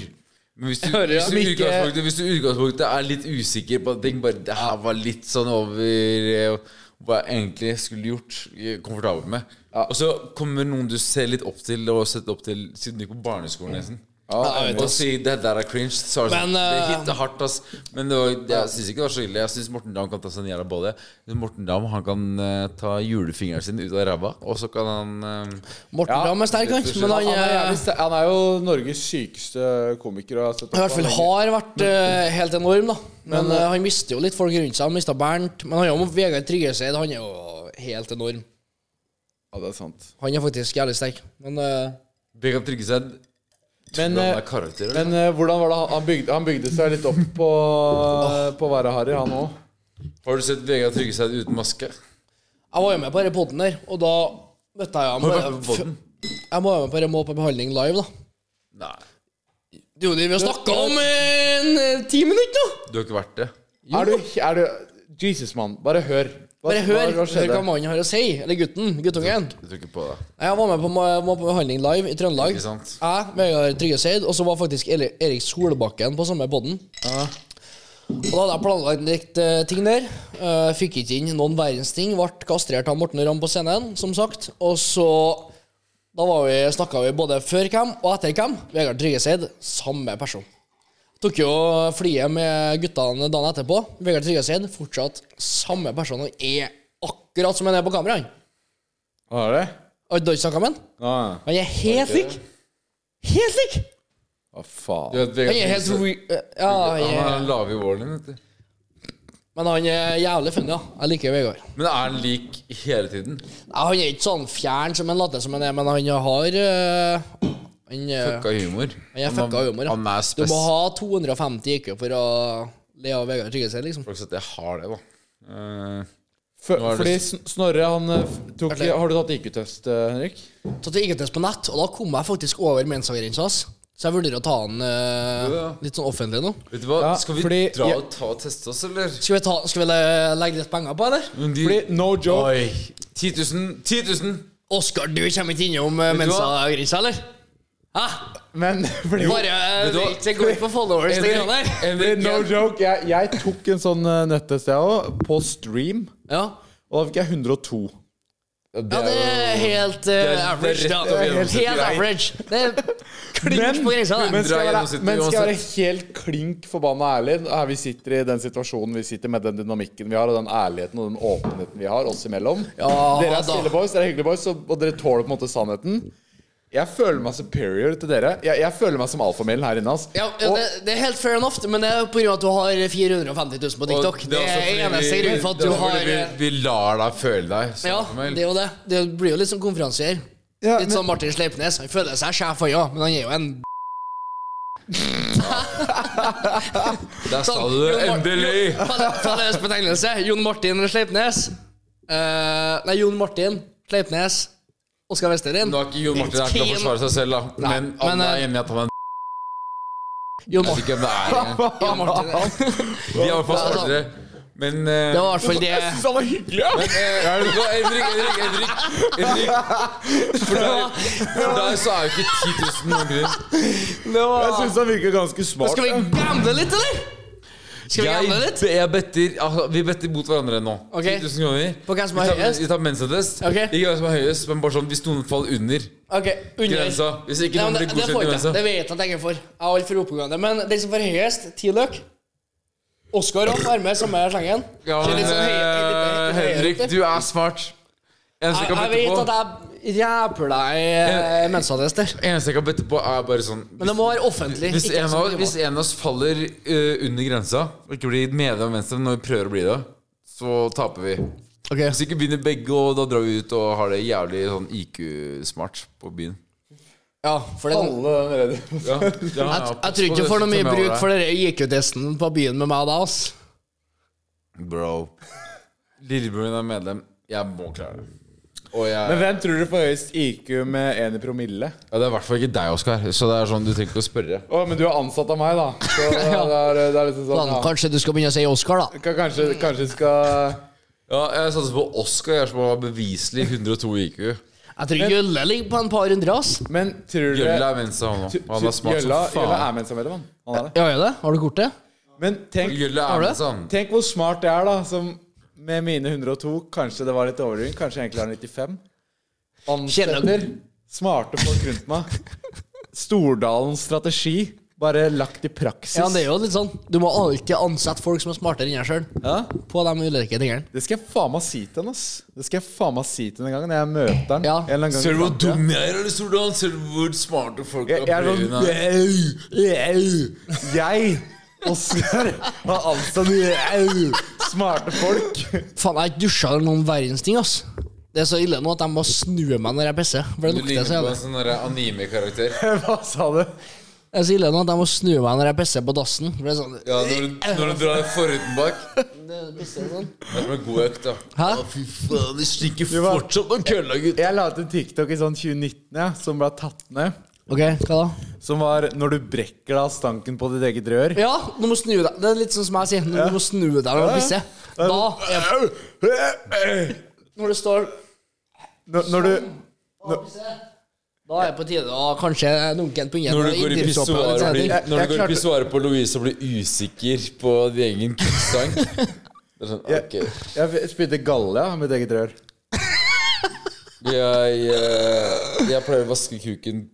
Men Hvis du,
hører, ja.
hvis, du
Som
ikke-
utgangspunktet, hvis du utgangspunktet er litt usikker på at ting Bare det her var litt sånn over eh, hva jeg egentlig skulle gjort. eh, Komfortabel med. Og så kommer noen du ser litt opp til, og har sett opp til siden du gikk på barneskolen. nesten
jeg vet
og sier det der er cringe. Så er det sånn,
Men,
det
eh,
hitter hardt, ass. Men det var, jeg syns ikke det var så ille. Jeg syns Morten Dam kan ta seg en jævla bolle. Morten Dam han kan eh, ta julefingeren sin ut av ræva, og så kan han eh,
Morten
Ja,
Ramm er sterk, han.
Han
Men han,
er,
eh,
jævlig st- han er jo Norges sykeste komiker. og jeg har sett
i
opp
hvert fall
han lenge.
har vært eh, helt enorm, da. Men eh, han mister jo litt folk rundt seg. Han mista Bernt. Men han er jo Vegard Tryggeseid. Han er jo helt enorm.
Ja, det er sant.
Han er faktisk jævlig sterk. Men eh,
Begge kan trygge seg.
Men,
Hvordan
eh,
er karakterer?
Men eh, hvordan var det han- han bygde, han bygde seg litt opp på, på å være harry, han òg?
Har du sett Vegard trygge seg uten maske?
jeg var jo med på denne podden der, og da møtte jeg
Har du
ham.
vært på podden?
Jeg var jo med på denne Må på behandling live, da.
Nei.
Det er jo det vi har snakka om i en, eh, ti minutter nå!
Du har ikke vært det?
Er du, er du Jesus, mann. Bare hør. Hva-
Bare hør
Hva, hva
hør hva
skjedde?
mannen har å si. Eller gutten. Guttungen.
Jeg tror ikke på det.
Jeg var med på, Ma- Ma- på behandling live i Trøndelag.
Ikke sant.
Jeg, Vegard Tryggeseid, og så var faktisk Eli- Erik Solbakken på samme podden. Og da hadde jeg planlagt litt eh, ting der. Eh, fikk ikke inn noen verdens ting. Ble kastrert av Morten Ramm på scenen, som sagt. Og så Da var vi, snakka vi både før hvem og etter hvem. Vegard Tryggeseid, samme person. Tok jo flyet med guttene dagen etterpå. Vegard Tryggeseid, fortsatt samme person. Han er akkurat som han er på kamera. han.
Hva er det?
Har du ikke snakka med han?
Ah,
Han er helt lik! Helt lik!
hva
Du
faen.
vet, Vegard
Han er helt
Tryggeseid-
re... Ja, han
Han er
er...
den lave i våren din, vet du.
Men han er jævlig funny, da. Jeg liker Vegard.
Men er han lik hele tiden?
Ja, han er ikke sånn fjern som en latter som han er, men han har eh, Han, eh,
Fucka humor.
han er fucka humor. ja.
Han er
Du
spes.
må ha 250 IQ for å le av Vegard Tryggeseid, liksom.
Folk sier at jeg har det, da. Eh,
F
Nå er det
fordi Sn- Snorre, han eh, f- tok
Hørte jeg.
Har du tatt IQ-test, eh, Henrik?
Tatt IQ-test på nett, og da kom jeg faktisk over mensagrensa hans. Så jeg vurderer å ta han eh,
Ja.
litt sånn offentlig nå.
vet du hva?
Ja,
Skal vi
fordi
dra
jeg-
og ta og teste oss, eller?
Skal vi, ta, skal vi le- legge litt penger på, eller?
Men de-
Fordi, no joke.
Oi. 10 000! 10 000!
Oskar, du kommer ikke innom eh,
Vet du hva?
mensagrensa, eller? Hæ?
Men *laughs* fordi,
Bare eh,
vet du hva?
det går ikke på followers, det greia der.
fordi,
Henrik,
No
jeg-
joke. Jeg, jeg tok en sånn eh, nettest, jeg òg, på stream.
Ja.
Og da fikk jeg 102.
ja, det er helt
det
eh,
er
average,
rett
da.
over
Helt,
gjennomsnittet, greit.
average. Det er
Men-
klink på grensa,
Men
det.
skal jeg
Dra
være,
gjennomsnittet
men skal jeg være
uansett.
helt klink forbanna ærlig her Vi sitter i den situasjonen vi sitter med den dynamikken vi har, og den ærligheten og den åpenheten vi har oss imellom.
Ja,
dere er
da.
stille boys, dere er hyggelige boys, og, og dere tåler på en måte sannheten. Jeg føler meg superior til dere. Jeg, jeg føler meg som alfamelen her inne. ass.
Ja, ja, det, det er helt fair enough, men det er på grunn av at du har 450 000 på
Og
TikTok. Det
også
er
fordi
eneste
vi-
grunn for at
det er
du
også
har
fordi
eh,
Vi, vi lar deg føle deg. så
Ja,
Samuel.
det er jo det. Det blir jo litt som konferansier.
Ja, men-
Litt som Martin Sleipnes. Han føler seg sjef, han ja, men han er jo en *laughs*
Der sa
Sånn,
du det!
Jon Mar-
Endelig!
Jon- Falle- Felles betegnelse. Jon Martin Sleipnes. Eh, nei, Jon Martin Sleipnes. Oskar Westerin.
Nå er ikke Jon Martin her til å
Keen.
forsvare seg selv, da.
Nei,
Men alle
men, eh,
er enige i at han er en Jeg
Jon
vet
Martin.
ikke hvem det er engang.
Jon Martin.
De er i hvert fall
Det er
smartere. Men eh,
altså, Det var i hvert fall
*laughs*
det
Jeg syns han var hyggelig, ja!
men, eh, nå, Henrik, Henrik, Henrik, Henrik. For der, for der så er jo ikke 10 000 noen grunn.
Jeg syns han virker ganske smart.
Skal vi
ja.
gamble litt, eller? Skal vi gamble
Jeg,
litt?
jeg better, altså, vi better mot hverandre nå.
Ok.
10 000 kroner.
På hvem som
Vi
er
tar-
høyest?
Vi tar mensattest.
Ok.
Ikke hvem som er høyest, men bare sånn hvis noen faller under
Ok, under.
grensa. Hvis ikke
Nei, men
noen blir
det,
godkjent i
det får jeg ikke.
grensa.
Det vet jeg at jeg ikke får. Jeg er altfor oppegående. Men den som får høyest, ti løk. Oskar òg er med, samme slengen.
Ja,
Kjør
men
litt sånn høy- litt- litt- litt-
eh,
litt-
Henrik, du er smart. Eneste
Jeg,
jeg kan
jeg
bette
vet
på,
at jeg ræper deg eh, mensattester.
eneste jeg kan bette på er bare sånn
Men det må være offentlig.
Hvis
ikke
en,
sånn
av,
privat.
hvis en av oss faller eh, under grensa og ikke blir medlem av Venstre når vi prøver å bli det, så taper vi.
Ok.
Hvis ikke begynner begge, og da drar vi ut og har det jævlig sånn IQ-smart på byen.
Ja, for den,
Alle den redde.
Ja, ja, ja,
jeg,
pass
jeg tror
på
ikke
det,
jeg får
så
noe mye
tar jeg
bruk
over
for den IQ-testen på byen med meg da, ass.
deg. Bro. Lillebroren min er medlem. Jeg må klare det. Og jeg,
Men hvem tror du får høyest IQ med én i promille?
ja, det er i hvert fall ikke deg, Oskar. Så det er sånn, du trenger ikke å spørre.
Å, men du er ansatt av meg, da. Så
*laughs*
det er, det er liksom sånn
Sånn,
ja.
kanskje du skal begynne å si Oscar, da.
Kan- Kanskje, kanskje skal
Ja, jeg satser på Oskar, jeg som har beviselig 102 IQ.
Jeg tror Jølle ligger på en par hundre, ass.
Men tror du
Gjølle er venstre, han òg. Han er smart
Gjølla,
som
Gjølla
faen.
er medlemmer, han. han er det.
Ja, er det? Har du kortet?
Men tenk,
Gjølle
Har
er
du det?
venstre, han.
tenk hvor smart det er, da. Som med mine 102 Kanskje det var litt overdriving. Kanskje jeg egentlig har 95. Ansetter smarte folk rundt meg. Stordalens strategi bare lagt i praksis.
Ja, det er jo litt sånn. Du må alltid ansette folk som er smartere enn deg sjøl.
Ja,
På de ulike tingene.
Det skal jeg faen meg si til han, ass. Det skal jeg faen meg si til han en gang når jeg møter han.
Ja.
En eller annen gang i
Ser du hvor
fremtiden.
dum jeg er, eller Stordalen? Ser du hvor smarte folk
Jeg, jeg er sånn Au! Au! Jeg, Oskar, har ansatt au! smarte folk. *laughs*
Faen, jeg har ikke dusja eller noen verdens ting, ass. Det er så ille nå at jeg må snu meg når jeg pisser. For det
Du
lukter
ligner
altså. så
på
jævlig.
en sånn derre anime-karakter.
Hva sa du?
Det er så ille nå at jeg må snu meg når jeg pisser på dassen. For det er sånn,
Ja, når du, når du drar forhuden bak.
det er pisser sånn.
Det er som en god økt, da.
Hæ?
Å, fy faen, det stinker
var-
fortsatt av kølla, gutt.
Jeg la ut en TikTok i sånn 2019 ja, som ble tatt ned.
Ok, hva da?
Som var 'når du brekker deg av stanken på ditt eget rør'.
Ja, du må snu deg. Det er litt sånn som jeg sier. Du må snu deg når du pisser. Da er Når du står
Når, når du
og pisser, da er det på tide å kanskje dunke en pinne
Når du går i
inngrepsåpe eller
pissoaret
sånne ting.
blir-
Jeg-
når
jeg
du går i
klarte-
pissoaret på Louise og blir usikker på din egen kunstsang Det er sånn, ok
Jeg spydde galle av mitt eget rør.
jeg, eh, jeg pleier å vaske kuken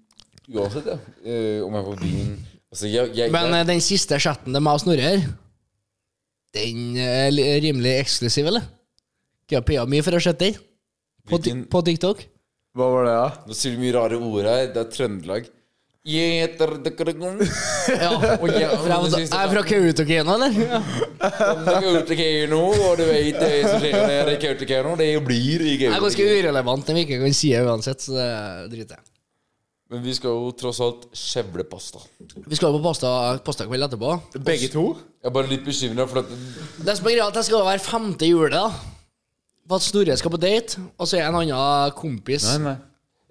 uansett, ja. Eh, Om jeg er på byen. Altså, jeg, jeg,
Men
jeg,
eh, den siste chatten det er meg og Snorre her, den er li- rimelig eksklusiv, eller? Ikke jeg paya mye for å sette den på, ti-
Hvilken-
på TikTok.
Hva var det, da?
Nå sier du mye rare ord her. Det er Trøndelag. Jeg heter Dekaragon.
Ja.
Og jeg
For jeg, var- jeg er *laughs* fra Kautokeino, eller? Ja.
Kautokeino, og du vet det som skjer når jeg er i Kautokeino. Det blir i
Jeg er ganske
Kautokeino.
urelevant når vi ikke kan si det uansett, så det driter jeg
Men vi skal jo tross alt skjevle pasta.
Vi skal jo på pasta- pastakveld etterpå.
Begge to?
Jeg er bare litt bekymra for at
Det som er greia, er at jeg skal være femte julet, da. For at Snorre skal på date, og så er jeg en annen kompis.
nei.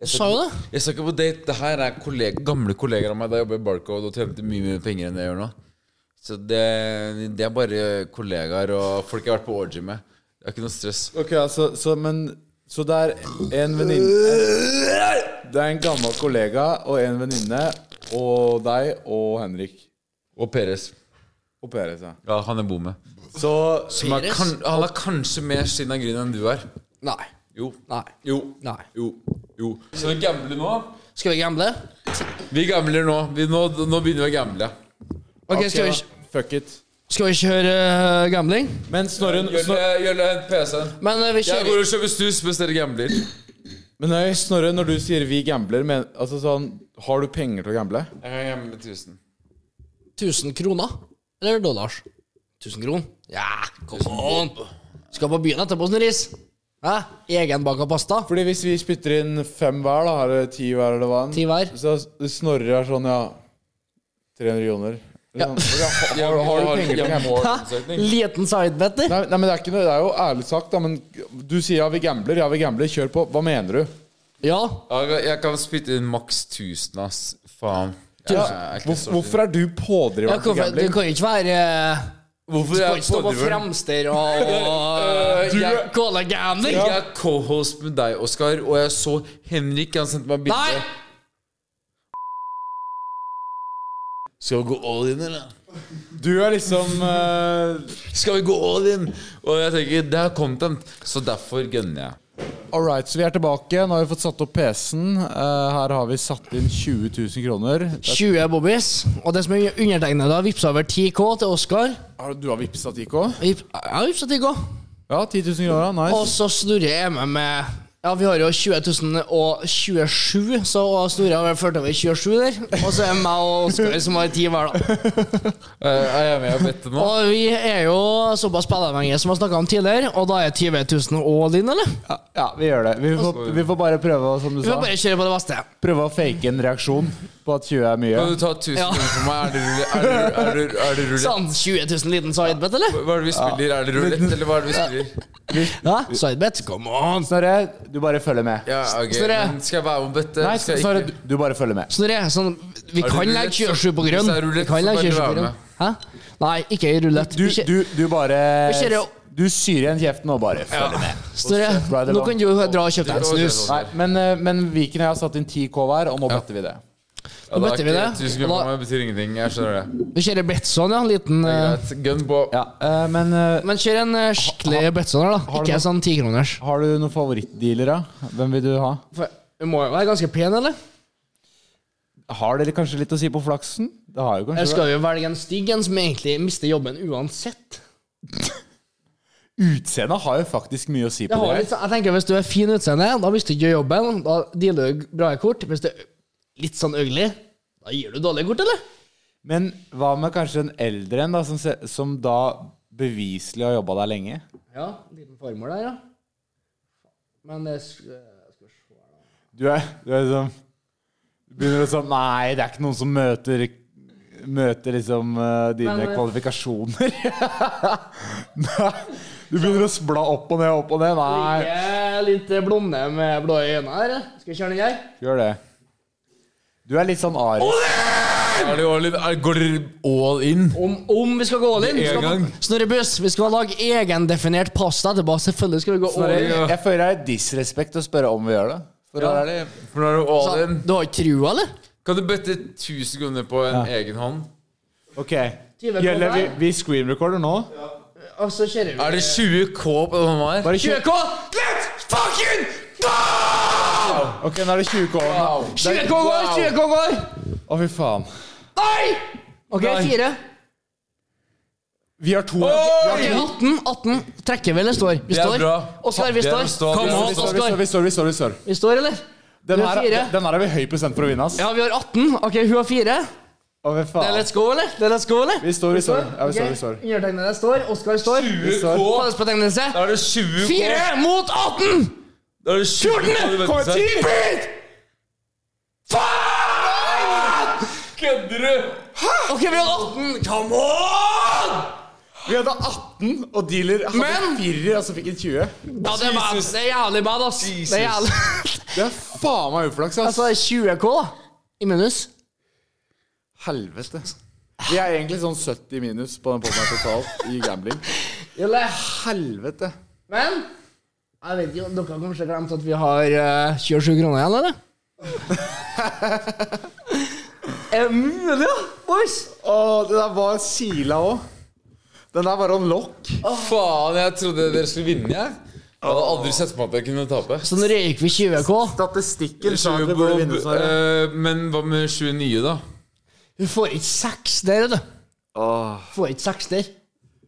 Jeg
Sa jo det.
Jeg skal ikke på date. Det her er kollega, gamle kollegaer av meg da jeg jobber i Barcode og tjente mye mer penger enn det jeg gjør nå. Så det, det er bare kollegaer og folk jeg har vært på orgy med. Det er ikke noe stress.
Ok, altså, så, men, så det er en venninne Det er en gammel kollega og en venninne og deg og Henrik.
Og Peres.
Og Peres, ja.
Ja, han jeg bor med.
Så
Som er
Peres?
kan, han er kanskje mer skinn av gryn enn du er.
Nei.
Jo.
Nei.
Jo.
Nei.
Jo. Jo. Så vi gambler nå?
Skal vi gamble?
Vi gambler nå. Vi, nå, nå begynner vi å gamble.
Ok,
Ok,
skal vi,
da. Fuck it.
skal vi kjøre uh, gambling?
Men Snorre Snor-
Gjølle, Gjølle, hent PC-en.
Men eh, vi
Jeg
kjører
går og kjøper snus mens dere gambler.
Men nei, Snorre, når du sier 'vi gambler', men, altså sånn Har du penger til å gamble?
Jeg kan gamble 1000.
1000 kroner. Eller dollars. 1000 kroner. Ja, come on. Skal på byen etterpå, Snorris. Hæ? Egenbaka pasta.
Fordi hvis vi spytter inn fem hver, da, eller ti hver, eller hva enn,
Ti hver.
Så Snorre er sånn, ja 300 joner. Ja. Har,
Jeg
har, har du penger til å
jeg
gamble?
må ha
Hæ?
omsetning.
Liten sidebet der.
Nei, nei, men det er ikke noe, det er jo ærlig sagt, da, men du sier ja, vi gambler, ja, vi gambler, kjør på. Hva mener du?
Ja.
Jeg kan- Jeg kan spytte inn maks 1000, ass. Faen. Jeg
Ja,
er ikke
hvor,
så-
hvorfor er du
ja
pådriveren til
hvorfor, du
gambling?
kan jo ikke være eh,
Hvorfor
På,
er
på, på fremste rad og
Du-
Jeg- Cola Gander.
Jeg er co-host med deg, Oskar, og jeg så Henrik. Han sendte meg bilde.
Nei!
Skal vi gå all in, eller?
Du er liksom eh,
Skal vi gå all in? Og jeg tenker, det er content, så derfor gønner jeg.
All right, så vi er tilbake. Nå har vi fått satt opp PC-en. Eh, her har vi satt inn 20 000 kroner.
20 bobbies. Og det som er undertegnet, da, vippsa over 10K til Oskar.
Har- Du har vippsa 10K?
Jeg har vippsa 10K.
Ja, 10 000 kroner. ja.
Og
Nice.
så snurrer jeg med med Ja, vi har jo 20.027, så Snorre har vel ført over 27 der. Og så er det meg og Oskar som har 10 hver, da.
Eh, er jeg med og better nå?
Og vi er jo såpass spilleavhengige som vi har snakka om tidligere, og da er 20 000 all in, eller?
Ja, ja, vi gjør det. Vi får, vi får bare prøve å- som du
Vi
sa,
får bare kjøre på det beste.
prøve å fake en reaksjon på at 20 er mye.
Kan du ta 1000
Ja.
kroner for meg? Er det rulle- er det- er det- er det rulle?
Sånn 20 000 liten sidebet, eller?
Hva er det vi spiller? Er det rulett, eller hva er det vi spiller?
Ja, sidebet. Come on.
Sånn, Snorre, du bare følger med.
Ja, ok,
Snorre.
men Skal jeg være med og bette?
Nei,
Skal jeg
Snorre,
ikke?
du- du bare følger med.
Snorre, sånn Vi
det
kan
rulett,
legge 27 på
så-
grønn.
hvis det er
Vi
rulett,
kan
så
legge
kan du
27 på
være
grønn.
med.
Hæ? Nei, ikke i rulett.
Du,
Ikke-
du, du bare
Vi kjører jo-
Du syr igjen kjeften og bare følger med.
Snorre, nå kan du dra og kjøpe deg en snus.
Nei, men, eh, men Viken og jeg har satt inn 10K hver, og nå better vi det.
Ja, da er
bøtter vi
ikke
det.
1000 kroner for meg betyr ingenting. Jeg skjønner det.
Vi kjører Betson, ja. en Liten,
det er
eh,
greit. Gun på.
Ja, eh, Men eh,
men kjør en eh, skikkelig Betson her, da.
har du
Ikke en sånn tikroners.
har du noen favorittdealere? Hvem vil du ha?
Du må jo være ganske pen, eller?
Har dere kanskje litt å si på flaksen? Det har jo
Jeg
kanskje
skal jo velge en stygg en som egentlig mister jobben uansett.
Utseendet har jo faktisk mye å si
Jeg,
på
har
det.
litt, sånn- jeg tenker Hvis du er fin utseende, da mister du ikke jobben. Da dealer du bra i kort. Hvis du er litt sånn ugly, da gir du dårlige kort, eller?
Men hva med kanskje en eldre en, da, som, se- som da beviselig har jobba der lenge?
Ja, liten formål der, ja. Men det sk- eh, skal vi se.
Du er, du er liksom du Begynner å sånn Nei, det er ikke noen som møter Møter liksom eh, dine
Men, eh,
kvalifikasjoner. *laughs* nei, du begynner å spla opp og ned, opp og ned. Nei,
Ligger litt blonde med blå øyne her. Skal vi kjøre den her?
gjør det. Du er litt sånn Ari.
Er det all in? Er, går dere all in?
Om, om vi skal gå all in?
Med en
Skal man-
gang.
Snorre Buss, vi skal lage egendefinert pasta etterpå. Selvfølgelig skal vi gå all in.
Snorre, jeg føler det er disrespekt å spørre om vi gjør det. For å være ærlig.
For nå er det all in.
Du har ikke trua, eller?
Kan du bøtte 1000 kroner på en egen hånd?
Ok,
20
Gjelder vi,
kroner.
vi screen recorder nå?
Og så kjører vi
Er det 20 K på den hånda her?
Bare 20,
20K!
Let's fucking go!
ok, nå er det 20 K.
Wow.
20K går! 20K går!
Å, fy faen.
Nei! Ok,
Nei.
fire.
Vi har to.
Oi!
Ok, 18. 18. Trekker vi, eller står? Vi
Det er
står.
bra.
Oskar, vi
Det er
står.
å stå.
Vi
Kom
står,
on,
vi
Oskar.
står, vi står, vi står, vi står, vi står.
Vi står, eller?
Den
Du har
her,
fire.
den her har vi høy prosent for å vinne, ass.
Ja, vi har 18. Ok, hun har fire.
Å, fy
Det er
faen.
let's go, eller? Det er let's go, eller?
Vi står, vi står. Ja, vi står, vi står.
Ok, Undertegnede står. Oskar står.
20K?
Fellesbetegnelse.
Da er det 20 K.
Fire mot 18!
Da er det 20 K du bøtter seg. Kødder du?
Ok, vi har 18. Come on!
Vi hadde 18, og dealer hadde
Men-
firer, og så fikk en 20.
Ja, det er, bad.
Jesus.
det er jævlig bad, ass. Det er
Jesus.
*laughs* jævlig.
Det er faen meg uflaks, ass.
Altså, 20K da, i minus.
Helvete. Vi er egentlig sånn 70 minus på den podden her totalt i gambling. Helvete.
Men jeg vet ikke, dere har kanskje glemt at vi har eh, 27 kroner igjen, eller? *laughs* er det mulig, da, boys?
Å, det der var sila òg. Den der var on lock.
Faen, jeg trodde dere skulle vinne, jeg. Jeg hadde aldri sett på meg at jeg kunne tape.
Så nå røyk vi 20K.
Statistikken sa at
20
vi burde vinne,
K,
Snorre.
eh, men hva med 20 nye, da?
Du får ikke seks der, vet du.
Åh.
Får ikke seks der.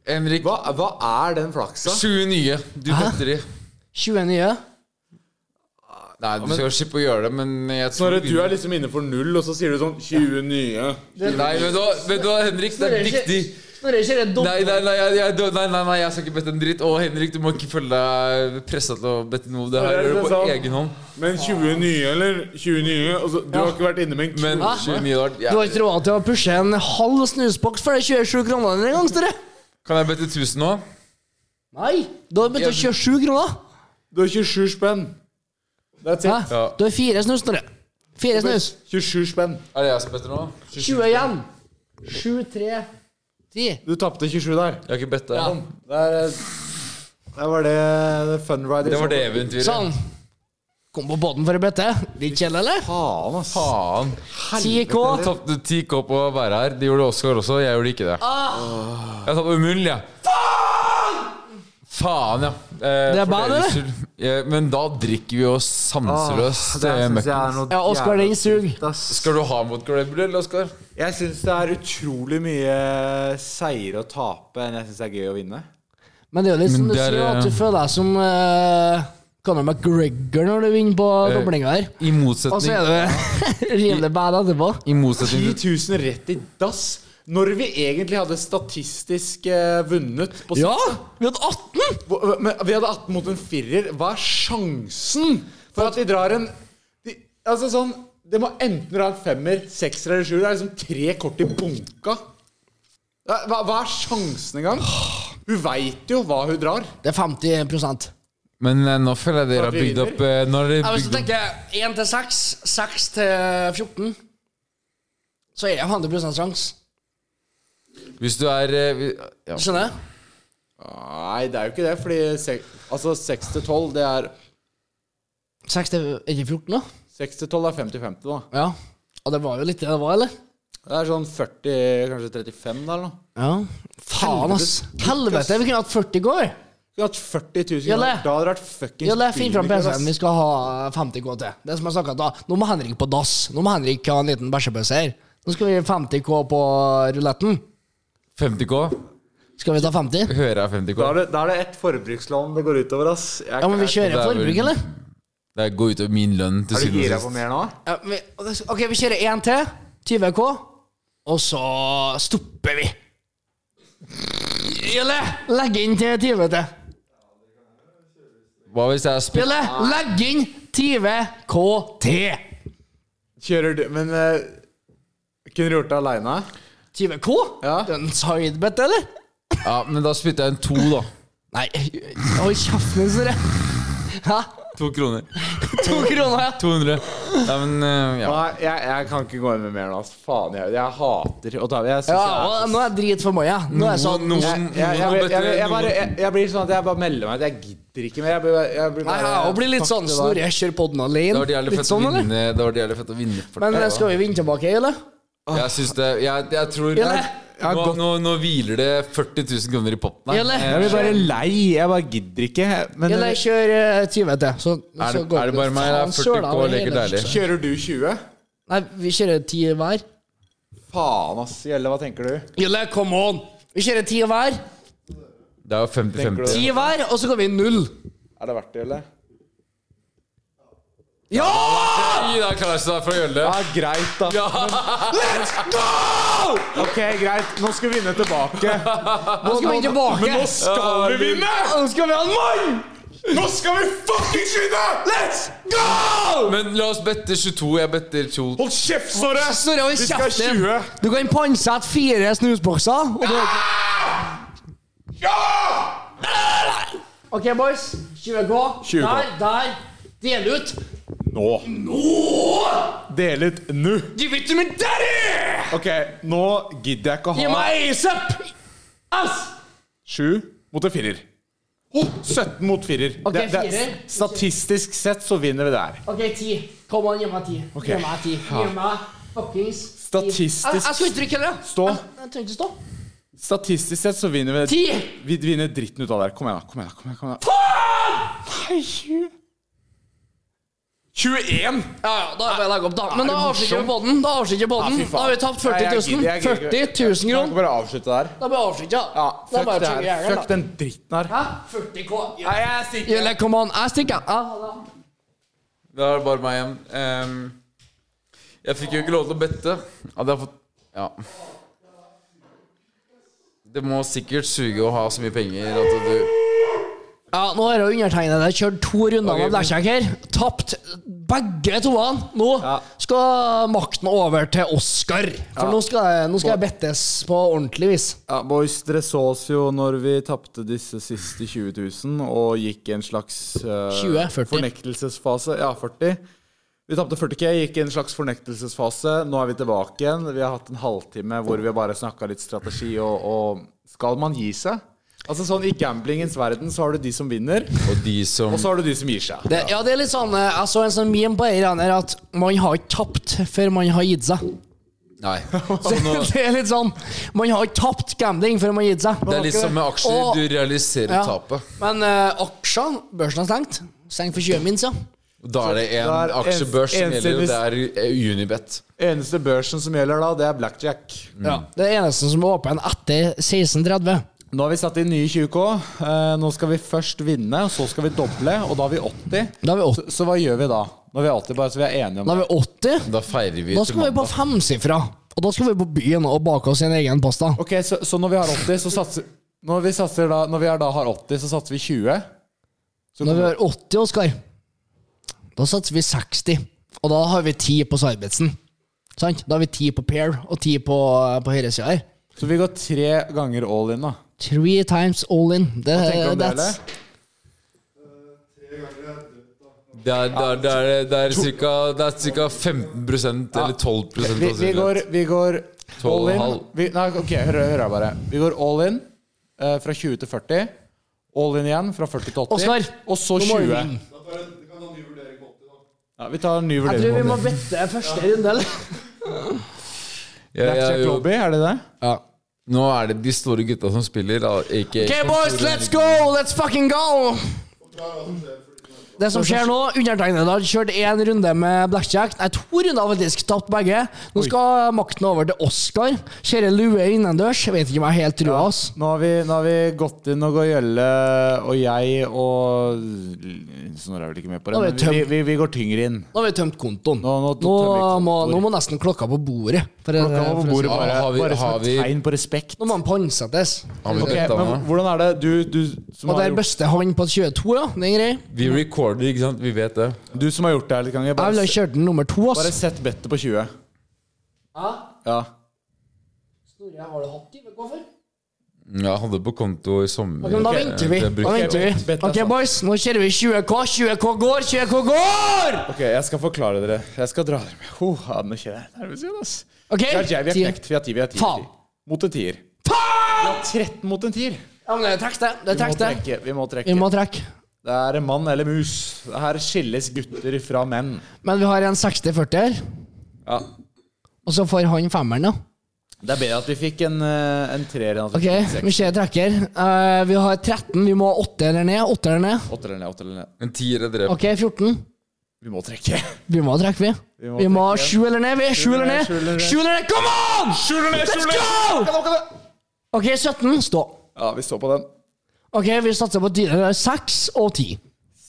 Henrik,
Hva, hva er den flaksa?
20 nye. Du bøtter i.
20 nye.
Nei, du skal slippe å gjøre det, men jeg tror
Snorre, du er liksom inne for null, og så sier du sånn 20 nye.
Nei, vet du, hva- vet du hva, Henrik, det er viktig.
Snorre kjører
Nei,
dobbelt.
nei, nei, jeg, jeg, nei, nei, nei, jeg skal ikke bette en dritt. Og Henrik, du må ikke føle deg pressa til å bette noe. Det her
Nei, det
gjør
er
du på
sant.
egen hånd.
Men 20 nye, eller? 20 nye? Altså, du har ikke vært inne med en
Men
Hva?
29 år ja.
Du har ikke råd til å pushe en halv snusboks for de 27 kronene en gang, Snorre.
Kan jeg bette 1000 nå?
Nei, du har begynt å
Ja,
kjøre 7 kroner.
Du har 27 spenn. That's
Hæ?
it.
Ja.
Du har fire snus, Snorre. Fire snus.
27 spenn.
Er det jeg som better nå?
20 igjen. 7, 3, 10.
Du tapte 27 der.
Jeg har ikke bedt deg.
Ja.
Der, eh, der var det det Funrider.
Det var det eventyret.
Sånn. Kom på båten for å bøtte. Litt kjedelig, eller?
Faen, ass.
Faen.
10K.
Jeg tapte 10K på å være her. Det gjorde Oskar også. Jeg gjorde ikke det.
Ah!
Jeg tapte umulig, jeg. Faen! ja. Eh,
Det er
for
bad,
deres
eller?
skyld. Eh, men da drikker vi oss
Ah,
sanseløst.
Det
eh,
synes jeg
møkk.
er noe
Ja, Oscar,
jævla
den sug.
dritt, ass.
Skal du ha mot Grable, eller, Oskar?
Jeg syns det er utrolig mye seier å tape enn jeg syns det er gøy å vinne.
Men det er jo litt som
Men
du
det er,
sier, at du
eh,
føler deg som uh, Conor McGregor når du vinner på
Eh,
doblinga her. *laughs*
I
Og så er
motsetning,
du rimelig bad etterpå.
i motsetning
10
til
000 rett i dass! Når vi egentlig hadde statistisk eh, vunnet på
Ja! Vi hadde 18!
Hvor- Men vi hadde 18 mot en firer. Hva er sjansen for at de drar en de, Altså sånn Det må enten dra en femmer, sekser eller sjuer. Det er liksom tre kort i bunka. Hva, hva hva er sjansen engang? Hun veit jo hva hun drar.
Det er 50
Men eh, nå føler jeg dere
At
har
vi
bygd
vinner?
opp eh, Nå har dere
Ja, Hvis du
bygd opp
tenker 1 til 6, 6 til 14, så er det 100 sjanse.
Hvis du er eh, vi- ja.
Skjønner jeg?
Nei, det er jo ikke det, fordi sek, altså seks til tolv, det er
6 til er det 14, da?
Seks til tolv er 50-50, da.
Ja. Og det var jo litt det det var, eller?
Det er sånn 40, kanskje 35 da, eller noe.
Ja. Faen, ass. Helvete, vi kunne hatt 40 i går.
Vi har hatt 40 000
Jalle.
kroner. Da hadde det vært fuckings
Ja, det er fint fram
billig,
PC-en.
ass.
Vi skal ha 50 K til. Det er som jeg snakket da. Nå må Henrik på dass. Nå må Henrik ha en liten bæsjepause her. Nå skal vi 50 K på ruletten.
50K?
Skal vi ta 50?
Hører jeg 50K?
Da er, det, da er det ett forbrukslån det går utover, ass. Jeg,
Ja, men vi
Det
kjører
er vel-
forbruk, eller?
Det går ut over min lønn til
Er du
syvende
gira
og
på
sist.
mer nå?
Ja, vi, ok, vi kjører én til. 20 K. Og så stopper vi. Jelle, legg inn til 20 til.
Hva hvis jeg er spilt?
Jelle, legg inn 20 K til.
Kjører du Men eh, kunne du gjort det aleine?
20 K?
Ja.
Det er en sidebet, eller?
Ja, men da spytter jeg en to, da.
Nei, hold kjeften din, Snorre. Hæ?
To kroner.
To kroner, ja.
200. Nei, men eh, ja.
Nei, jeg, jeg kan ikke gå inn med mer nå, ass. Faen, jeg, jeg hater å ta Jeg synes
Ja,
jeg er
og nå er jeg drit for meg, ja. Nå er jeg sånn
Noen-
jeg,
noen-
jeg, jeg,
noen
jeg, jeg, jeg,
noen-
bare, jeg, jeg blir sånn at jeg bare melder meg ut. Jeg gidder ikke mer. Jeg blir, jeg blir
Nei,
bare
jeg blir litt sånn
Fuck
Snorre,
det der.
jeg kjører podden
Det
alene.
var jævlig
Litt
fett å
sånn, eller?
vinne. Det var jævlig fett å vinne for
Men
deg,
eh,
da.
skal vi vinne tilbake, eller?
Jeg syns det Jeg, jeg tror
Jelle!
Jeg har
nå,
gått-
nå, nå hviler det 40 000 kroner i potten her.
Jelle!
Jeg blir bare lei. Jeg bare gidder ikke. Men
Eller jeg kjører eh, 20 til. Så,
Er det-
så går
er det bare meg, eller er
Faen,
40
søla,
K
over
leker
hele-
deilig?
kjører du 20?
Nei, vi kjører 10 hver.
Faen, ass. Gjelle, hva tenker du?
Jelle, come on! Vi kjører 10 hver.
Det er jo
Tenker du-
50-50.
10 hver, og så går vi i null.
Er det verdt det, eller?
Ja!
Gi deg Klaus da, for å gjøre det.
Ja, greit, da. Let's go! Ok, greit. Nå skal vi vinne tilbake.
Nå skal vi tilbake.
Men nå skal vi vinne!
Nå skal vi ha en mann!
Nå skal vi fuckings vinne! Let's go!
Men la oss bette 22. Jeg better 22.
Hold kjeft, Snorre!
Snorre, hold
Vi skal
kjeften.
20.
Du kan pantsette fire snusbokser. Og du... OK, boys. 20 K.
20 K.
Der, der. Del ut.
Nå. Del ut nå.
Give it to me, daddy!
Ok, nå gidder jeg ikke
Gi
å ha
meg ASAP! Ass!
sju mot en firer. Å, 17 mot firer.
Ok,
Det- det-
firer.
Statistisk sett så vinner vi der.
OK, ti. Kom an, gi meg ti.
Ok.
Gi meg ti. Gi meg fuckings ti.
Statistisk-
Jeg, jeg skal ikke trykke heller.
Stå.
Jeg, jeg trenger ikke stå.
Statistisk sett så vinner vi
Ti!
Vi vinner dritten ut av det her. Kom igjen, da. Kom igjen, da, kom igjen, kom igjen. Nei, 20. 21!
Ja, ja, da er det legge opp, da. Men da avslutter vi podden. Da avslutter vi podden.
Ja, fy faen.
Da Mm. har vi tapt
Nei,
40
jeg gidder-
000.
jeg gidder ikke.
40 000
Kan
kroner.
ikke bare avslutte der?
Da blir det avslutt,
Ja,
ja. Da
fuck,
bare
det
å trykke
her.
jævla,
fuck
da.
den dritten her.
Hæ? 40 K.
Nei, jeg er sikker.
Jølle, kom an. Jeg stikker. Ja, ha det.
Da er det bare meg igjen. Ehm, jeg fikk jo ikke lov til å bette. Hadde jeg fått Ja. Det må sikkert suge å ha så mye penger at du
Ja, nå har jo undertegnede kjørt to runder
Ok,
med blackjack her. Tapt begge toene. Nå
Ja.
skal makten over til Oscar. For nå skal, jeg- nå skal jeg bettes på ordentlig vis.
Ja, boys, dere så oss jo når vi tapte disse siste 20 000 og gikk i en slags eh,
20, 40.
fornektelsesfase. Ja, 40. Vi tapte 40K, gikk i en slags fornektelsesfase. Nå er vi tilbake igjen. Vi har hatt en halvtime hvor vi bare snakka litt strategi og, og Skal man gi seg? Altså sånn I gamblingens verden så har du de som vinner,
Og de som
og så har du de som gir seg.
Det, ja, det er litt sånn eh, Jeg så en sånn meme på Eiran her at man har ikke tapt før man har gitt seg.
Nei.
Det, *laughs* det er litt sånn Man har ikke tapt gambling før man har gitt seg.
Det er litt som med aksjer.
Og-
Du realiserer
Ja.
tapet.
Men eh, aksjene Børsen har stengt. Stengt for 20 min, ja.
Da er det en
Det er en-
aksjebørs som gjelder, og det er
ensidig-
eh, Unibet.
Eneste børsen som gjelder da, det er blackjack.
ja. Det er eneste som er åpen etter 16.30.
Nå har vi satt inn nye 20K. Eh, nå skal vi først vinne, og så skal vi doble, og da har vi 80.
Da har vi
Så,
80.
så hva gjør vi da? Når vi er 80, bare så vi er enige om det.
Da, har vi 80.
Da feirer vi
da
til
skal vi på
mandag.
femsifra. Og da skal vi på byen og bake oss en egen pasta.
Ok, så, så når vi har 80, så satser Når vi, satser da, når vi er da har 80, så satser vi 20. Så
Når vi
kommer,
har 80, Oskar, da satser vi 60. Og da har vi 10 på Sarbeidsen. Sant? Da har vi 10 på Pair og 10 på, eh, på høyresida her.
så vi går tre ganger all in, da.
Three times all in. Det,
Hva tenker du om det,
Eh, that's-
Det er, det er, det er, det er, cirka, det er cirka 15 eller altså. 12
Vi, vi går, vi går all
Tolv og
in.
halv.
Vi, nei, ok, hør, hør her bare. Vi går all in eh, fra 20 til 40. All in igjen fra 40 til 80.
Oskar,
og så
nå må vi
20.
vinne.
Ja, vi tar en ny
Jeg tror vi
vurdering.
må bette første runde, eller?
Jeg- jeg-
Blackjack
jo.
lobby, er det det?
Ja.
Nå er det de store gutta som spiller. da, Ikke
Ok, boys, let's go! Let's fucking go! Det som skjer nå, undertegnede har kjørt én runde med blackjack. Nei, to runder faktisk. Tapt begge. Nå skal makten over til Oscar. Kjører lue innendørs. Jeg vet ikke om jeg helt tror ass.
Nå har, vi, nå har vi gått inn og går gjølle, og jeg og Sånn er jeg vel ikke med på det,
Nå er
men
det
vi,
tømt.
vi, vi går tyngre inn.
Nå har vi tømt kontoen. Nå,
Nå- nå- tømmer vi
må,
kontoen.
nå må nesten klokka på bordet. For,
Klokka var på
for å si-
bordet bare,
Ja, har vi-
bare som
har
et
vi-
tegn på respekt.
Nå må han pantsettes.
Har vi
Ok,
betta nå?
men hvordan er det du, du, som
Og
har
der
gjort,
bøster han på 22, ja. Det er grei.
Vi recorder, ikke sant? Vi vet det.
du som har gjort det her litt ganger,
Jeg ville
bare,
ha kjørt den nummer to,
bare
ass.
sett bettet på 20. Ja.
Snorre, har du hatt i? Hvorfor?
Mm, Jeg hadde på konto i sommer.
Ok, men da
Ok,
venter vi.
det bruker
Da
jeg.
venter vi.
Beta
Ok,
satt.
boys, nå kjører vi 20K. 20K går, 20K går!
Ok, jeg skal forklare dere. Jeg skal dra dere med. Oh, ja, nå kjenner jeg nervøs igjen, ass.
Ok?
Vi har jab, vi har knekt. Vi har ti, vi har ti. vi har
Faen.
ti. Mot en tier.
Faen!
13 mot en tier.
Ja, men det er trekk, det. Det er
Vi må
trekk, det.
trekke. Vi må trekke.
Vi må trekke.
Det er mann eller mus. Her skilles gutter fra menn.
Men vi har en 60-40 her,
Ja.
og så får han femmeren, da.
Det er bedre at vi fikk en, eh, en treer enn at vi
Ok,
fikk en
vi
seks.
ser trekker. Eh, vi har 13, vi må ha 8 eller ned. 8 eller ned.
Åtter eller ned, åtter eller ned.
En tier er drept.
Ok, 14.
Vi må trekke.
Vi må trekke, vi.
Vi må
Vi må ha
trekke.
7 eller ned, vi. 7 eller ned.
Sju eller ned.
7 eller ned, come on! Let's go! Ok, 17, stå.
Ja, vi står på den.
Ok, vi satser på 6 og 10.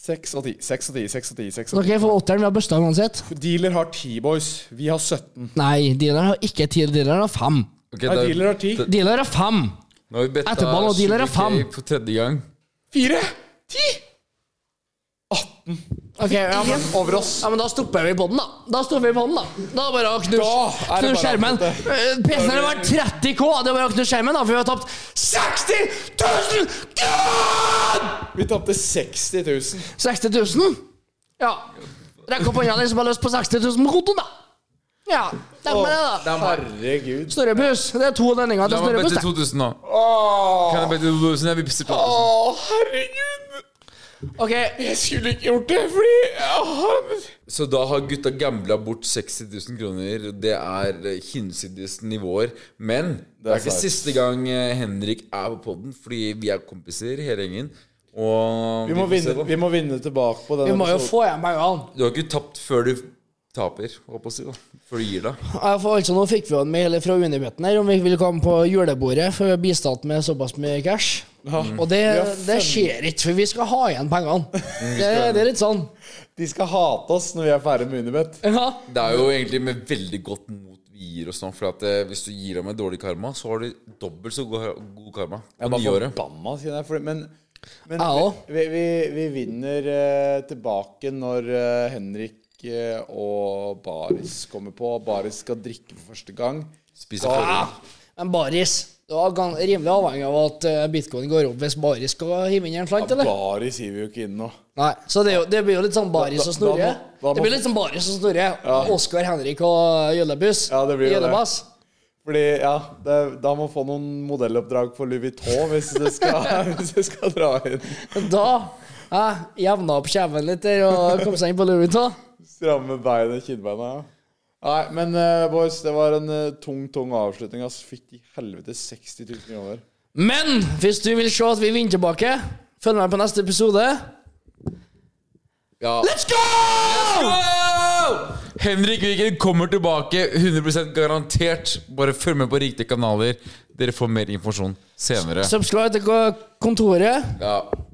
Seks og ti, seks og ti, seks og ti. seks og ti.
Ok, for 8-eren, vi har busta uansett.
Dealer har ti, boys. Vi har 17.
Nei, dealeren har ikke ti, dealeren har fem.
Ok,
Nei,
da-
dealer har ti.
Dealer har fem.
Nå har vi betta
Etterballen og dealer
20K
er fem.
for tredje gang.
Fire! Ti!
Ok, ja, men,
Én over oss.
ja, men da stopper vi på den, da. Da stopper vi på den, da. Da er det bare å knuse
Da er det
knus
bare å
skjermen.
avslutte.
Eh, PC-en har vært 30 K, det er bare å knuse skjermen, da, for vi har tapt 60 000 kroner!
Vi tapte 60 000.
60 000? Ja. Rekk opp hånda de som har lyst på 60 000 på kontoen, da. Ja, stemmer det, da.
Herregud.
Snorre Pus, det er to lønninger
La
til
meg
Snorre
bette
Pus. det.
2000 nå. Kan jeg bette 2000? Jeg vippser på 1000.
Å, herregud!
Ok,
Jeg skulle ikke gjort det, fordi
Så da har gutta gambla bort 60 000 kroner. Det er eh, hinsides nivåer. Men det er ikke
sant.
siste gang eh, Henrik er på poden, fordi vi er kompiser, hele gjengen. Og
vi, må
får se,
vinne,
da.
vi må vinne tilbake på
vi
denne
må jo
episoden.
få igjen pengene.
Du har ikke tapt før du taper, håper jeg å si. da Før du gir deg.
Ja, for altså, nå fikk vi jo en mail fra Unibeten her om vi ville komme på julebordet, for vi har bistatt med såpass mye cash.
Mm.
Og det, det skjer ikke, for vi skal ha igjen pengene. Det, det er litt sånn.
De skal hate oss når vi er ferdig med Unibet.
Ja.
Det er jo egentlig med veldig godt mot vi gir oss nå. For at eh, hvis du gir deg med dårlig karma, så har du dobbelt så god, god karma. På nyåret.
forbanna, kjenner jeg. Fordi, men men
Jeg òg.
vi, vi, vi vinner eh, tilbake når eh, Henrik eh, og Baris kommer på. Baris skal drikke for første gang. Ah!
Spiser forhud.
Men Baris, Det var gan- rimelig avhengig av at eh, bitcoin går opp hvis Baris skal hive inn en slant, eller?
Baris hiver jo ikke inn nå.
Nei, så det, er jo, det blir jo litt sånn Baris
Da- da-
og
da
Snorre.
må- da må-
Det blir litt sånn Baris og Snorre. Oskar, Henrik og Gjøllebuss.
Ja, det blir jo det.
Gjøllebass.
Fordi, ja, det, Da må få noen modelloppdrag for Louis Vuitton hvis du skal, *laughs* hvis du skal dra inn.
Da eh, jevna opp kjeven litt der og kom seg inn på Louis Vuitton.
Stramme beinet, kinnbeina. Ja. Nei, men eh, boys, det var en eh, tung, tung avslutning. Ass. Fytti helvete, 60 000 kroner.
Men hvis du vil se at vi vinner tilbake, følg med på neste episode.
Ja.
Let's go!
Henrik Viken kommer tilbake 100 garantert. Bare følg med på riktige kanaler. Dere får mer informasjon senere.
Subscribe til ko- kontoret.
Ja